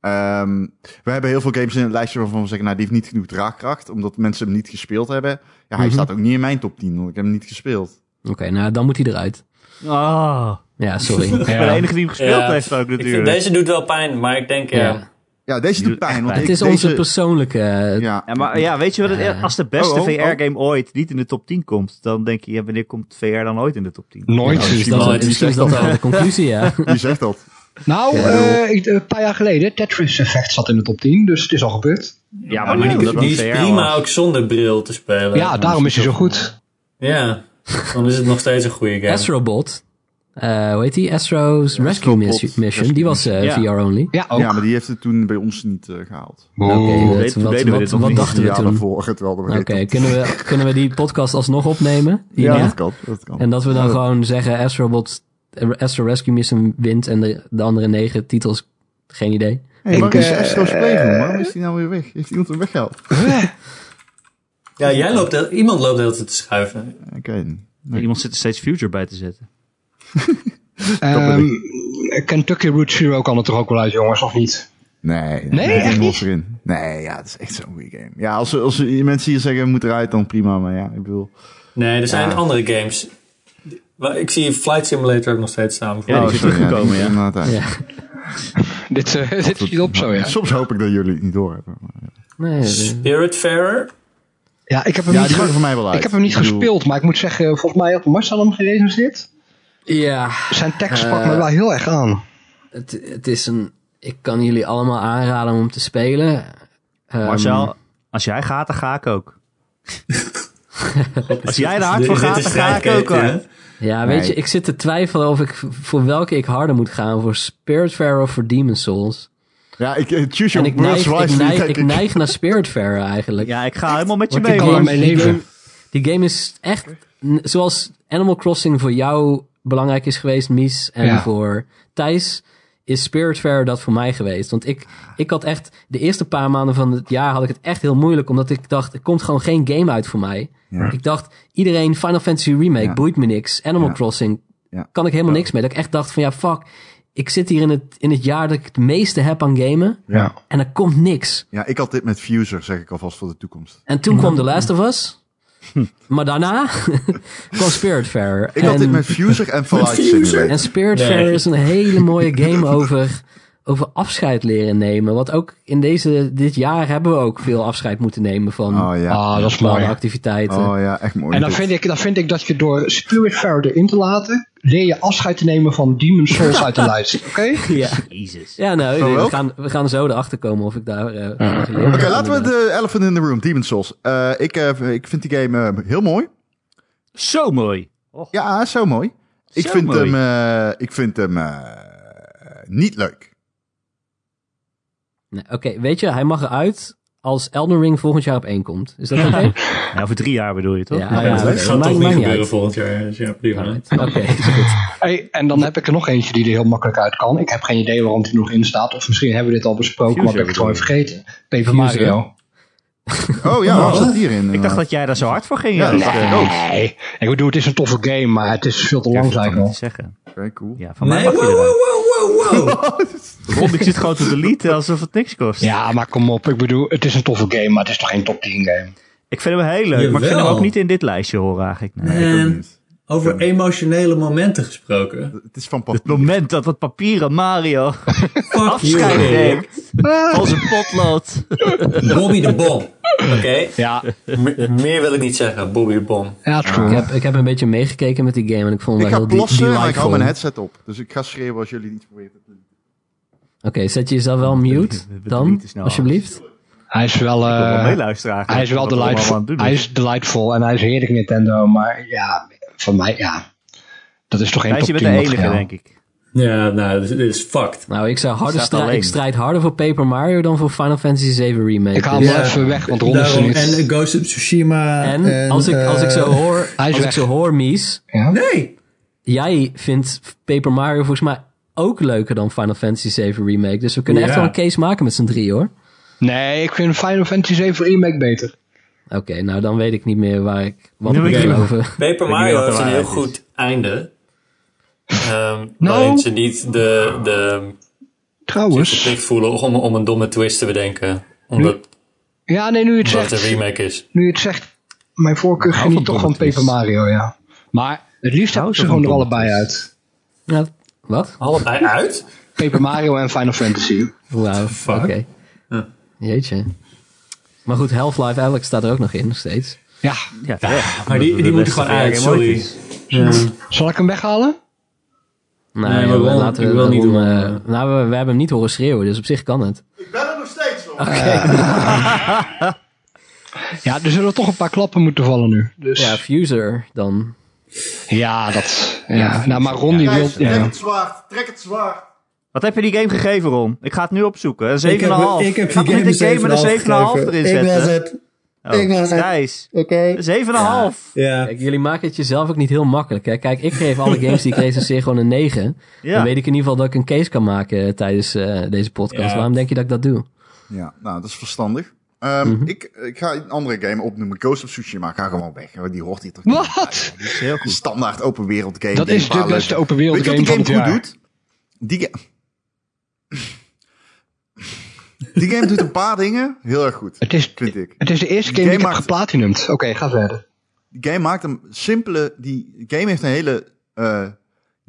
ehm, we hebben heel veel games in het lijstje waarvan we zeggen, nou, die heeft niet genoeg draagkracht, omdat mensen hem niet gespeeld hebben. Ja, hij Mhm. staat ook niet in mijn top 10, want ik heb hem niet gespeeld. Oké, nou dan moet hij eruit. Ah, Ja, sorry. Ik ben de enige die hem gespeeld Ja. heeft ook Ik vind, natuurlijk. deze doet wel pijn, maar ik denk, eh, ja. ja. Ja, deze Die doet doet pijn. echt Want pijn. Het ik- is onze deze- persoonlijke... eh, Ja, Ja, maar ja, weet je wat? Het, is? als de beste Oh, oh, oh. VR-game ooit niet in de top 10 komt, dan denk je, ja, wanneer komt VR dan ooit in de top 10? Nooit. misschien is dus dat, nooit. misschien is dat wel de conclusie, ja. je zegt dat. Nou, eh, ik- een paar jaar geleden, Tetris Effect zat in de top 10, dus het is al gebeurd. Ja, maar niet omdat Die het is VR prima was. ook zonder bril te spelen. ja, daarom is hij zo goed. Ja, dan is het nog steeds een goede game. Astrobot. eh hoe heet die? Astro's Rescue Astrobot. Mission. Mission. Die was eh, Ja. VR only. Ja, ook. Ja, maar die heeft het toen bij ons niet eh, gehaald. Wow. Oké, wat- weten- wat, weten we wat- dit nog wat niet? dachten we ja, toen? daarvoor het wel. dat weet Oké, ik niet. kunnen, we, kunnen we die podcast alsnog opnemen? ja, hierna? dat kan. Dat kan. En dat we dan gewoon zeggen Astrobot, Astro Rescue Mission wint en de, de andere negen titels, geen idee. hey, waar Ik, is eh, Astro's Playroom? Waarom is die nou weer weg? Heeft iemand hem weggehaald? Ja, jij loopt, de- iemand loopt de hele tijd te schuiven. Ik weet het niet. Iemand zit er steeds Future bij te zetten. Ehm, Kentucky Route Zero kan het er ook wel uit, jongens, of niet? Nee, Nee, echt die niet? was erin. Nee, ja, het is echt zo'n goede game. Ja, als, als mensen hier zeggen, moet eruit, dan prima. Maar ja, ik bedoel... Nee, er zijn andere games. Maar Ik zie Flight Simulator ook nog steeds staan. Ja, die is Oh, sorry, Um, teruggekomen, die is ja. inderdaad uit. Ja. Dit, eh, dit schiet op zo, ja. Soms hoop ik dat jullie het niet doorhebben. maar- Nee, eh, Spiritfarer? Ja, ik heb hem Ja, niet, die ge- waren voor mij wel uit. ik heb hem niet Ik bedoel- gespeeld, maar ik moet zeggen, eh, volgens mij had Marcel hem gerecenseerd. ja, Zijn tekst Eh, pakt me wel heel erg aan. het, het is een... Ik kan jullie allemaal aanraden om te spelen. Ehm, Marcel, als jij gaat, dan ga ik ook. als jij er hard voor Dit gaat, is dan ga ik strijdketen, ook. hoor. hè? Ja, weet Nee. je, ik zit te twijfelen of ik voor welke ik harder moet gaan. Voor Spiritfarer of voor Demon Souls. Ja, ik eh, choose En your ik words neig, ik, wisely, neig, denk ik ik. neig naar Spiritfarer eigenlijk. Ja, ik ga helemaal met je Want mee. die kan in hoor. game- mijn die leven. game- Die game is echt, n- zoals Animal Crossing voor jou belangrijk is geweest, Mies, en Ja. voor Thijs, is Spiritfarer dat voor mij geweest. Want ik, ik had echt, de eerste paar maanden van het jaar had ik het echt heel moeilijk, omdat ik dacht, er komt gewoon geen game uit voor mij. Ik dacht, iedereen, Final Fantasy Remake, Ja. boeit me niks. Animal Ja. Crossing, Ja. kan ik helemaal niks mee. Dat ik echt dacht van, ja, fuck, ik zit hier in het, in het jaar dat ik het meeste heb aan gamen, Ja. en er komt niks. ja, ik had dit met Fuser, zeg ik alvast voor de toekomst. En toen kwam The Mm-hmm. Last of Us. Maar daarna kwam Spiritfarer. Ik had dit En, met Fuser en Fallout Simulator. en Spiritfarer Nee. is een hele mooie game over, over afscheid leren nemen. Wat ook in deze, dit jaar hebben we ook veel afscheid moeten nemen van Oh ja. ah, dat is bepaalde mooi. activiteiten. Oh ja, echt mooi. En dan dit. vind, ik, dan vind ik dat je door Spiritfarer erin te laten, leer je afscheid te nemen van Demon Souls uit de lijst, oké? Ja. Jezus. ja, Zo nou, we wel? gaan, we gaan zo erachter komen of ik daar eh, van geleerd heb. Oké, laten we de elephant in the room, Demon's Souls. Eh, ik, eh, ik vind die game eh, heel mooi. Zo mooi. Ja, zo mooi. Ik Zo vind mooi. hem, eh, ik vind hem eh, niet leuk. Nee, Oké, weet je, hij mag eruit als Elden Ring volgend jaar op één komt. Is dat oké? Ja, over drie jaar bedoel je toch? Ja, Ja, ja, dat oké. gaat Maakt- toch niet maakt gebeuren uit. volgend jaar. Dus ja, prima. Alright. Oké, is goed. Hey, en dan heb ik er nog eentje die er heel makkelijk uit kan. Ik heb geen idee waarom die er nog in staat. Of misschien hebben we dit al besproken, maar Fuser heb ik het gewoon bedoel vergeten. Paper Mario. Oh ja, wat zit eh, hierin? Ik dacht dat jij daar zo hard voor ging. Ja, dat is, dacht eh, ik ook. Nee, ik bedoel, het is een toffe game, maar het is veel te lang, durf ik zei toch ik niet al. te zeggen. Oké, cool. Ja, van mij Nee, wow, mag je eruit. wow, wow, wow, wow. Ron, ik zit gewoon te deleten alsof het niks kost. Ja, maar kom op. Ik bedoel, het is een toffe game, maar het is toch geen top 10 game? Ik vind hem heel leuk, maar ik vind Jawel. hem ook niet in dit lijstje horen eigenlijk. Nee. Ik ook En niet. over emotionele momenten gesproken. Het is van Het papier. moment dat dat papieren Mario Fuck afscheid you, neemt van zijn potlood. Bobby de Bom. Oké, Ja, Me- meer wil ik niet zeggen. Bobby de Bom. ja het is cool. Ik heb, ik heb een beetje meegekeken met die game en ik vond Ik het ga wel heel de- plassen, maar ik hou delightful. mijn headset op. Dus ik ga schreeuwen als jullie iets proberen te doen. Oké, zet je jezelf wel mute we- we dan, deleten snel alsjeblieft. Hij is wel... Ik wil wel eh, meeluisteren eigenlijk, hij is wel wat Ron allemaal aan delightful. het doen Hij is delightful en hij is heerlijk Nintendo, maar ja, voor mij, ja. Dat is toch geen Thijs, top je 10 bent de enige, materiaal. denk ik. Ja, nou, dit is- dit is fucked. Nou, ik zou harder staat strijden. alleen. Ik strijd harder voor Paper Mario dan voor Final Fantasy 7 Remake. Ik haal hem Dus- wel even weg, want Ron is er Daarom, niet. Nou, Oh, en eh, Ghost of Tsushima. En, als, ik, als ik eh, zo hoor, hij is als ik weg. zo hoor, Mies, Ja? Nee! jij vindt Paper Mario volgens mij ook leuker dan Final Fantasy 7 Remake. Dus we kunnen echt Ja. wel een case maken met z'n drie hoor. Nee, ik vind Final Fantasy 7 Remake beter. Oké, nou dan weet ik niet meer waar ik wat Nu moet ik- geloven. Paper niet Mario wat de heeft een heel waarheid is. goed einde. Ehm Waarin ze niet de, de zich Trouwens. verplicht voelen om, om een domme twist te bedenken. Omdat Ja, nee, nu je het omdat het zegt. een remake is. Nu je het zegt, mijn voorkeur hou geniet van toch van Domme Paper Twist. Mario, ja. Maar het liefst heb hou ik ze toch gewoon er van Domme allebei Twist. Ja, uit. wat? Allebei uit? Paper Mario en Final Fantasy. Wauw, oké. Fuck. Jeetje. Maar goed, Half-Life Alex staat er ook nog in, nog steeds. Ja, Ja, terecht. Maar die, Omdat het die moeten beste gewoon VR uit, game ooit sorry. is. zal ik hem weghalen? Nee, Nee, maar Nou, we- wel- laten we ik wil niet daarom, doen, eh, nou, we, we hebben hem niet horen schreeuwen, dus op zich kan het. Ik ben er nog steeds van. Ja, er zullen toch een paar klappen moeten vallen nu. Dus Ja, ja, Fuser dan. dat. Ja. nou, maar Ron die wil. Ja. zwaard, trek het zwaard. Wat heb je die game gegeven, Ron? Ik ga het nu opzoeken. Een 7,5. Ik heb, ik heb die Gaat game niet de game een met 7,5 een 7,5 gegeven. erin Ik was zetten. Oh, het. Ik was het. Thijs, Oké. 7,5. Ja. Kijk, jullie maken het jezelf ook niet heel makkelijk. Hè? Kijk, ik geef alle games die ik recenseer gewoon een 9. Ja. Dan weet ik in ieder geval dat ik een case kan maken eh, tijdens eh, deze podcast. Ja. Waarom denk je dat ik dat doe? Ja, nou, dat is verstandig. Ehm, Mhm. ik, ik ga een andere game opnoemen. Ghost of Tsushima. Ga gewoon weg. Die hoort hier toch niet Wat? bij. Een standaard open wereld game. Dat Game is de waar beste leuk- open wereld Weet je wat game die van game het goed jaar. doet? Die, ga- die game doet een paar dingen heel erg goed, Het is, vind ik. het is de eerste Die game die ik game heb maakt- geplatinumd. Oké, ga verder. Die game maakt een simpele... Die game heeft een hele... eh, die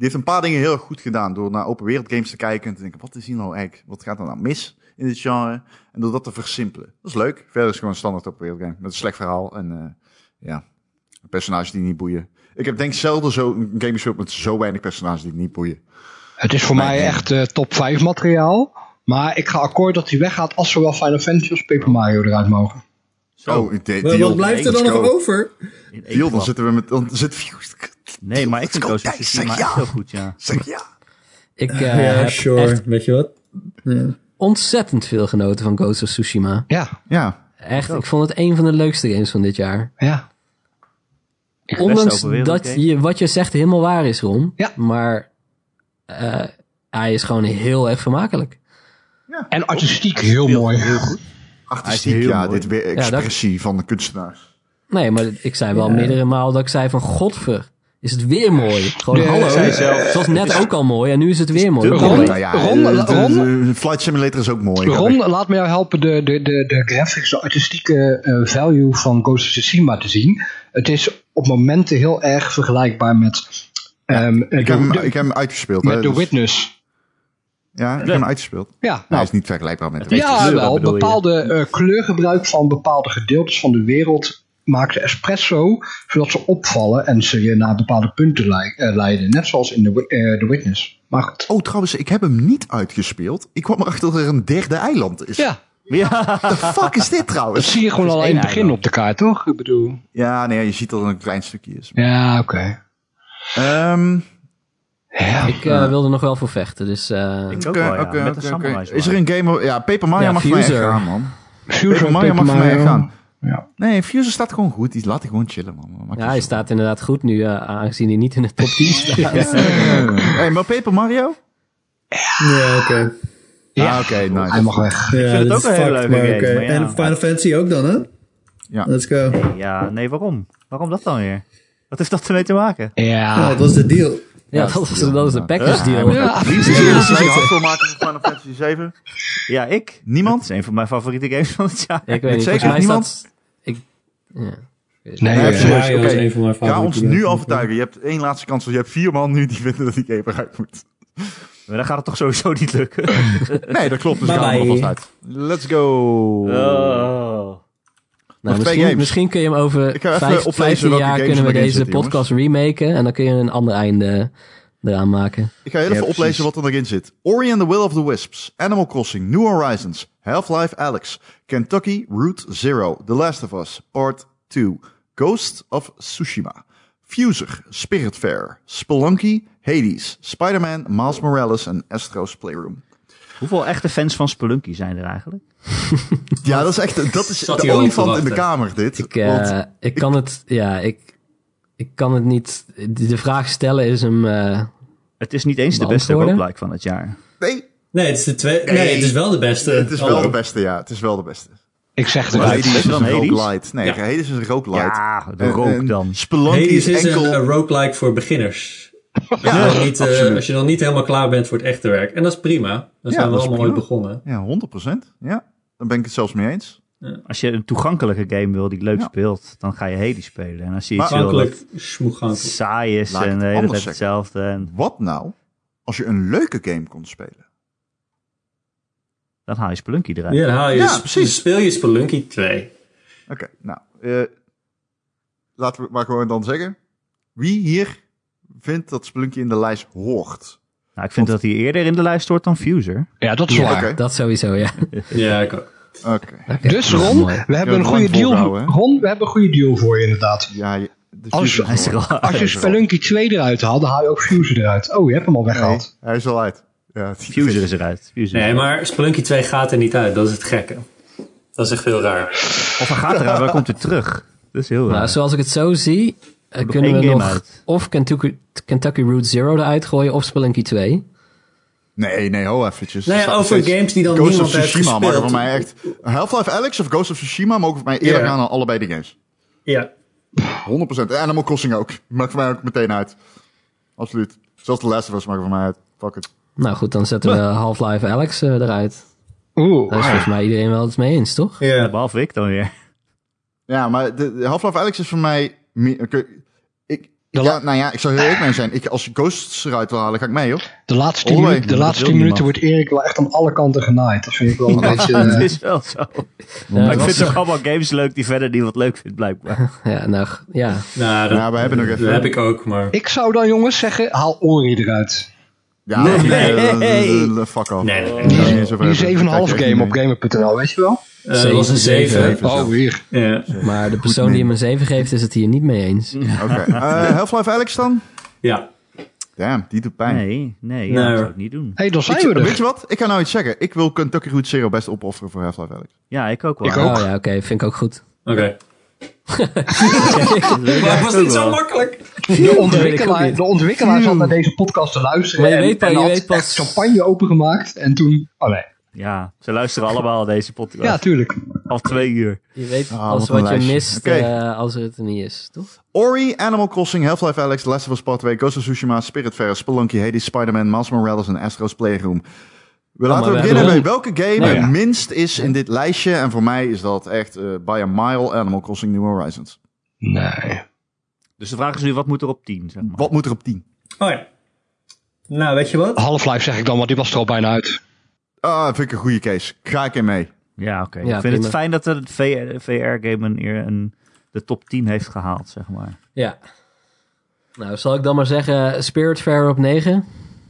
heeft een paar dingen heel erg goed gedaan. Door naar open wereld games te kijken en te denken... Wat is hier nou eigenlijk? Wat gaat er nou mis in dit genre? En door dat te versimpelen. Dat is leuk. Verder is het gewoon een standaard open wereld game. Met een slecht verhaal en... eh, ja, personages die niet boeien. Ik heb denk ik zelden zo een game gespeeld met zo weinig personages die niet boeien. Het is voor mij echt eh, top 5 materiaal. Maar ik ga akkoord dat hij weggaat als zowel Final Fantasy als Paper Mario eruit mogen. Zo. Oh, de- Maar deal. wat blijft er dan Let's nog go. over? In één Deal, dan klap. zitten we met... Dan zit Fused. Nee, maar ik Let's vind go, Ghost of Thijs, Tsushima zeg ja. echt heel goed, ja. Zeg ja. Ik eh, ja, heb sure. echt Weet je wat? ontzettend veel genoten van Ghost of Tsushima. Ja, Ja. Echt, Oh. ik vond het een van de leukste games van dit jaar. ja. Ondanks beste open wereld dat game. je, wat je zegt helemaal waar is, Ron. Ja. Maar eh, hij is gewoon heel erg vermakelijk. En artistiek heel mooi. Artistiek, heel ja. mooi. Dit weer expressie van de kunstenaar. Nee, maar ik zei wel meerdere malen dat ik zei van... Godver, is het weer mooi. Gewoon Nee, hallo. zei Het was net ook al mooi en nu is het weer mooi. dubbel. Ron- nou ja, Ron- eh, de- Ron- de- de Flight Simulator is ook mooi. Ron, laat me jou helpen de, de, de, de graphics, de artistieke eh, value van Ghost of Tsushima te zien. Het is op momenten heel erg vergelijkbaar met, ehm, eh, Ik de, heb, hem, de- ik heb hem uitgespeeld. hè, met The dus- Witness. ja, ik heb hem uitgespeeld. Ja, Hij nou, is niet vergelijkbaar met de Witness. ja kleuren, wel. bedoel je? Bepaalde eh, kleurgebruik van bepaalde gedeeltes van de wereld maakte espresso, zodat ze opvallen en ze je naar bepaalde punten lei- eh, leiden. Net zoals in The, Wi- eh, The Witness. Maar goed. Oh, trouwens, ik heb hem niet uitgespeeld. Ik kwam erachter dat er een derde eiland is. Ja, The fuck is dit dat trouwens? zie je gewoon is al in één het begin eiland. op de kaart, toch? Ik bedoel... Ja, nee, je ziet dat het een klein stukje is. Ja, oké. Ehm, Ja. Ik eh, wilde nog wel voor vechten, dus... eh, Ik ook oké, wel, ja. oké, Met de oké, samurai oké. zwaard. Is er een game... Ja, Paper Mario Ja, mag voor mij echt Fuser. gaan, man. Fusion Paper Mario mag Paper voor mij echt Mario. gaan. Ja. Nee, Fuser staat gewoon goed. Die laat ik gewoon chillen, man. Dat maakt ja, niet hij zo. staat inderdaad goed nu, eh, aangezien hij niet in de top 10 staat. Hey, maar Paper Mario? Ja, oké. Ja. Ah, oké, nice. Hij mag weg. Ja, het dat ook is een hele leuke fucked, game, maar oké. maar ja. En Final Fantasy ook dan, hè? Ja. Let's go. Ja, Ja, nee, waarom? Waarom dat dan weer? Wat heeft dat ermee te maken? Ja. Oh, dat was de deal. ja, dat was, dat was de package deal. Ja. maken van Final Fantasy 7? Ja, ik. Niemand? Dat is een van mijn favoriete games van het jaar. Ik weet niet, Zeker volgens mij niemand? staat... Ik, ja. Nee, Nee, eh, serieus, Mario oké. is een van mijn Ga favoriete ons games. nu overtuigen. Je hebt één laatste kans. want Je hebt vier man nu die vinden dat die game eruit moet. Maar dan gaat het toch sowieso niet lukken. Nee, dat klopt. Dus Bye gaan we er bye. alvast uit. Let's go. Oh. Nog Nou, twee misschien, games. misschien kun je hem over Ik ga even vijf, oplezen 15 welke jaar games kunnen we erin deze zitten, jongens. podcast remaken. En dan kun je een ander einde eraan maken. Ik ga heel even oplezen wat er nog in zit. Ori and the Will of the Wisps, Animal Crossing, New Horizons, Half-Life Alex, Kentucky Route Zero, The Last of Us, Part 2, Ghost of Tsushima, Fuser, Spiritfarer, Spelunky, Hades, Spider-Man, Miles Morales en Astro's Playroom. Hoeveel echte fans van Spelunky zijn er eigenlijk? Ja, dat is echt dat is Zat de hier al op te olifant in de wachten. kamer, dit. Ik, eh, Want- ik kan het, ja, ik, ik kan het niet. De vraag stellen is hem. eh, Het is niet eens de beste Beantwoorden? roguelike van het jaar. nee, Nee, het is, de twee, nee, het is wel de beste. Oh. het is wel Hallo. de beste, ja. Het is wel de beste. Ik zeg het Maar eruit. Hades is is dan een Hades? roguelite. Nee, Hades is een roguelite. Ja, de rook En- en dan. Spelunky Hades is is enkel... een, een roguelike voor beginners. Als, Ja, je nog niet, eh, absoluut. als je nog niet helemaal klaar bent voor het echte werk. En dat is prima. Dan zijn we dat is allemaal prima. ooit begonnen. Ja, 100%. Ja, dan ben ik het zelfs mee eens. Als je een toegankelijke game wil die leuk Ja. speelt, dan ga je Hades spelen. En als je Maar- iets wil Toegankelijk, dat smoegankelijk. saai is Laat ik en het de hele anders tijd zeggen. hetzelfde. En Wat nou als je een leuke game kon spelen? dan haal je Spelunky eruit. Ja, dan haal je Ja, sp- precies. speel je Spelunky 2. Oké, nou. eh, laten we het maar gewoon dan zeggen. Wie hier vindt dat Spelunky in de lijst hoort? Nou, ik vind dat hij eerder in de lijst hoort dan Fuser. Ja, dat is Ja, waar. oké. Dat sowieso, ja. Ja, ik ook. Oké. Oké, Dus dat is Ron, mooi. we hebben een lang goede deal. volhouden, hè? Ron, we hebben een goede deal voor je inderdaad. Ja, je- de Als- Fuser Hij is er hoort. al Als je Spelunky 2 eruit haalt, dan haal je ook Fuser eruit. Oh, je hebt hem al weggehaald. Nee, hij is al uit. Ja, die- Fuser is eruit. Fuser. Nee, maar Spelunky 2 gaat er niet uit. Dat is het gekke. Dat is echt heel raar. Of hij gaat eruit, maar hij komt weer terug. Dat is heel eh, raar. Maar zoals ik het Nou, zo zie, eh, kunnen één we game nog uit. of Kentucky, Kentucky Route Zero eruit gooien of Spelunky 2. Nee, nee, ho eventjes. Nou ja, Er staat nog over steeds games die dan Ghost niemand of heeft Tsushima gespeeld. mogen voor mij echt... Half-Life Alex of Ghost of Tsushima mogen voor mij eerder Ja. gaan dan allebei de games. Ja. 100%. En Animal Crossing ook. Maakt voor mij ook meteen uit. Absoluut. Zelfs de Last of Us maken voor mij uit. Fuck it. Nou goed, dan zetten we Half-Life Alex eh, eruit. Oeh. ah, Daar is volgens mij iedereen wel het mee eens, toch? Ja, Behalve ik dan weer. Ja, maar de, de Half-Life Alex is voor mij... meer- Ik, ik, ja, De la- nou ja, ik zou heel eerlijk mee zijn. Ik, als Ghosts eruit wil halen, ga ik mee, hoor. De laatste tien, Olé, minuten- de dat laatste wil tien niemand. minuten wordt Erik wel echt aan alle kanten genaaid. Dat vind ik wel een beetje... eh, Het is wel zo. Ja, maar ik Eh, dat vind was- toch allemaal games leuk die verder niemand leuk vindt, blijkbaar. Ja, nou, g- ja. Nou, dat, Ja, we hebben nog even- Dat heb ik ook, maar... ik zou dan jongens zeggen, haal Ori eruit. Ja, Nee. eh, eh, eh, fuck off. Nee, nee, nee. Daar gaan we niet eens over Die 7,5 hebben. Kijk, echt game op niet. gamer.nl, weet je wel? Eh, dat was een 7. Even zo. Oh, hier. Ja. Maar de persoon die hem een 7 geeft, is het hier niet mee eens. Oké. Eh, Half-Life Alex dan? ja. Damn, die doet pijn. Nee, nee, ja, Nee, dat zou hoor. ik niet doen. Hé, hey, dan zijn Ik- we weet er. je wat? Ik ga nou iets zeggen. Ik wil Kentucky Route Zero best opofferen voor Half-Life Alex. Ja, ik ook wel. Ik Oh ook. ja, oké, vind ik ook goed. Oké. maar het was niet zo makkelijk. De ik ook ontwikkelaar, niet. de ontwikkelaar zat naar deze podcast te luisteren. Maar je en, weet pas- en je had weet pas- echt champagne opengemaakt. En toen... Oh nee. Ja, ze luisteren allemaal deze podcast. Ja, tuurlijk. Al twee uur. Je weet Ah, alles wat een wat je lijstje. mist Oké. eh, als het er niet is, toch? Ori, Animal Crossing, Half-Life Alex, The Last of Us Part 2, Ghost of Tsushima, Spiritfarer, Spelunky, Hades, Spider-Man, Miles Morales en Astro's Playroom. We laten we beginnen bij hebben- welke game Nou ja. het minst is in dit lijstje. En voor mij is dat echt eh, by a mile Animal Crossing New Horizons. Nee. Dus de vraag is nu, wat moet er op tien, zeg maar? Wat moet er op 10? Oh ja. Nou, weet je wat? Half-Life zeg ik dan, want die was er al bijna uit. Ah, vind ik een goede case. Ga ik in mee. Ja, oké. Ja, ik vind prima. het fijn dat de VR-game een, eer- een, de top 10 heeft gehaald, zeg maar. Ja. Nou, zal ik dan maar zeggen Spiritfarer op 9?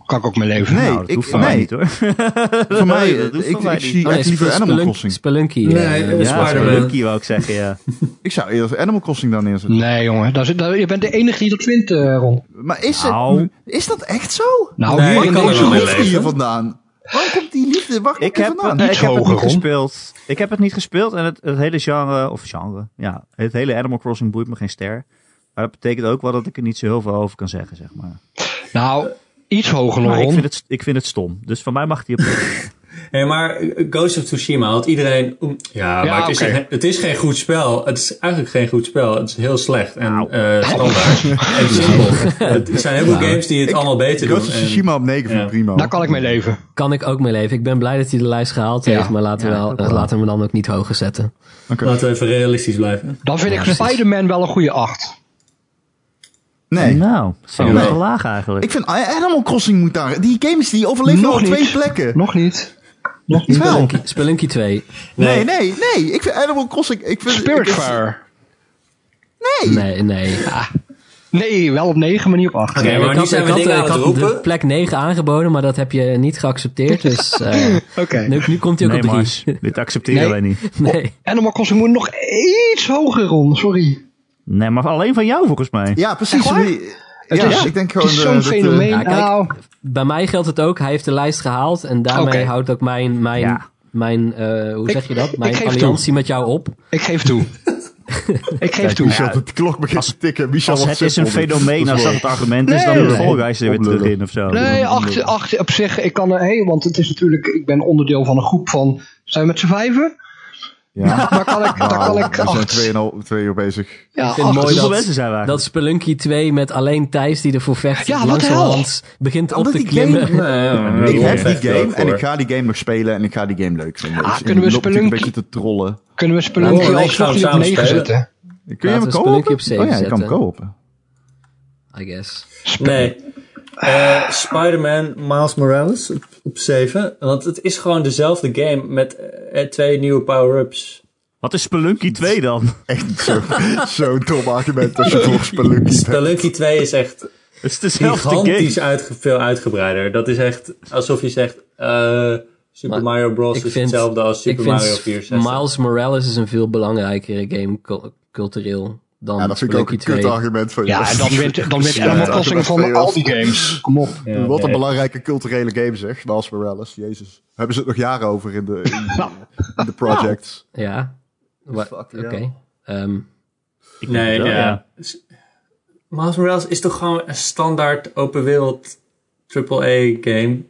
Kan ik ook mee leven. Nee, nou, dat ik, hoeft van mij nee. niet, hoor. Voor mij, dat hoeft eh, ik, van mij ik niet. zie Oh, nee, echt liever Animal Spelunk- Crossing. Spelunky. Nee, eh, eh, Ja, Spider-Man. Spelunky wou ik zeggen, ja. Ik zou eerder Animal Crossing dan neerzetten. Nee, jongen. Daar zit, daar- je bent de enige die dat vindt, eh, Ron. Maar is, het, Nou. is dat echt zo? Nou, Nee, hier ik in kan er deze Deze wel mee liefde hier leven. vandaan. Waar komt die liefde? Waar komt Ik die heb, vandaan? nee, ik Iets heb het hoger, niet Ron. gespeeld. Ik heb het niet gespeeld en het, het hele genre, of genre, ja, het hele Animal Crossing boeit me geen ster. Maar dat betekent ook wel dat ik er niet zo heel veel over kan zeggen, zeg maar. Nou, iets hoger nog, Maar ik Ron. vind, het, ik vind het stom. Dus van mij mag die op Hey, maar Ghost of Tsushima had iedereen... Ja, maar het, is oké. geen- het is geen goed spel. Het is eigenlijk geen goed spel. Het is heel slecht en Nou. eh standaard. en simpel. Het zijn heel Nou. veel games die het allemaal beter doen. Ghost of en- Tsushima op 9 vind ik Ja. prima. Daar Nou, kan ik mee leven. Kan ik ook mee leven. Ik ben blij dat hij de lijst gehaald Ja. heeft, maar laten we, wel, eh, laten we hem dan ook niet hoger zetten. Laten we even realistisch blijven. Dan vind ik precies. Spider-Man wel een goede 8. Nee. Nou, dat vind ik Nee. wel te laag eigenlijk. Ik vind Animal Crossing moet daar... Die games die overleven Nog al niet. twee plekken. Nog niet. Nog niet wel. Spelunky, Spelunky 2. Nee, nee, nee. Ik vind Animal Crossing... Ik vind, ik- Spiritfarer. Nee. Nee, nee. Nee, wel op 9, maar niet op 8. Oké, Nee, maar ik nu had, zijn ik we had, eh, dingen ik aan het had de roepen. plek 9 aangeboden, maar dat heb je niet geaccepteerd. Dus eh, Oké. nu, nu komt hij ook Nee, op Mars, 3. dit accepteren Nee. wij niet. Nee. Animal Crossing moet nog iets hoger, Ron. Sorry. Nee, maar alleen van jou volgens mij. Ja, precies. Echt waar? Ja, Het is, ik denk het gewoon... eh, is zo'n dat, eh, fenomeen. ja, kijk. nou, Bij mij geldt het ook. Hij heeft de lijst gehaald en daarmee Oké. houdt ook mijn, mijn, Ja. mijn eh, hoe Ik- zeg je dat? ik Mijn geef toe. alliantie met jou op. ik geef toe. ik geef toe. Michel, de klok begint te tikken. Michel, Als wat het is een simpel dit. fenomeen, als dat het argument is, dan Nee, moet nee. Fall Guys er weer terug in of zo. Nee, acht, acht op zich. Ik kan er heen, want het is natuurlijk. Ik ben onderdeel van een groep van. Zijn we met z'n vijven? Ja. Daar kan ik, daar kan ik we zijn acht. 2,5 twee uur bezig. ja, vind acht. dus het mooi Hoeveel dat- mensen zijn we Dat eigenlijk? Spelunky 2 met alleen Thijs die ervoor vecht. Ja, wat de langzamerhand begint op Omdat te die game- klimmen. Ik heb die game en ik ga die game nog spelen en ik ga die game leuk vinden. Ah, Dus ik kunnen we loop natuurlijk Spelunky- een beetje te trollen. Kunnen we Oh, Spelunky nee, ik alsnog zou hem niet op samen 9 spelen. zetten? Kun je Laten hem Oh we Spelunky kopen? op zeven Oh ja, ik kan hem zetten. kopen. I guess. Nee. eh, Spider-Man Miles Morales op, op 7. Want het is gewoon dezelfde game met eh, twee nieuwe power-ups. Wat is Spelunky 2 dan? Echt zo- zo'n dom argument als je voor Spelunky hebt. Spelunky 2 is echt Het is dezelfde game. gigantisch uitge- veel uitgebreider. Dat is echt alsof je zegt... eh, Super Maar Mario Bros. ik is vind- hetzelfde als Super Mario ik vind 64. Miles Morales is een veel belangrijkere game cul- cultureel dan Ja, dat vind ik ook een Spelunky 2. kut argument van je. Ja, en dan wint, dan wint Ja, Animal dat Crossing is van wel al die games. Kom op. Ja, Wat een nee. belangrijke culturele game zeg, Miles Morales. Jezus. Hebben ze het nog jaren over in de, in, in de projects. Ja. Wa- Oké. hell. Ehm, Nee, wel, ja. ja. S- Miles Morales is toch gewoon een standaard open wereld AAA game.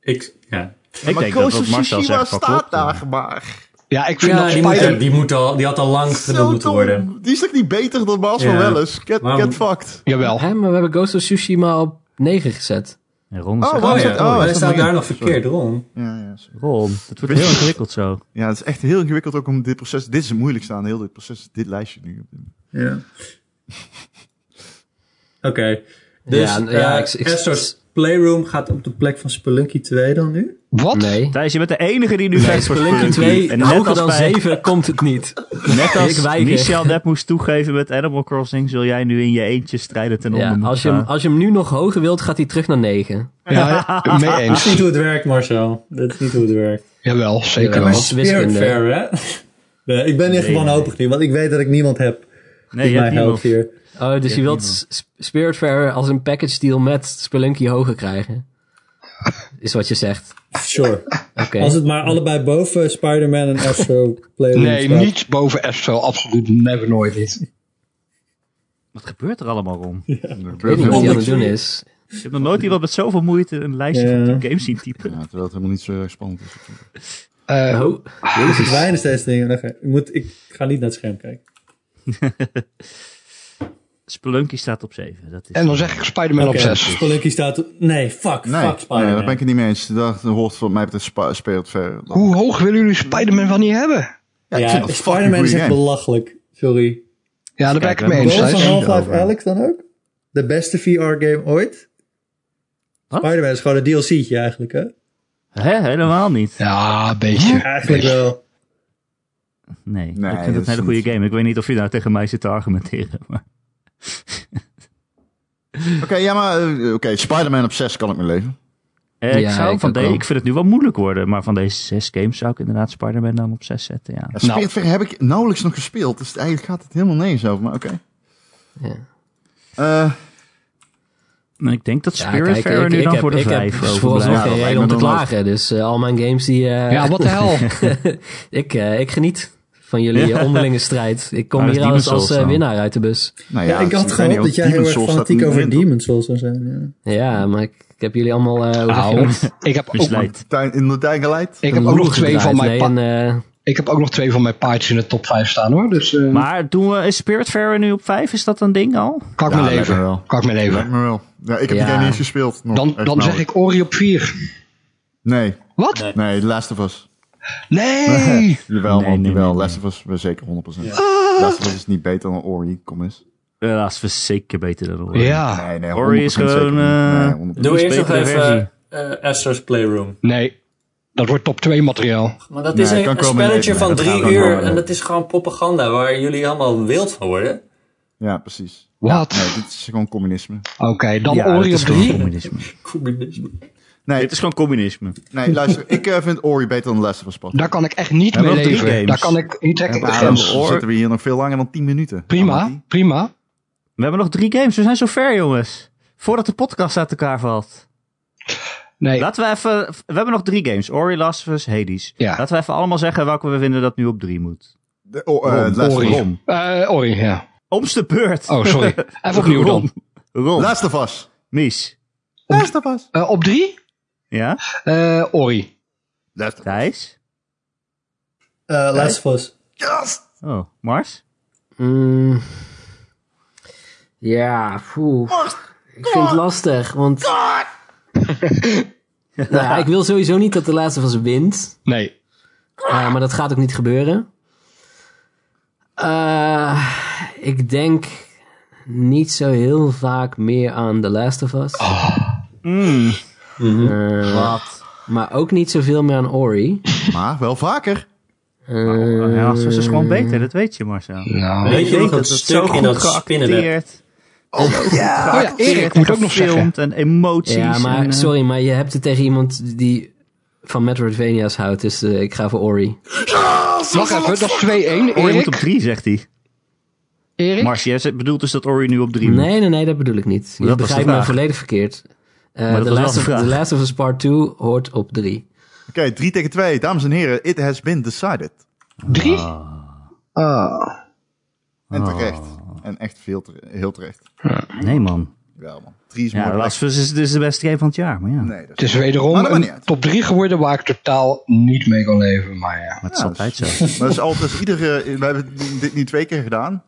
Ik, ja. Ik denk dat wat Marcel zegt wel klopt. maar. Ja, ik vind Ja, dat die, moet, Spider... die, moet al, die had al lang genoemd moeten worden. Die is toch niet beter dan Miles Ja. Morales? Get, Waarom- get fucked. Jawel. hè, maar we hebben Ghost of Tsushima op 9 gezet. En Ron Oh, zegt, wauw. oh, Oh is ja, dat- oh, is wij dat staan nog daar in? nog verkeerd rond. Ja, ja, sorry. Ron, het wordt heel ingewikkeld zo. ja, het is echt heel ingewikkeld ook om dit proces. Dit is het moeilijkste aan heel dit proces. Dit lijstje nu. Ja. Oké. Dus Ja, ja, n- eh, eh, ja, ik- ik- Astor's Playroom gaat op de plek van Spelunky 2 dan nu? Wat? Nee. Thijs, je bent de enige die nu vecht voor Spelunky Spelunky. 2, en net hoger als, dan bij, 7 komt het niet. net Ik als weiger. Michel net moest toegeven met Animal Crossing, zul jij nu in je eentje strijden ten Ja, onder als, je hem, als je hem nu nog hoger wilt, gaat hij terug naar 9. Ja, mee Dat is eens. niet hoe het werkt, Marcel. Dat is niet hoe het werkt. Jawel, zeker Jawel. wel. is wiskunde. Fair, hè? Nee, ik ben echt Nee, wanhopig nu, want ik weet dat ik niemand heb Nee, die je mij hebt helpt niemand. hier. Oh, dus je wilt S- Spiritfarer als een package deal met Spelunky hoger krijgen. Is wat je zegt. Sure. Oké. Als het maar allebei boven Spider-Man en Astro Playroom Nee, staat. niet boven Astro. Absoluut never, nooit niet. Wat gebeurt er allemaal, Ron? Ik Ik weet niet wat hij aan het doen is. Ik heb nog nooit iemand met zoveel moeite een lijstje Ja. van games zien typen. Ja, terwijl het helemaal niet zo erg spannend is. natuurlijk. Eh, Oh, Ik weinig steeds dingen. Oké, Ik, moet, ik ga niet naar het scherm kijken. Spelunky staat op 7. Dat is en dan zeg ik Spider-Man op Oké, 6. Spelunky staat... op- Nee, fuck, Nee, fuck Spider-Man. nee, daar ben ik het niet mee eens. Dat hoort voor mij betreft spa- speelt verder. dan. Hoe hoog willen jullie Spider-Man van niet hebben? Ja, ik vind Ja, dat een Spider-Man fucking is goede echt game. belachelijk. Sorry. Ja, daar ben Kijk, ik het mee we eens, hebben Boven Thijs. Half-Life over. Alex dan ook? De beste VR-game ooit? Wat? Spider-Man is gewoon een DLC'tje eigenlijk, hè? Hè, helemaal niet. Ja, een beetje. Eigenlijk wel. Nee, Nee, ik vind dat het is een hele goede niet- game. Ik weet niet of je nou tegen mij zit te argumenteren. Maar... Oké, ja, maar eh, oké, Spider-Man op 6 kan ik mee leven. Eh, Ja, ik, zou ik van ook de, wel. ik vind het nu wel moeilijk worden, maar van deze zes games zou ik inderdaad Spider-Man dan op 6 zetten. Ja. Ja, Spiritfarer heb ik nauwelijks nog gespeeld, dus eigenlijk gaat het helemaal nergens over, maar oké. ja. Eh, Nou, Ik denk dat Ja, Spiritfarer kijk, ik- nu ik dan heb- voor de ik heb 5 vooralsnog Ja, overblijft. dat geen lijkt reden me om te dan wel. klagen. Dus eh, al mijn games die... eh, Ja, wat de hel. ik, eh, ik geniet van jullie eh, onderlinge strijd. Ik kom Maar hier dat is als, Demon's als Souls eh, dan. winnaar uit de bus. nou ja, Ja, ik weet had niet, gehoopt dat jij heel Demon's erg Souls staat fanatiek niet over meer in, Demon's Souls zou zijn. Ja. Ja, maar ik, ik heb jullie allemaal eh Nou, overgehoord. ik heb ook, Misleid. toch? Tuin- In de tuin geleid. ik heb ook nog twee van mijn Nee, pa- en, eh, Ik heb ook nog twee van mijn paardjes in de top 5 staan hoor. Dus eh, Maar doen we is Spiritfarer nu op 5? Is dat een ding al? kan ik Ja, mijn lijkt me leven. wel. Kan ik mijn Lijkt leven. me wel. Ja, ik heb Ja. die game niet eens gespeeld. nog, Dan, echt dan nou- zeg nauwelijks. ik Ori op 4. Nee, Wat? nee, The Last of Us. Nee! Jawel, Nee, man, nee, jawel. nee, Last of Us, we zeker 100%. The Last of Us is niet beter dan Ori, kom eens. Ja, dat is zeker beter dan Ori. Ja. Nee, nee, 100% Ori is zeker gewoon, niet. eh, Nee, 100%. Doe is eerst nog betere versie. even eh Astor's Playroom. Nee. Dat wordt top 2 materiaal. Maar dat Nee, is kan een, ik een wel mee spelletje leven. van Dat gaat drie wel uur komen. en dat is gewoon propaganda waar jullie allemaal wild van worden. Ja, precies. Wat? Nee, dit is gewoon communisme. Oké, dan Ja, het Ori op is gewoon 3. communisme. Communisme. Nee, Dit is gewoon communisme. nee luister, ik eh, vind Ori beter dan The Last of Us. Pat. Daar kan ik echt niet Ja, mee wel drie leven. games. Daar kan ik niet trekken. En Ik de daarom grens. zitten we hier nog veel langer dan 10 minuten. Prima, Amati. prima. We hebben nog drie games, we zijn zo ver jongens. Voordat de podcast uit elkaar valt. Nee, Laten we even, we hebben nog drie games. Ori, Last of Us, Hades. Ja. Laten we even allemaal zeggen welke we vinden dat nu op drie moet. De, oh, eh, Last of Us. Ori. Rom. Eh, Ori, ja. Om's de beurt. Oh, sorry. Even opnieuw dan. Rom. Rom. Last of Us. Mies. Last of Us. Eh, op 3? Ja? Eh Ori. Last of Us. Thijs? Eh, Last of Us. Yes. Oh, Mars? mm, ja, poeh. Ik vind het lastig, want... nou, ja, ik wil sowieso niet dat de laatste van ze wint. Nee. Eh, maar dat gaat ook niet gebeuren. Eh, ik denk niet zo heel vaak meer aan The Last of Us. Mm. Wat? Maar ook niet zoveel meer aan Ori. Maar wel vaker. Eh, ja, ze is dus gewoon beter, dat weet je Marcel. Nou, Weet je nog dat het stuk in dat spinnenweb? Ja, Oh ja, Erik moet ook nog gefilmd en emoties. ja, maar en, eh, sorry, maar je hebt het tegen iemand die van Metroidvania's houdt. Dus eh, ik ga voor Ori. wacht even, dat is 2-1. Ori moet op Erik, drie, zegt hij. Erik? Mars, jij zegt- bedoelt dus dat Ori nu op drie moet. Nee, nee, nee, dat bedoel ik niet. Je Dat was de begrijpt me vraag. volledig verkeerd. Eh dat The was wel Last de of- vraag. The Last of Us Part 2 hoort op 3. Oké, 3 tegen 2. Dames en heren, it has been decided. Drie? Ah. En terecht. En echt veel tere- heel terecht. Nee, man. Wel man. 3 is Ja, mooi. Last of Us is, is de beste game van het jaar. Maar ja, Nee, dat Het is is... Maar wederom dat maakt een niet uit. top 3 geworden waar ik totaal niet mee kan leven. Maar ja. maar het is altijd zo. Maar dat is altijd als iedere... We hebben dit nu twee keer gedaan.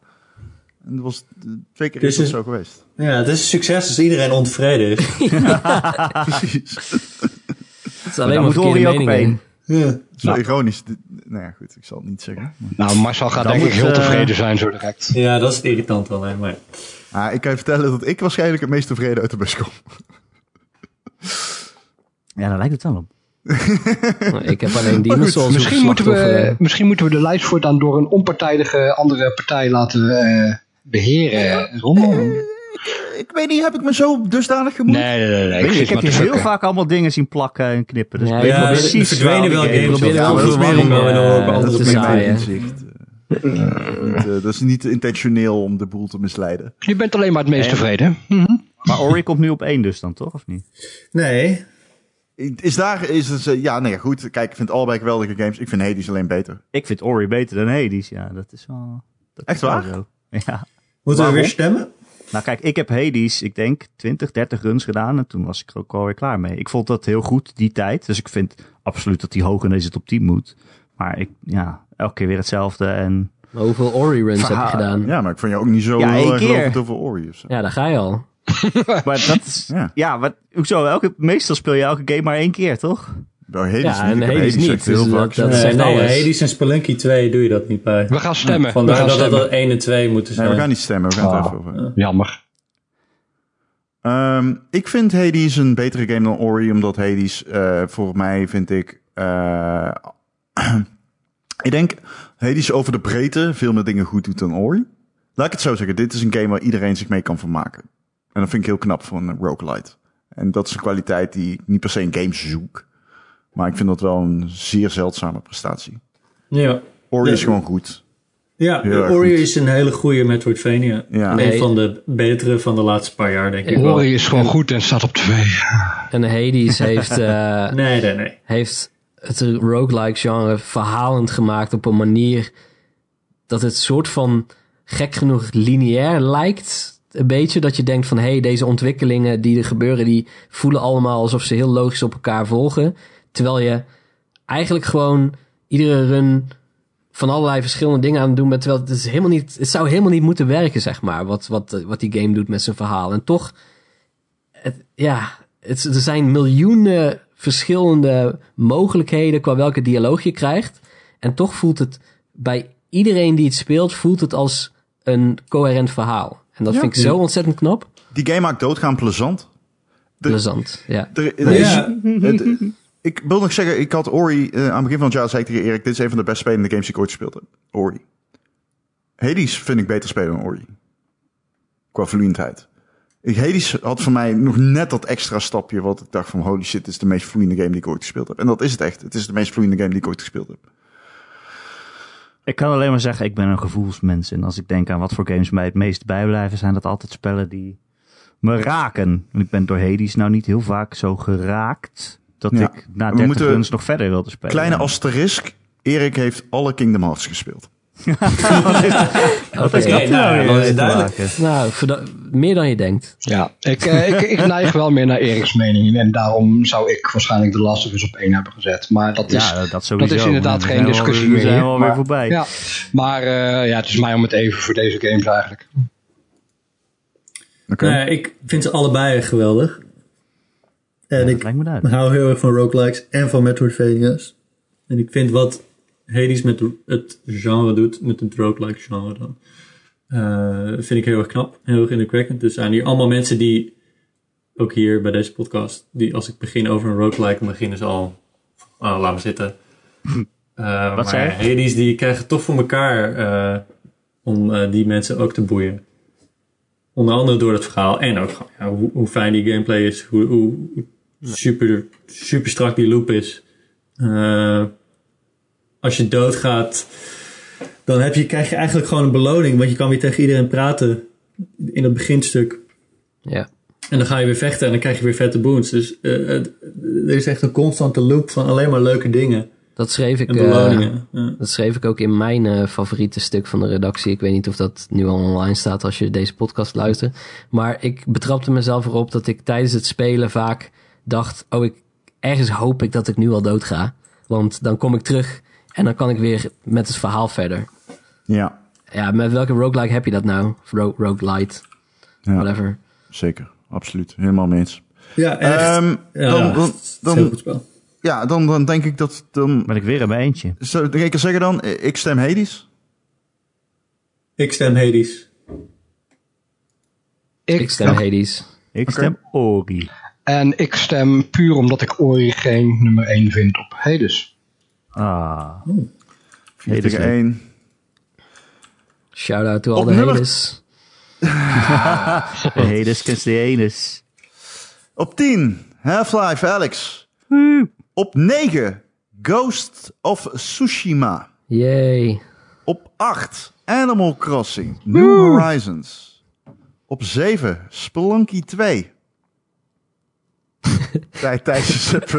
En dat was eh, twee keer Dus is dat is- zo geweest. Ja, het is een succes als iedereen ontevreden is. Ah. Precies. Het is alleen Dan maar moet verkeerde Ori ook op meningen. één. ja. Zo ironisch. Dit- Nou ja, goed. Ik zal het niet zeggen. Nou, Marcel gaat Dan denk ik moet, heel eh, tevreden zijn zo direct. ja, dat is het irritant alleen. Maar Ah, ik kan je vertellen dat ik waarschijnlijk het meest tevreden uit de bus kom. Ja, daar lijkt het wel op. Ik heb alleen Demon's Souls Misschien hoeven moeten, we, slachtoffer. misschien moeten we de lijst voortaan door een onpartijdige andere partij laten eh, beheren. Rommel. Dus Ik weet niet, heb ik me zo dusdanig gemoed? Nee, nee, nee. nee Weet je, ik zit maar heb te hier heel fucken. vaak allemaal dingen zien plakken en knippen. Dus Ja, ik ik weet probeer- precies er verdwenen waar die wel games games op op. Ja, maar dat is meer om, Ja, eh, dat dat is is meer saai, mijn hè? inzicht. Eh, dat is niet intentioneel om de boel te misleiden. Je bent alleen maar het meest tevreden. Maar Ori komt nu op één dus dan, toch? Of niet? nee, Is daar, is het, eh, ja, nee, ja, goed. Kijk, ik vind allebei geweldige games. Ik vind Hades alleen beter. Ik vind Ori beter dan Hades. Ja, dat is wel... Dat Echt is wel waar? zo. Ja. moeten we Waarom? weer stemmen? Nou kijk, ik heb Hades, ik denk 20, 30 runs gedaan en toen was ik er ook alweer klaar mee. Ik vond dat heel goed die tijd, dus ik vind absoluut dat die hoog in deze top 10 moet. Maar ik, ja, elke keer weer hetzelfde en... eh, Maar hoeveel Ori runs heb Verhaal- je gedaan? Ja. Ja, maar ik vond je ook niet zo Ja, heel één erg keer. lovend over Ori of zo. daar ga je al. Maar dat is... Ja. ja, maar hoezo? Elke, meestal speel je elke game maar één keer, toch? Nou, Hades Ja, niet. en Ik heb Hades echt niet, heel dus vaak dat- gezien. dat- Nee, zijn nee, alles. Hades en Spelunky 2 doe je dat niet bij. We gaan stemmen. We Vandaar gaan dat stemmen. dat 1 en 2 moeten Nee, zijn. we eh, gaan niet stemmen. We gaan het Ah. even over. Jammer. Ehm, ik vind Hades een betere game dan Ori, omdat Hades, eh volgens mij vind ik... eh, ik denk Hades over de breedte veel meer dingen goed doet dan Ori. Laat ik het zo zeggen, dit is een game waar iedereen zich mee kan vermaken. En dat vind ik heel knap voor een roguelite. En dat is een kwaliteit die ik niet per se in games zoek. Maar ik vind dat wel een zeer zeldzame prestatie. Ja, Ori Ja. is gewoon goed. ja Heel erg Ori goed. is een hele goede Metroidvania. Ja. Een Nee. van de betere van de laatste paar jaar, denk ik wel. Ori is gewoon goed en staat op 2. En Hades heeft, eh, Nee, nee, nee. heeft het roguelike genre verhalend gemaakt op een manier dat het soort van gek genoeg lineair lijkt. Een beetje dat je denkt van hé, hey, deze ontwikkelingen die er gebeuren, die voelen allemaal alsof ze heel logisch op elkaar volgen. Terwijl je eigenlijk gewoon iedere run van allerlei verschillende dingen aan het doen bent. Terwijl het, is helemaal niet, het zou helemaal niet moeten werken, zeg maar, wat, wat, wat die game doet met zijn verhaal. En toch het- ja, het, er zijn miljoenen verschillende mogelijkheden qua welke dialoog je krijgt. En toch voelt het bij iedereen die het speelt, voelt het als een coherent verhaal. En dat vind ik zo ontzettend knap. Die game maakt doodgaan plezant. De- Plezant, ja. Er, er is, Ja. het- ik wil nog zeggen, ik had Ori eh, aan het begin van het jaar zei ik tegen Erik, dit is een van de best spelende games die ik ooit gespeeld heb. Ori. Hades vind ik beter spelen dan Ori. Qua vloeiendheid. Ik- Hades had voor mij nog net dat extra stapje wat ik dacht van holy shit, dit is de meest vloeiende game die ik ooit gespeeld heb. En dat is het echt. Het is de meest vloeiende game die ik ooit gespeeld heb. Ik kan alleen maar zeggen, ik ben een gevoelsmens. En als ik denk aan wat voor games mij het meest bijblijven, zijn dat altijd spellen die me raken. En ik ben door Hades nou niet heel vaak zo geraakt dat Ja. ik na We 30 moeten- runs nog verder wilde spelen. Kleine asterisk, Erik heeft alle Kingdom Hearts gespeeld. Wat is Oké, dat nou, nou ja, weer dat is te duidelijk. Dus maken? Nou, verda- meer dan je denkt. Ja, ik, eh, ik, ik neig wel meer naar Erik's mening. En daarom zou ik waarschijnlijk de Last of Us op 1 hebben gezet. Maar dat is, Ja, dat, dat sowieso. dat is inderdaad Maar geen we zijn wel- discussie meer. We zijn hier, wel maar- weer voorbij. Ja, maar eh, ja, het is mij om het even voor deze games eigenlijk. Oké. Nou ja, ik vind ze allebei geweldig. En Dat ik lijkt me duidelijk. hou heel erg van roguelikes en van Metroidvania's. En ik vind wat Hades met het genre doet, met het roguelike genre dan, Dus eh, vind ik heel erg knap, heel erg indrukwekkend. Er zijn hier allemaal mensen die ook hier bij deze podcast, die als ik begin over een roguelike, dan beginnen ze al, oh, laat me zitten. Eh, maar zei je? Hades, die krijgen toch voor elkaar eh, om eh, die mensen ook te boeien. Onder andere door het verhaal en ook gewoon, ja, hoe, hoe fijn die gameplay is, hoe, hoe super, super strak die loop is. Eh, als je doodgaat, dan heb je, krijg je eigenlijk gewoon een beloning. Want je kan weer tegen iedereen praten in het beginstuk. Ja. En dan ga je weer vechten en dan krijg je weer vette boons. Dus eh, het- er is echt een constante loop van alleen maar leuke dingen. Dat schreef ik. En eh, beloningen. Ja. dat schreef ik ook in mijn eh, favoriete stuk van de redactie. Ik weet niet of dat nu al online staat als je deze podcast luistert. Maar ik betrapte mezelf erop dat ik tijdens het spelen vaak dacht: oh, ik, ergens hoop ik dat ik nu al doodga. Want dan kom ik terug en dan kan ik weer met het verhaal verder. Ja, Ja, met welke roguelike heb je dat nou? Ro roguelite, Ja. whatever. zeker. Absoluut. Helemaal mee eens. Ja, echt. Ehm, ja, dan, ja, dan, het is een heel dan, goed spel. ja, dan, dan denk ik dat... Dan, Ben ik weer in mijn eentje. zo, ik kan zeggen dan, eh, ik stem Hades. Ik stem Hades. Ik stem Hades. Ik stem Ori. En ik stem puur omdat ik Ori geen nummer 1 vind op Hades. Ah. 4 Hades tegen leuk. 1. Shout out to all Op the nummer- Hades. Hades kent de Enes. Op 10, Half-Life Alex. Op 9, Ghost of Tsushima. Yay. Op 8, Animal Crossing. New Horizons. Op 7, Spelunky 2. Tijd- Tijdens het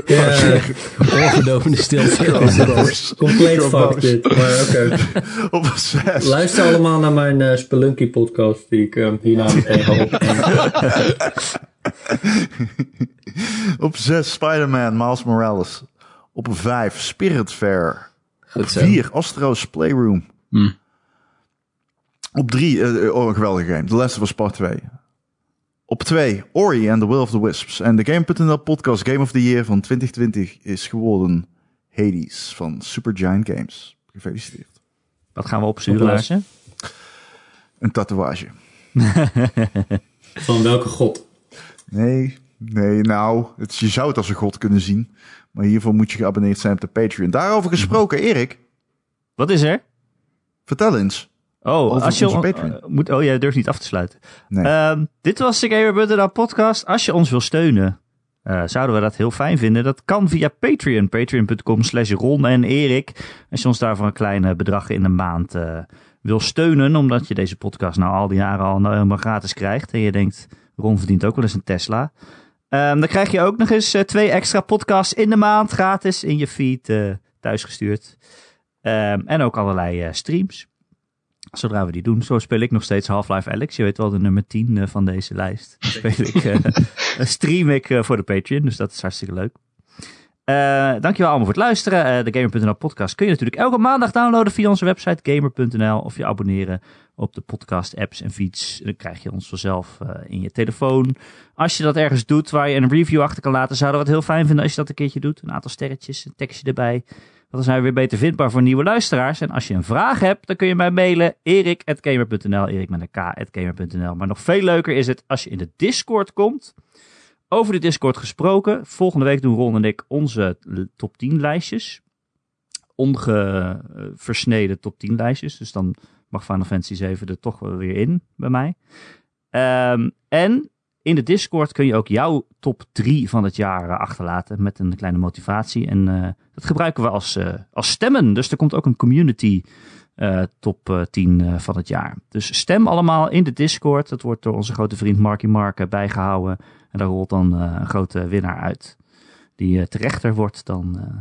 Ongedovende stilte. Compleet Gewoon fuck boos. dit. Maar oké. Op 6. Luister allemaal naar mijn eh, Spelunky podcast die ik eh, hierna meteen ga opnemen. Op 6 Spider-Man Miles Morales. Op 5 Spirit Fair. Goed zo. 4 Astro's Playroom. Op 3, oh, een geweldige game. The Last of Us Part 2. Op 2 Ori and the Will of the Wisps. En de Game.nl podcast Game of the Year van 2020 is geworden Hades van Supergiant Games. Gefeliciteerd. Wat gaan we opsturen, Oplossen. Larsen? Een tatoeage. Van welke god? Nee, nee, nou, het, je zou het als een god kunnen zien. Maar hiervoor moet je geabonneerd zijn op de Patreon. Daarover gesproken, Erik, Wat is er? vertel eens. Oh, Over als je onze on- Patreon. eh, moet, oh, jij durft niet af te sluiten. Nee. Ehm, dit was de Gamer Butterdown podcast. Als je ons wil steunen, eh, zouden we dat heel fijn vinden. Dat kan via Patreon. Patreon.com slash Ron en Erik. Als je ons daarvoor een klein eh, bedrag in de maand eh, wil steunen. Omdat je deze podcast nou al die jaren al nou helemaal gratis krijgt. En je denkt, Ron verdient ook wel eens een Tesla. Ehm, dan krijg je ook nog eens eh, twee extra podcasts in de maand gratis in je feed eh, thuisgestuurd. Ehm, en ook allerlei eh, streams. Zodra we die doen. Zo speel ik nog steeds Half-Life Alex. Je weet wel, de nummer 10 eh, van deze lijst. Die Speel ik, eh, stream ik eh, voor de Patreon. Dus dat is hartstikke leuk. Eh, dankjewel allemaal voor het luisteren. Eh, de Gamer.nl podcast kun je natuurlijk elke maandag downloaden via onze website gamer.nl. Of je abonneren op de podcast apps en feeds. Dan krijg je ons vanzelf eh, in je telefoon. Als je dat ergens doet waar je een review achter kan laten, zouden we het heel fijn vinden als je dat een keertje doet. Een aantal sterretjes, een tekstje erbij. Dat is nou weer beter vindbaar voor nieuwe luisteraars. En als je een vraag hebt, dan kun je mij mailen. erik.gamer.nl, erik met een k.gamer.nl. Maar nog veel leuker is het als je in de Discord komt. Over de Discord gesproken. Volgende week doen Ron en ik onze top 10 lijstjes. Ongeversneden top 10 lijstjes. Dus dan mag Final Fantasy 7 er toch wel weer in bij mij. Ehm, en in de Discord kun je ook jouw top 3 van het jaar eh, achterlaten met een kleine motivatie. En eh, dat gebruiken we als, eh, als stemmen. Dus er komt ook een community eh, top eh, 10 eh, van het jaar. Dus stem allemaal in de Discord. Dat wordt door onze grote vriend Marky Mark eh, bijgehouden. En daar rolt dan eh, een grote winnaar uit. Die eh, terechter wordt dan, eh,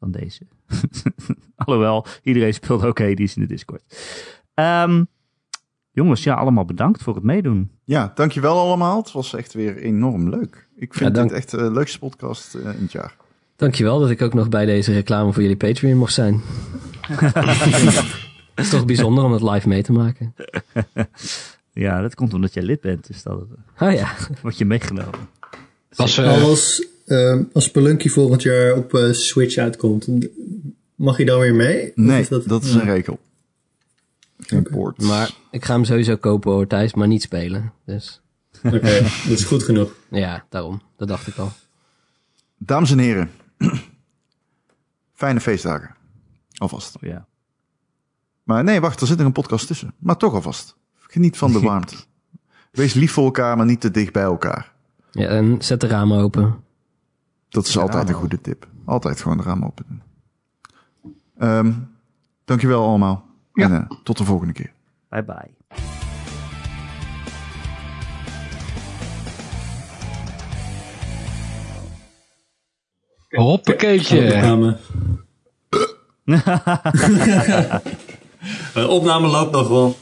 dan deze. Alhoewel, iedereen speelt oké, die is in de Discord. Ehm, jongens, ja, allemaal bedankt voor het meedoen. Ja, dankjewel allemaal. Het was echt weer enorm leuk. Ik vind Ja, dank. dit echt eh, de leukste podcast eh, in het jaar. Dankjewel dat ik ook nog bij deze reclame voor jullie Patreon mocht zijn. Het is toch bijzonder om het live mee te maken. Ja, dat komt omdat jij lid bent, dus dat Ah ja, eh, wordt je meegenomen. Was, eh, Nou, Als, ehm als Spelunky volgend jaar op eh, Switch uitkomt, mag je dan weer mee? Of Nee, is dat, is een regel. Geen poort. maar ik ga hem sowieso kopen hoor Thijs, maar niet spelen. Dus Oké, dat is goed genoeg. Ja, daarom. Dat dacht ik al. Dames en heren, fijne feestdagen. Alvast. Ja. Maar nee, wacht, er zit nog een podcast tussen. Maar toch alvast. Geniet van de warmte. Wees lief voor elkaar, maar niet te dicht bij elkaar. Ja, en zet de ramen open. Dat is altijd een goede tip. Altijd gewoon de ramen open doen. Ehm, dankjewel allemaal. En eh, tot de volgende keer. Bye bye. Hoppakeetje. Opname. Eh, opname loopt nog wel.